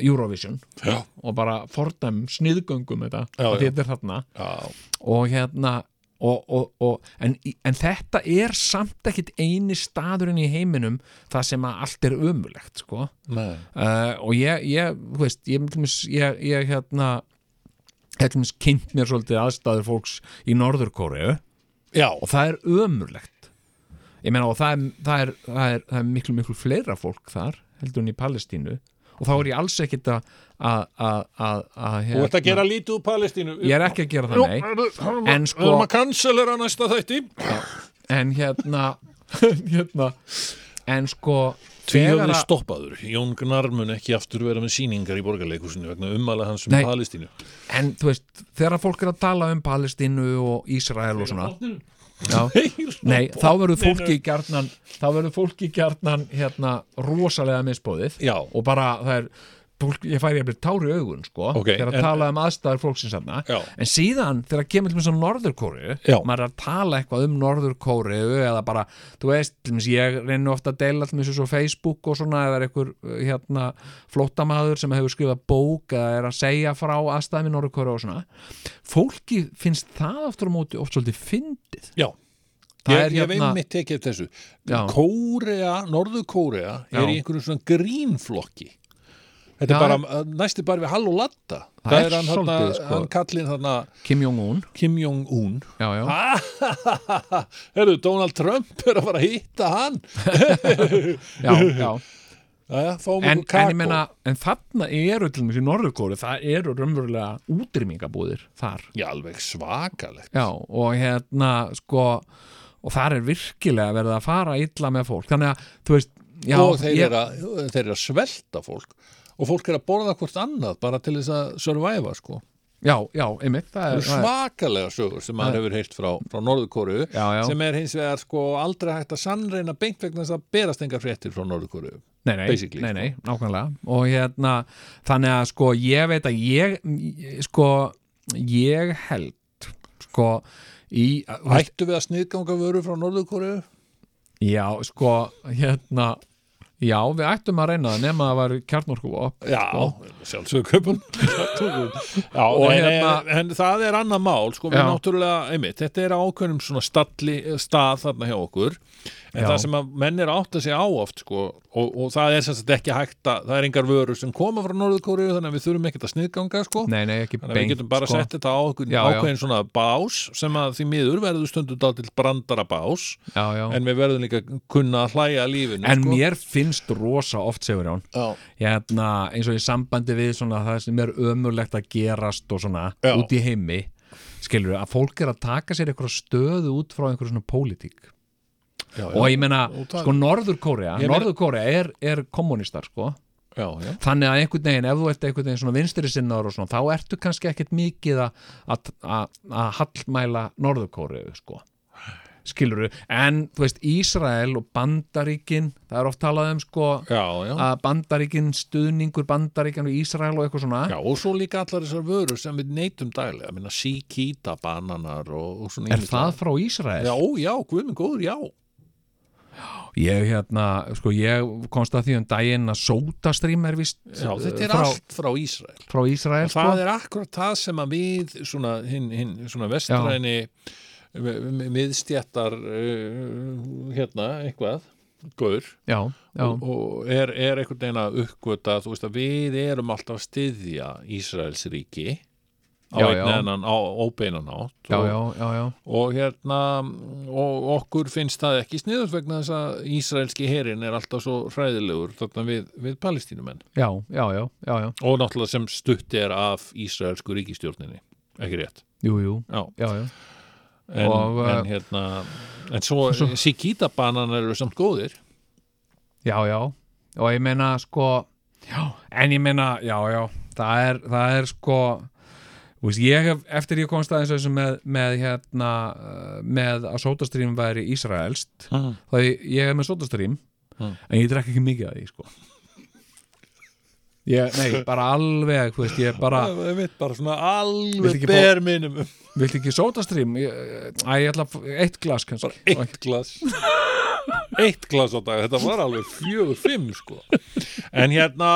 D: Eurovision
C: Já.
D: og bara fordæm sniðgöngum þetta,
C: Já,
D: að
C: já.
D: þetta er þarna
C: Já,
D: og hérna og, og, og, en, í- en þetta er samt ekkit eini staðurinn í heiminum það sem að allt er ömulegt sko.
C: Nei.
D: uh, og ég, ég, þú veist, ég, til dæmis- ég, ég hérna ég til dæmis kynnt mér svolítið aðstæður fólks í Norðurkóriðu
C: já
D: og það er ömurlegt ég meina og það er, það er, það er, það er miklu miklu fleira fólk þar heldur en í Palestínu og þá er ég alls ekkit að að- að- að- að,
C: Þú ert
D: hérna,
C: að gera lítið úr Palestínu
D: ég er ekki að gera það, nei
C: nei
D: En
C: Við erum
D: sko,
C: að cancelera næsta þætti
D: en hérna [laughs] hérna en sko
C: Tvíhöfði
D: að-
C: stoppaður Jón Gnar mun ekki aftur vera með sýningar í borgarleikusinu vegna ummæla hans um
D: Nei.
C: Palestínu
D: en þú veist, þegar að fólk er að tala um Palestínu og Ísrael og svona já, nei, þá verður fólki gjarnan þá verður fólki gjarnan hérna rosalega misbóðið
C: Já.
D: og bara það er fólk, ég færi að byrja tári augun sko
C: Ok,
D: þegar
C: en-
D: að tala um aðstæður fólksins þarna
C: Já.
D: en síðan þegar kemur til mér svo Norðurkóriðu
C: Já.
D: maður er að tala eitthvað um Norðurkóriðu eða bara, þú veist, til mér ég reyni ofta að deila til mér svo Facebook og svona eða er einhver uh, hérna flóttamaður sem hefur skrifað bók eða er að segja frá aðstæðum í Norðurkóriðu og svona fólki finnst það aftur á móti oft svolítið fyndið
C: Já
D: Það
C: ég,
D: er
C: ég
D: hérna-
C: veit mitt tekið eftir þessu
D: Já.
C: Kórea, Norður Kórea er
D: Já.
C: í einhverjum svona grínflokki Þetta
D: Já,
C: er bara næstu bara við hall og latta
D: Það
C: Það
D: er
C: er hann, þarna,
D: svolítið, sko.
C: hann kallinn þarna
D: Kim Jong-un
C: Kim Jong-un [laughs]
D: já, já.
C: Herru, Donald Trump er að fara að hitta hann
D: já,
C: [laughs]
D: já.
C: Jæja, fáum ykkur
D: En, en ég
C: kakó
D: meina, en þarna eru til mér í Norðurkóru, það eru raunverulega útrýmingabúðir þar
C: Já, alveg svakalegt
D: Já, og hérna sko, og þar er virkilega verið að fara illa með fólk þannig að, þú veist, já
C: Og þeir,
D: ég,
C: eru að, þeir eru að svelta fólk Og fólk er að borða hvort annað bara til þess að survive sko.
D: Já, já, einmitt, það
C: Það
D: er,
C: eru
D: það er
C: svakalega sögur sem maður hefur heyrt frá, frá Norðurkóru
D: Já, já.
C: sem er hins vegar sko aldrei hægt að sannreina beint vegna þess að berast engar fréttir frá Norðurkóru
D: Nei, nei,
C: basically,
D: nei,
C: sko.
D: nei, nákvæmlega og hérna, þannig að sko ég veit að ég, sko ég held sko, í
C: Ættu við að sniðganga vöru frá Norðurkóru?
D: Já, sko, hérna Já, við ættum að reyna það nema það var kjarnorkuvop
C: Já, sjálfsögur
D: [laughs]
C: kaupun Sko, Já,
D: Og
C: en,
D: hérna-
C: en, en það er annað mál sko, við
D: Já.
C: náttúrulega, einmitt, þetta er á ákveðnum svona stalli, eh, stað þarna hjá okkur en
D: Já.
C: það sem að menn er átt að segja á oft sko, og, og það er sem sagt ekki hægt að, það er engar vörur sem koma frá Norðurkóriðu þannig að við þurfum ekkert að sniðganga sko.
D: Nei, nei, ekki
C: þannig að við
D: beint
C: getum bara
D: sko.
C: sett þetta á okkur,
D: Já, já.
C: ákveðin svona bás sem að því miður verður stundum dál til brandara bás
D: Já, já En,
C: en við verðum líka að kunna að hlæja að lífinu sko.
D: mér finnst rosa oft, segur Jón
C: Já.
D: hérna, eins og í sambandi við svona, það sem er ömurlegt að gerast og svona,
C: Já.
D: út í heimi skilur að fólk er að taka sér eitthvað stöðu út frá einhverjum svona pólitík
C: já,
D: og ég meina,
C: það-
D: sko Norður-Kórea
C: Ég meina-
D: Norður-Kórea er, er kommunistar, sko
C: já, já.
D: þannig að einhvern veginn, ef þú ert einhvern veginn svona vinstri sinnar og svona, þá ertu kannski ekkert mikið að- að að- að hallmæla Norðurkóriðu, sko skiluru, en þú veist Ísrael og Bandaríkin það er oft talað um sko
C: Já, já.
D: að Bandaríkin, stuðningur Bandaríkin og Ísrael og eitthvað svona
C: Já, og svo líka allar þessar vörur sem við neytum daglega, ég meina síkíta, bananar og, og svona
D: er
C: ýmislegt.
D: það frá Ísrael?
C: Já, já, guðminn góður, já
D: Ég hérna, sko ég komst að því um daginn að sótastrým er vist
C: Já, þetta er
D: frá, Sko-
C: allt frá Ísrael
D: frá Ísrael
C: og það er akkurat það sem að við svona, hinn, hinn, svona vestræni miðstjættar uh, hérna, eitthvað gaur
D: Já, já,
C: og, og er, er einhvern veginn að uppgöta þú veist að við erum alltaf að styðja Ísraels ríki á
D: Já,
C: einn
D: já.
C: ennan, á óbeinan átt
D: já,
C: og,
D: já, já, já.
C: og hérna og okkur finnst það ekki sniður vegna þess að ísraelski herin er alltaf svo hræðilegur þarna við, við palestínumenn
D: Já, já, já, já, já,
C: og náttúrulega sem stutt er af ísraelsku ríkistjórninni ekki rétt
D: jú, jú,
C: Já,
D: já, já.
C: en,
D: Og, eh,
C: en hérna en svo, svo sikítabananar eru samt góðir
D: Já, já, og ég meina sko, já, en ég meina já, já, það er, það er sko þú veist, ég hef eftir ég komst aðeins að þessu með, með hérna, uh, með að sótastrým væri Ísraelst,
C: Mhm.
D: þá ég, ég er með sótastrým, en ég drekk ekki mikið að því, sko Ég, nei, bara alveg, þú veist, ég bara
C: Ég veit bara svona
D: Viltu
C: alveg
D: ekki
C: ber minimum
D: Viltu ekki sótastrým? Æ, ég ætla að fá- eitt glas kannski
C: [laughs] eitt glas eitt glas á dag, þetta var alveg fjögur, fimm sko en hérna,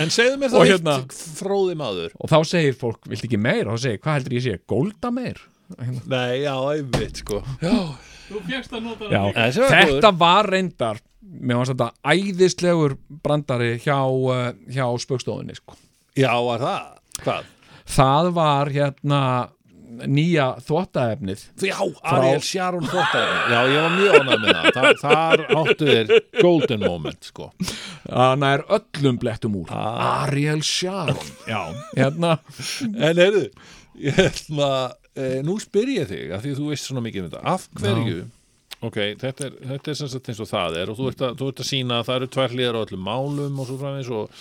C: en segðu mér
D: Og
C: það
D: hérna-
C: eitt fróði maður
D: Og þá segir fólk, viltu ekki meir? Og þá segir, hvað heldur ég sé? Golda meir?
C: Nei, já, einmitt sko
D: Já,
C: Þessi var
D: þetta var reyndar mér varst þetta æðislegur brandari hjá, eh, hjá spökstofunni sko.
C: Já, var það? Hvað?
D: það var hérna nýja þvottaefnið
C: Já, Ariel Sharon Þóttaðin Já, ég var mjög ánægð með það Þar, þar áttu þeir golden moment sko.
D: hann er öllum blettum úr Ariel Sharon Já. hérna,
C: En heyrðu, ég ætla e, Nú spyr ég þig, af því þú veist svona mikið um þetta Af hverju Ok, þetta er, þetta er sem sagt eins og það er og þú ert að, þú ert að sína að það eru tværlíðar á öllum málum og svo framins og,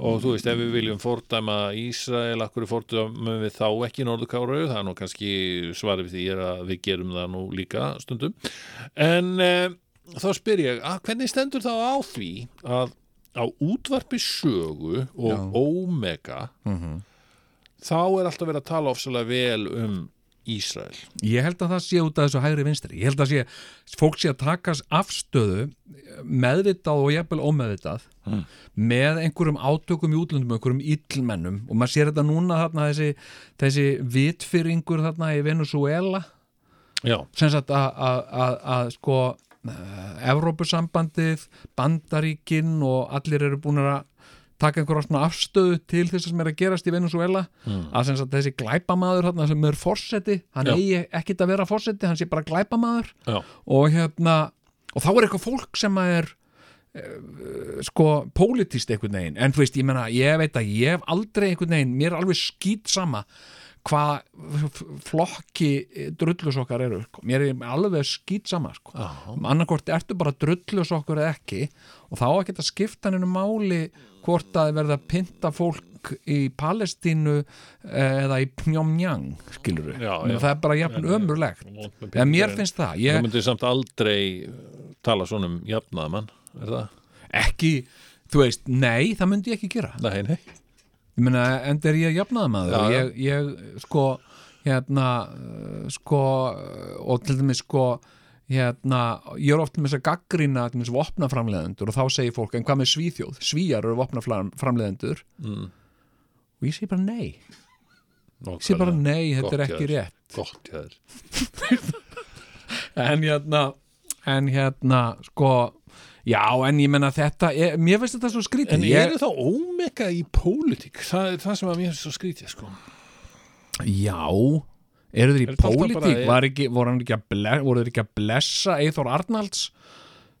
C: og þú veist, ef við viljum fordæma Ísrael, akkur er fordæmum við þá ekki Norðurkáru, það er nú kannski svarið við því er að við gerum það nú líka stundum En e, þá spyr ég, að, hvernig stendur þá á því að á útvarpi sögu og Omega þá er alltaf verið að tala ofsalega vel um Ísrael.
D: ég held að það sé út af þessu hægri vinstri ég held að sé, fólk sé að takast afstöðu meðvitað og jafnvel ómeðvitað með einhverjum átökum í útlöndum einhverjum illmennum og maður sér þetta núna þarna þessi, þessi vitfyrringur þarna í Venezuela
C: Já.
D: sem sagt að- að að- að sko eh, Evrópusambandið, Bandaríkin og allir eru búin að taka einhverja svona afstöðu til þess sem er að gerast í Venezuela að sem sagt þessi glæpamaður þarna sem er forseti hann
C: Já.
D: eigi ekkit að vera forseti, hann sé bara glæpamaður
C: Já.
D: og hérna og þá er eitthvað fólk sem að er eh, sko pólitist einhvern veginn en þú veist, ég meina, ég veit að ég hef aldrei einhvern veginn, mér er alveg skýt sama hvað f- flokki eh, drullusokkar eru sko. mér er alveg skýt sama sko. annarkvort ertu bara drullusokkur eða ekki og þá ekki að skipta hennu máli hvort að verða að pynta fólk í Palestínu eh, eða í Pyongyang skilur við,
C: Já, eh, já.
D: það er bara jafn ömurlegt en mér finnst það
C: Þú
D: ég,
C: myndir samt aldrei tala svona um jafnaðamann, er það?
D: ekki, þú veist, nei það myndi ég ekki gera
C: Nei, nei.
D: ég meina, enda er ég jafnaða maður
C: Já, já.
D: ég, eh, ég, sko, hérna uh, sko, og til dæmis sko hérna, ég er oft með þess að gaggrina með þess vopnaframleðendur og þá segir fólk en hvað með svíþjóð, svíjar eru vopnaframleðendur mm. og ég segi bara nei ég segi bara nei, þetta
C: Gott
D: er
C: hjá
D: ekki
C: þér.
D: rétt
C: Gott hjá þér
D: en hérna en hérna sko já en ég menna þetta ég, mér finnst þetta svo skrítið
C: En
D: ég,
C: eru þá ómega í pólitík? Það er það sem að mér finnst svo skrítið sko.
D: já eru þeir í
C: þetta alltaf
D: pólitík
C: bara-
D: var ekki, voru, hann ekki að ble, voru þeir ekki að blessa Eithor Arnalds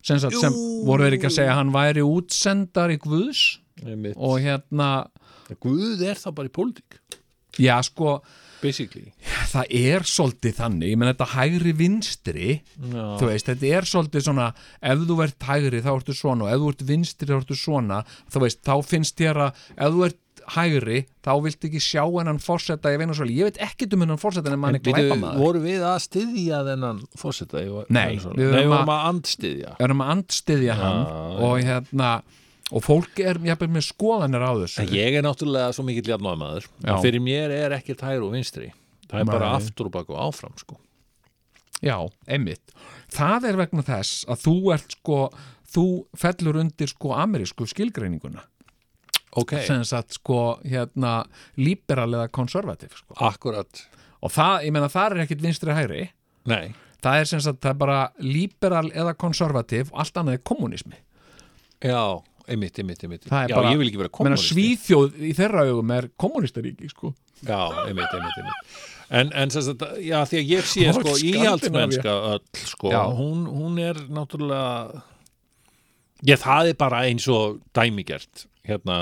D: sem, sagt, sem voru þeir ekki að segja að hann væri útsendar í Guðs og hérna
C: Guð er það bara í pólitík
D: já sko
C: basically.
D: það er svolítið þannig, ég menn þetta hægri vinstri, þú veist, þetta er svolítið svona, ef þú ert hægri þá ertu svona og ef þú ert vinstri þá ertu svona þú veist, þá finnst þér að ef þú ert hægri, þá vilt ekki sjá hennan forseta, ég veinu svolítið, ég veit ekkit um hennan forseta en mann er glæpa maður
C: voru við að styðja þennan fórseta?
D: Nei,
C: við
D: við vorum
C: vorum
D: að-
C: að andstyðja
D: erum að andstiðja hann og hérna, og fólk er jafnvel með skoðanir á þessu
C: Ég er náttúrulega svo mikill jafnáðmaður
D: Já.
C: fyrir mér er ekkert hægri og vinstri það er bara
D: Nei.
C: aftur og bak og áfram sko.
D: Já, einmitt. Það er vegna þess að þú ert sko, þú fellur undir sko amerísku skilgreininguna.
C: Ok.
D: Sem sagt sko, hérna, liberal eða konservativ sko.
C: Akkurat
D: Og það, ég meina, það er ekkit vinstri hægri.
C: Nei,
D: Það er sem sagt, það er bara liberal eða konservativ og allt annað er kommunismi.
C: já, einmitt, einmitt, einmitt
D: Það er
C: Já,
D: bara,
C: ég vil ekki vera
D: Ég meina,
C: kommunisti
D: svíþjóð í þeirra augum er kommunistaríki sko.
C: Já, einmitt, einmitt, einmitt. En, en sem sagt, já, því að ég sé
D: Og
C: sko
D: Skandinavía.
C: íhaldsmennska öll sko,
D: Já.
C: hún, hún er náttúrulega ég það er bara eins og dæmigert hérna,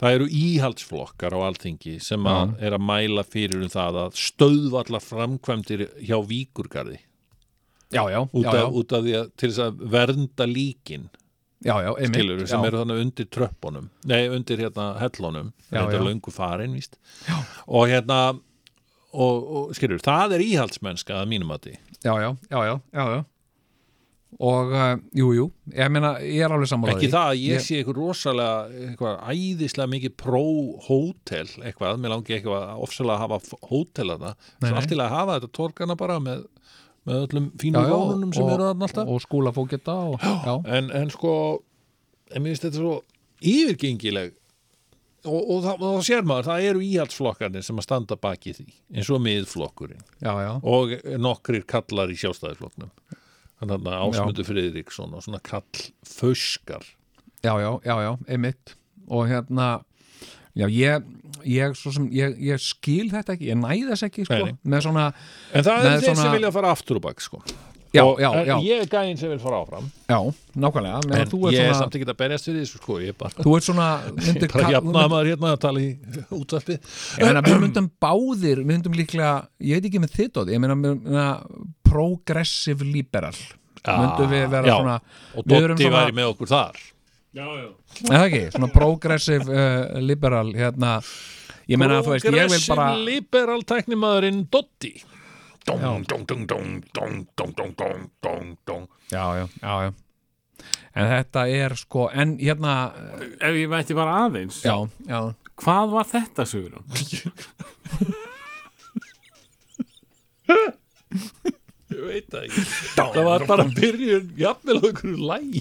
C: það eru íhaldsflokkar á alþingi sem að er að mæla fyrir um það að stöðva allar framkvæmdir hjá víkurgarði
D: Já, já,
C: út
D: já,
C: af,
D: já,
C: út af því að til þess að vernda líkin
D: já, já, einmitt.
C: tilur, sem
D: já.
C: eru þannig undir tröppunum nei, undir hérna hellunum
D: Já,
C: þetta
D: já.
C: er löngu farin, víst og hérna og, og skilur, það er íhaldsmennska að mínum að því
D: Já, já, já, já, já, já. Og, uh, jú, jú, ég meina, ég er alveg sammálaði.
C: ekki það að ég
D: Ég-
C: sé eitthvað rosalega eitthvað æðislega mikið pró-hótel eitthvað, mér langi eitthvað að ofsalega að hafa hótel að það,
D: Nei,
C: svo
D: nei.
C: allt til að hafa þetta torkana bara með, með öllum
D: Já,
C: fínu
D: já,
C: rónunum sem
D: og-
C: eru þarna alltaf
D: og skúlafóketa og, já,
C: en, en sko en mér finnst þetta svo yfirgengileg og, og þá, þá sér maður það eru íhaldsflokkarnir sem að standa baki því eins og miðflokkurinn
D: já, já,
C: og nokkrir kallar í sjálfstæðisflokknum þannig að Ásmundur Friðriksson og svona kall föskar
D: já, já, já, já einmitt og hérna já, ég, ég, svo sem ég, ég skil þetta ekki, ég næði þess ekki sko,
C: Nei, nei.
D: með svona,
C: en það
D: Með
C: eru þeir
D: svona-
C: sem vilja fara aftur og bak sko.
D: já,
C: og
D: já,
C: en
D: já,
C: ég er gæinn sem vil fara áfram
D: já nákvæmlega, meðan þú
C: ég er
D: ert
C: samt
D: svona
C: ekki að berjast fyrir þessu sko, ég er bara
D: þú ert svona
C: [laughs]
D: myndir,
C: bara
D: kall-
C: jafnaða maður hérna að tala í útvarpi
D: Ég meina, við myndum báðir, við myndum líklega, ég veit ekki með þitt og ég meina, við meina progressive liberal myndum við vera
C: já.
D: svona
C: og
D: við erum
C: Dotti
D: svona-
C: væri með okkur þar
D: Nei, það ekki, svona progressive uh, liberal, hérna ég meina, þú veist, ég vil bara
C: Progressive liberal tæknimaðurinn Dotti
D: já, já, já, já en þetta er sko, en hérna
E: Ef ég mætti bara aðeins,
D: já, já,
E: hvað var þetta, Sigurjón?
C: Ég veit það ekki
D: [laughs]
C: Það var bara byrjun, jafnvel á einhverju læg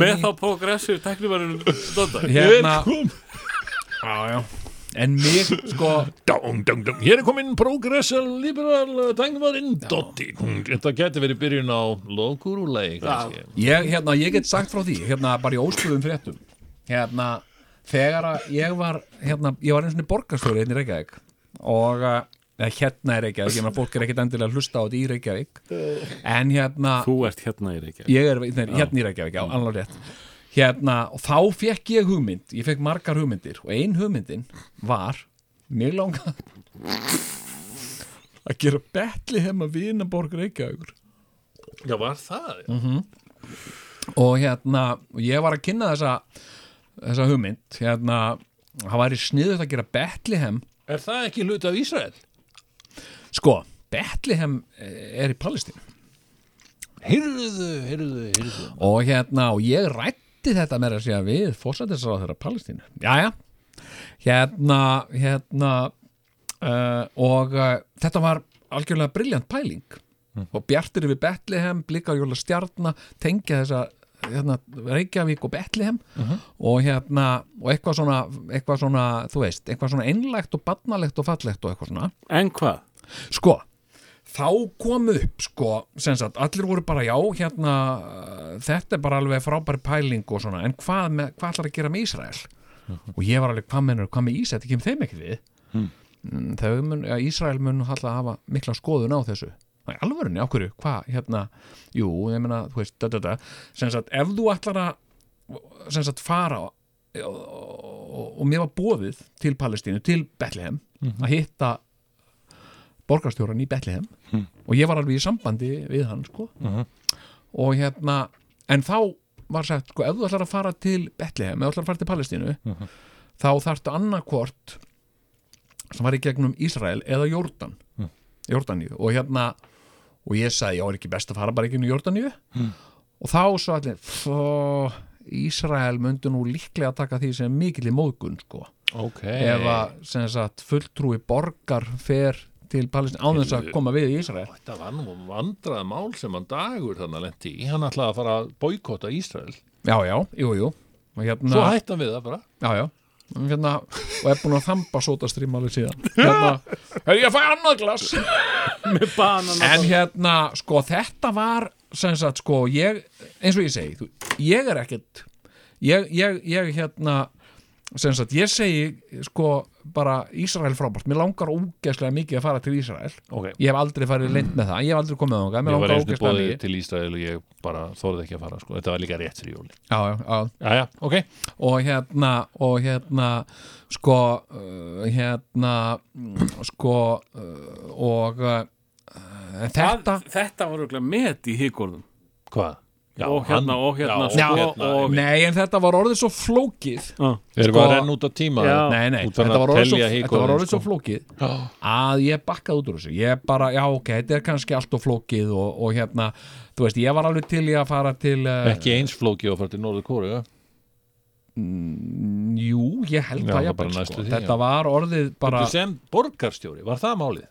E: Með þá progressiv teknimarinn Dóta.
D: hérna já, já, en mig sko,
C: Dong, dong, dong. Hér er komin progressive liberal tæknimaðurinn Dotti Hm, Þetta geti verið byrjun á lokuruleg kannski
D: ég, hérna, ég get sagt frá því hérna, bara í óstöðum fréttum hérna, þegar að ég var hérna, ég var einu svona borgarstjóri hérna í Reykjavík og eh, eða hérna í Reykjavík, ég meina fólk er ekkit endilega að hlusta á þetta í Reykjavík en hérna
E: Þú ert hérna í Reykjavík.
D: ég er nei, hérna í Reykjavík, já, alveg rétt hérna, og þá fekk ég hugmynd ég fekk margar hugmyndir og ein hugmyndin var, mig langa að gera betli heima vinaborg Reykjavíkur
C: Já, var það?
D: og hérna, og ég var að kynna þessa þessa hugmynd hérna, það væri sniðut að gera betli heim
C: Er það ekki hluti af Ísrael?
D: sko, betli heim er í Palestínu
C: Heyrðu, heyrðu, heyrðu
D: og hérna, og ég rætti þetta meira að segja við fórsættisráð þeirra Palestínu, jæja hérna, hérna uh, og uh, þetta var algjörlega briljant pæling og bjartir yfir Betlehem, blikar jóla stjarna tengja þessa hérna, Reykjavík og Betlehem og hérna, og eitthvað svona eitthvað svona, þú veist, eitthvað svona einlægt og barnalegt og fallegt og eitthvað svona
E: En hvað?
D: sko þá kom upp sko sem sagt, allir voru bara já hérna uh, þetta er bara alveg frábæri pæling og svona, en hvað, með, hvað ætlar að gera með Ísrael og ég var alveg, hvað mennur, hvað með Ísrael þetta kemur þeim ekki við mm. þau mun, já, Ísrael mun alltaf hafa mikla skoðun á þessu Æ, alvörunni, á hverju, hvað, hérna jú, ég meina, þú veist, da, da, da sem sagt, ef þú ætlar að sem sagt, fara og, og, og mér var bóðið til Palestínu, til Bethlehem að hitta borgarstjóran í Bethlehem og ég var alveg í sambandi við hann sko. og hérna en þá var sagt, sko, ef þú ætlar að fara til Bethlehem, ef þú ætlar að fara til Palestínu þá þarftu annarkvort sem var í gegnum Ísrael eða Jórdan Jórdaníu og hérna og ég sagði, já, er ekki best að fara bara ekki inn í Jórdaníu og þá svo allir "Pff, Ísrael myndi nú líklega taka því sem mikill í móðgun sko
C: ok
D: ef að sem sagt, fulltrúi borgar fer til Palestín án þess að koma við í Ísrael
C: Þetta var nú vandrað mál sem hann dagur þannig lendi í. Hann ætlaði að fara að boykotta Ísrael.
D: já, já, jú, jú og hérna,
C: Svo hætti hann við það bara.
D: já, já Og hérna, og er búin að þamba sótastrím alveg [laughs] síðan hérna, er ég að fæ annað glas en hérna, sko, þetta var sem sagt, sko, ég eins og ég segi, þú, ég er ekkert ég, ég, ég, hérna sem sagt, ég segi, sko bara Ísrael frábært, mér langar ógeðslega mikið að fara til Ísrael
C: Ok.
D: ég hef aldrei farið lind með það, Mm. ég hef aldrei komið þangað,
C: Ég
D: mér
C: var
D: langar
C: einu
D: ógeðslega
C: bóðið
D: mikið
C: til Ísrael og ég bara þorði ekki að fara. Sko. Þetta var líka rétt fyrir júli.
D: já, já, já,
C: Jæja, ok.
D: og hérna og hérna sko uh, hérna mm, sko uh, og uh, en þetta
E: Að- Þetta var auðvitað met í higgorðum
C: Hvað?
E: Og hérna, og hérna,
C: já,
E: sko,
D: Já,
E: og-
D: nei, en þetta var orðið svo flókið
C: Erum við að renna út af tíma?
E: Já.
D: Nei, nei,
C: Út
D: þetta
C: þarna
D: var orðið svo,
C: telja
D: þetta
C: hikorinn,
D: var orðið
C: sko.
D: svo flókið að ég bakkaði út úr þessu ég bara, já ok, þetta er kannski allt og flókið og, og hérna, þú veist, ég var alveg til í að fara til uh,
C: Ekki eins flóki og fara til Norður Kóru, já?
D: jú, ég held
C: Já,
D: það
C: það bara
D: jafnvel,
C: næstu
D: sko.
C: því, já.
D: þetta var orðið bara,
C: Þú sem borgarstjóri, var það málið?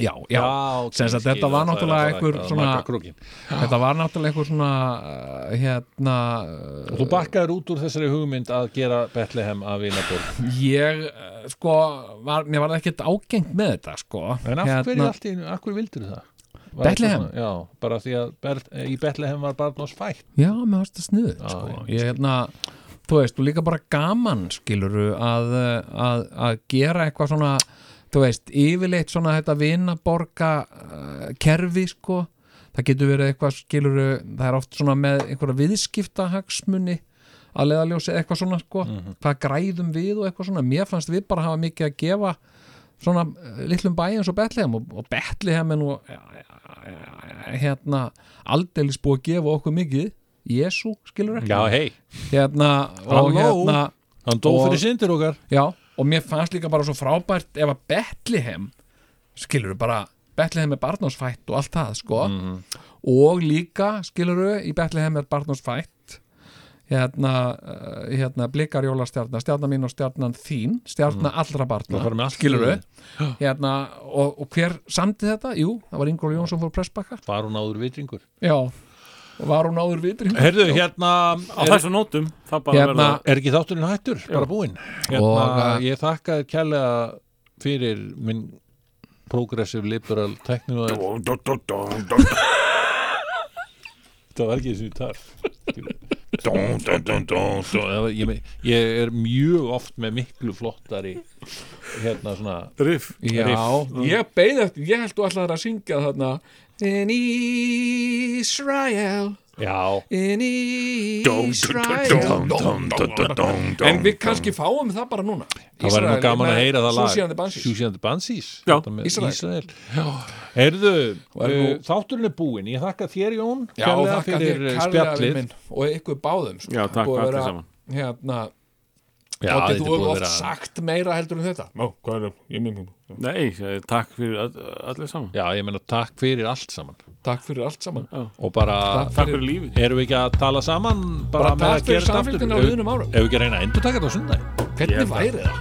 D: já, já,
C: ok,
D: Sem sagt, þetta
C: skil, það
D: var
C: er
D: náttúrulega
C: alltaf
D: einhver
C: að
D: svona-
C: maka krókinn.
D: þetta var náttúrulega eitthvað svona uh, hérna uh,
C: Og Þú bakkaður út úr þessari hugmynd að gera Bethlehem að Vinaborg
D: ég eh, sko var, mér var ekkert ágengt með þetta sko
C: En af hverju allt í einu, af hverju vildur það? Var
D: Bethlehem?
C: eitthvað svona- Já, bara því að Bert- í Bethlehem var barn ás fætt
D: já, mér varst það sniðugt sko
C: já.
D: ég hérna, þú veist, og líka bara gaman skiluru að, eh, að, að gera eitthvað svona þú veist, yfirleitt svona þetta vinaborga uh, kerfi sko það getur verið eitthvað skiluru það er oft svona með einhverja viðskiptahagsmunni að leiðaljósi eitthvað svona sko,
C: Mhm.
D: hvað græðum við og eitthvað svona, mér fannst við bara hafa mikið að gefa svona eh, litlum bæjum svo Betlehem og, og Betlehem er nú eh, eh, hérna aldeilis búið að gefa okkur mikið Jésu, skilur ekki
C: hei,
D: hérna,
C: Halló.
D: og hérna
C: hann dó
D: Og-
C: fyrir syndir okkar
D: já, og mér fannst líka bara svo frábært ef að Betlehem skilur bara, Betlehem er barnásfætt og allt það, sko
C: Mhm.
D: og líka, skilur í Betlehem er barnásfætt hérna, eh, hérna blikar jólastjarnar, stjarnar mín og stjarnan þín stjarnar allra barna,
C: farið með allt
D: skilur
C: Mhm. í
D: hérna, og, og hver samti þetta? Jú, það var Ingóla Jónsson fór pressbakka
C: Var hún áður vitringur?
D: já, og var hún áður vitri
C: Herðu, hérna,
E: á þessu nótum Það bara
D: Hérna,
E: verður
C: er ekki þátturinn hættur? Bara búinn Hérna,
D: Og-
C: ég þakka þér kærlega fyrir minn progressive liberal teknum [laughs] Þetta var ekki þessu þar Dón, dón, dón, dón, dón. Ég, me- ég er mjög oft með miklu flottari hérna svona
E: riff
D: já, ég beið eftir, ég held þú allar að syngja þarna In Israel
C: Já,
D: In Israel en við kannski fáum það bara núna
C: það væri nú
D: Ísrael
C: gaman að
D: með
C: heyra það lag
D: Susie and the Banshees.
C: Susie and the Banshees
E: Já,
C: Þetta með
D: Ísrael.
C: Ísrael. Heyrðu,
D: er
C: uh,
D: nú-
C: þátturinn er búinn Ég þakka þér Jón
D: Já,
C: kærlega
D: þakka þér
C: uh,
D: kærlega við minn og ykkur báðum sko.
E: Já, takk,
D: Búið að
E: allir
D: vera,
E: saman.
D: Hérna,
C: Já,
D: og
C: þetta
D: getur
C: er búið
D: þú
C: að
D: oft
C: vera
D: sagt meira heldur en þetta Má, hvað er það?
E: Nei, eh, takk fyrir all- allir saman
C: Já, ég meina takk fyrir allt saman
D: Takk fyrir allt saman
C: Og bara,
D: Takk
E: Takk fyrir lífið
C: erum við ekki að tala saman
D: Bara
C: bara, með að
D: takk fyrir
C: gera þetta aftur
D: samfylgdina á liðnum
C: Ef
D: árum.
C: við ekki að reyna að endur taka þetta á [laughs] sundagi
D: Hvernig væri það?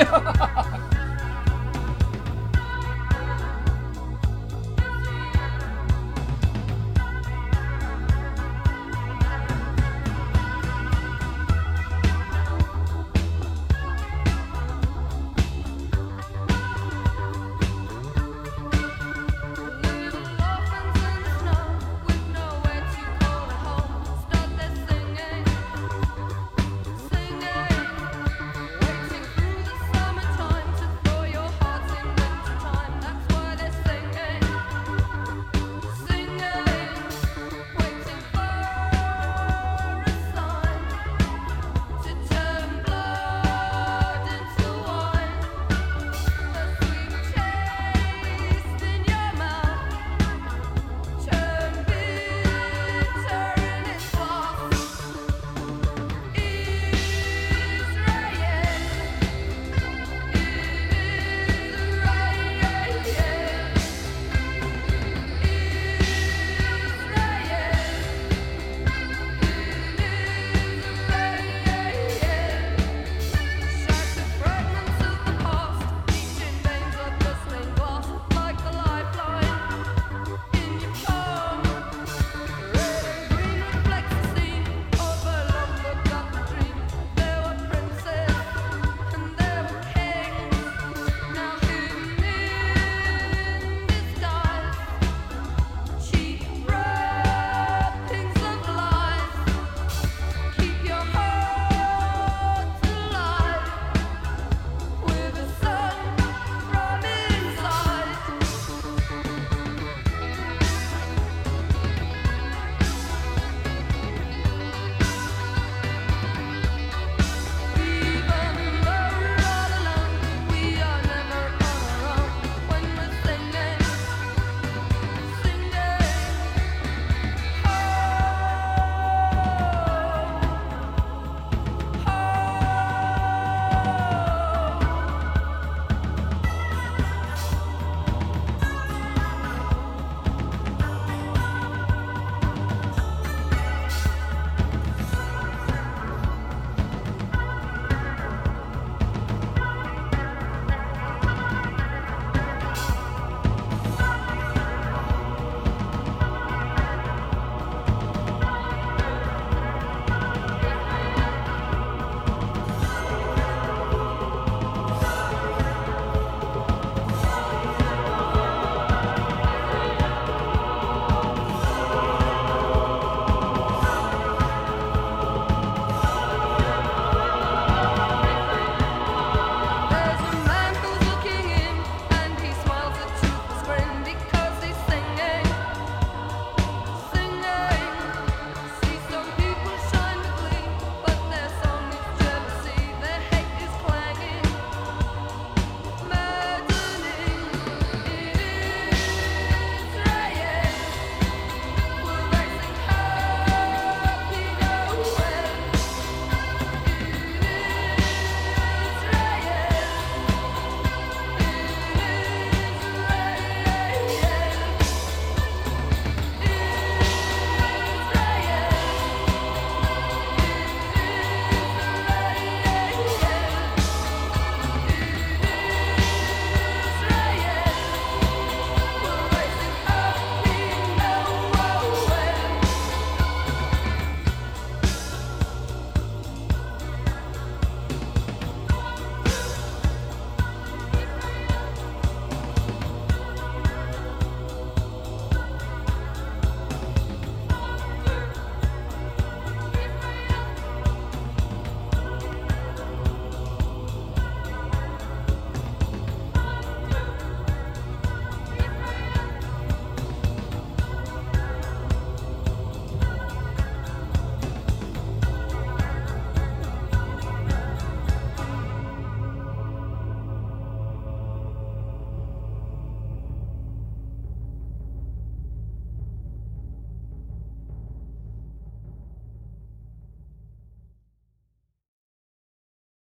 C: Það var gaman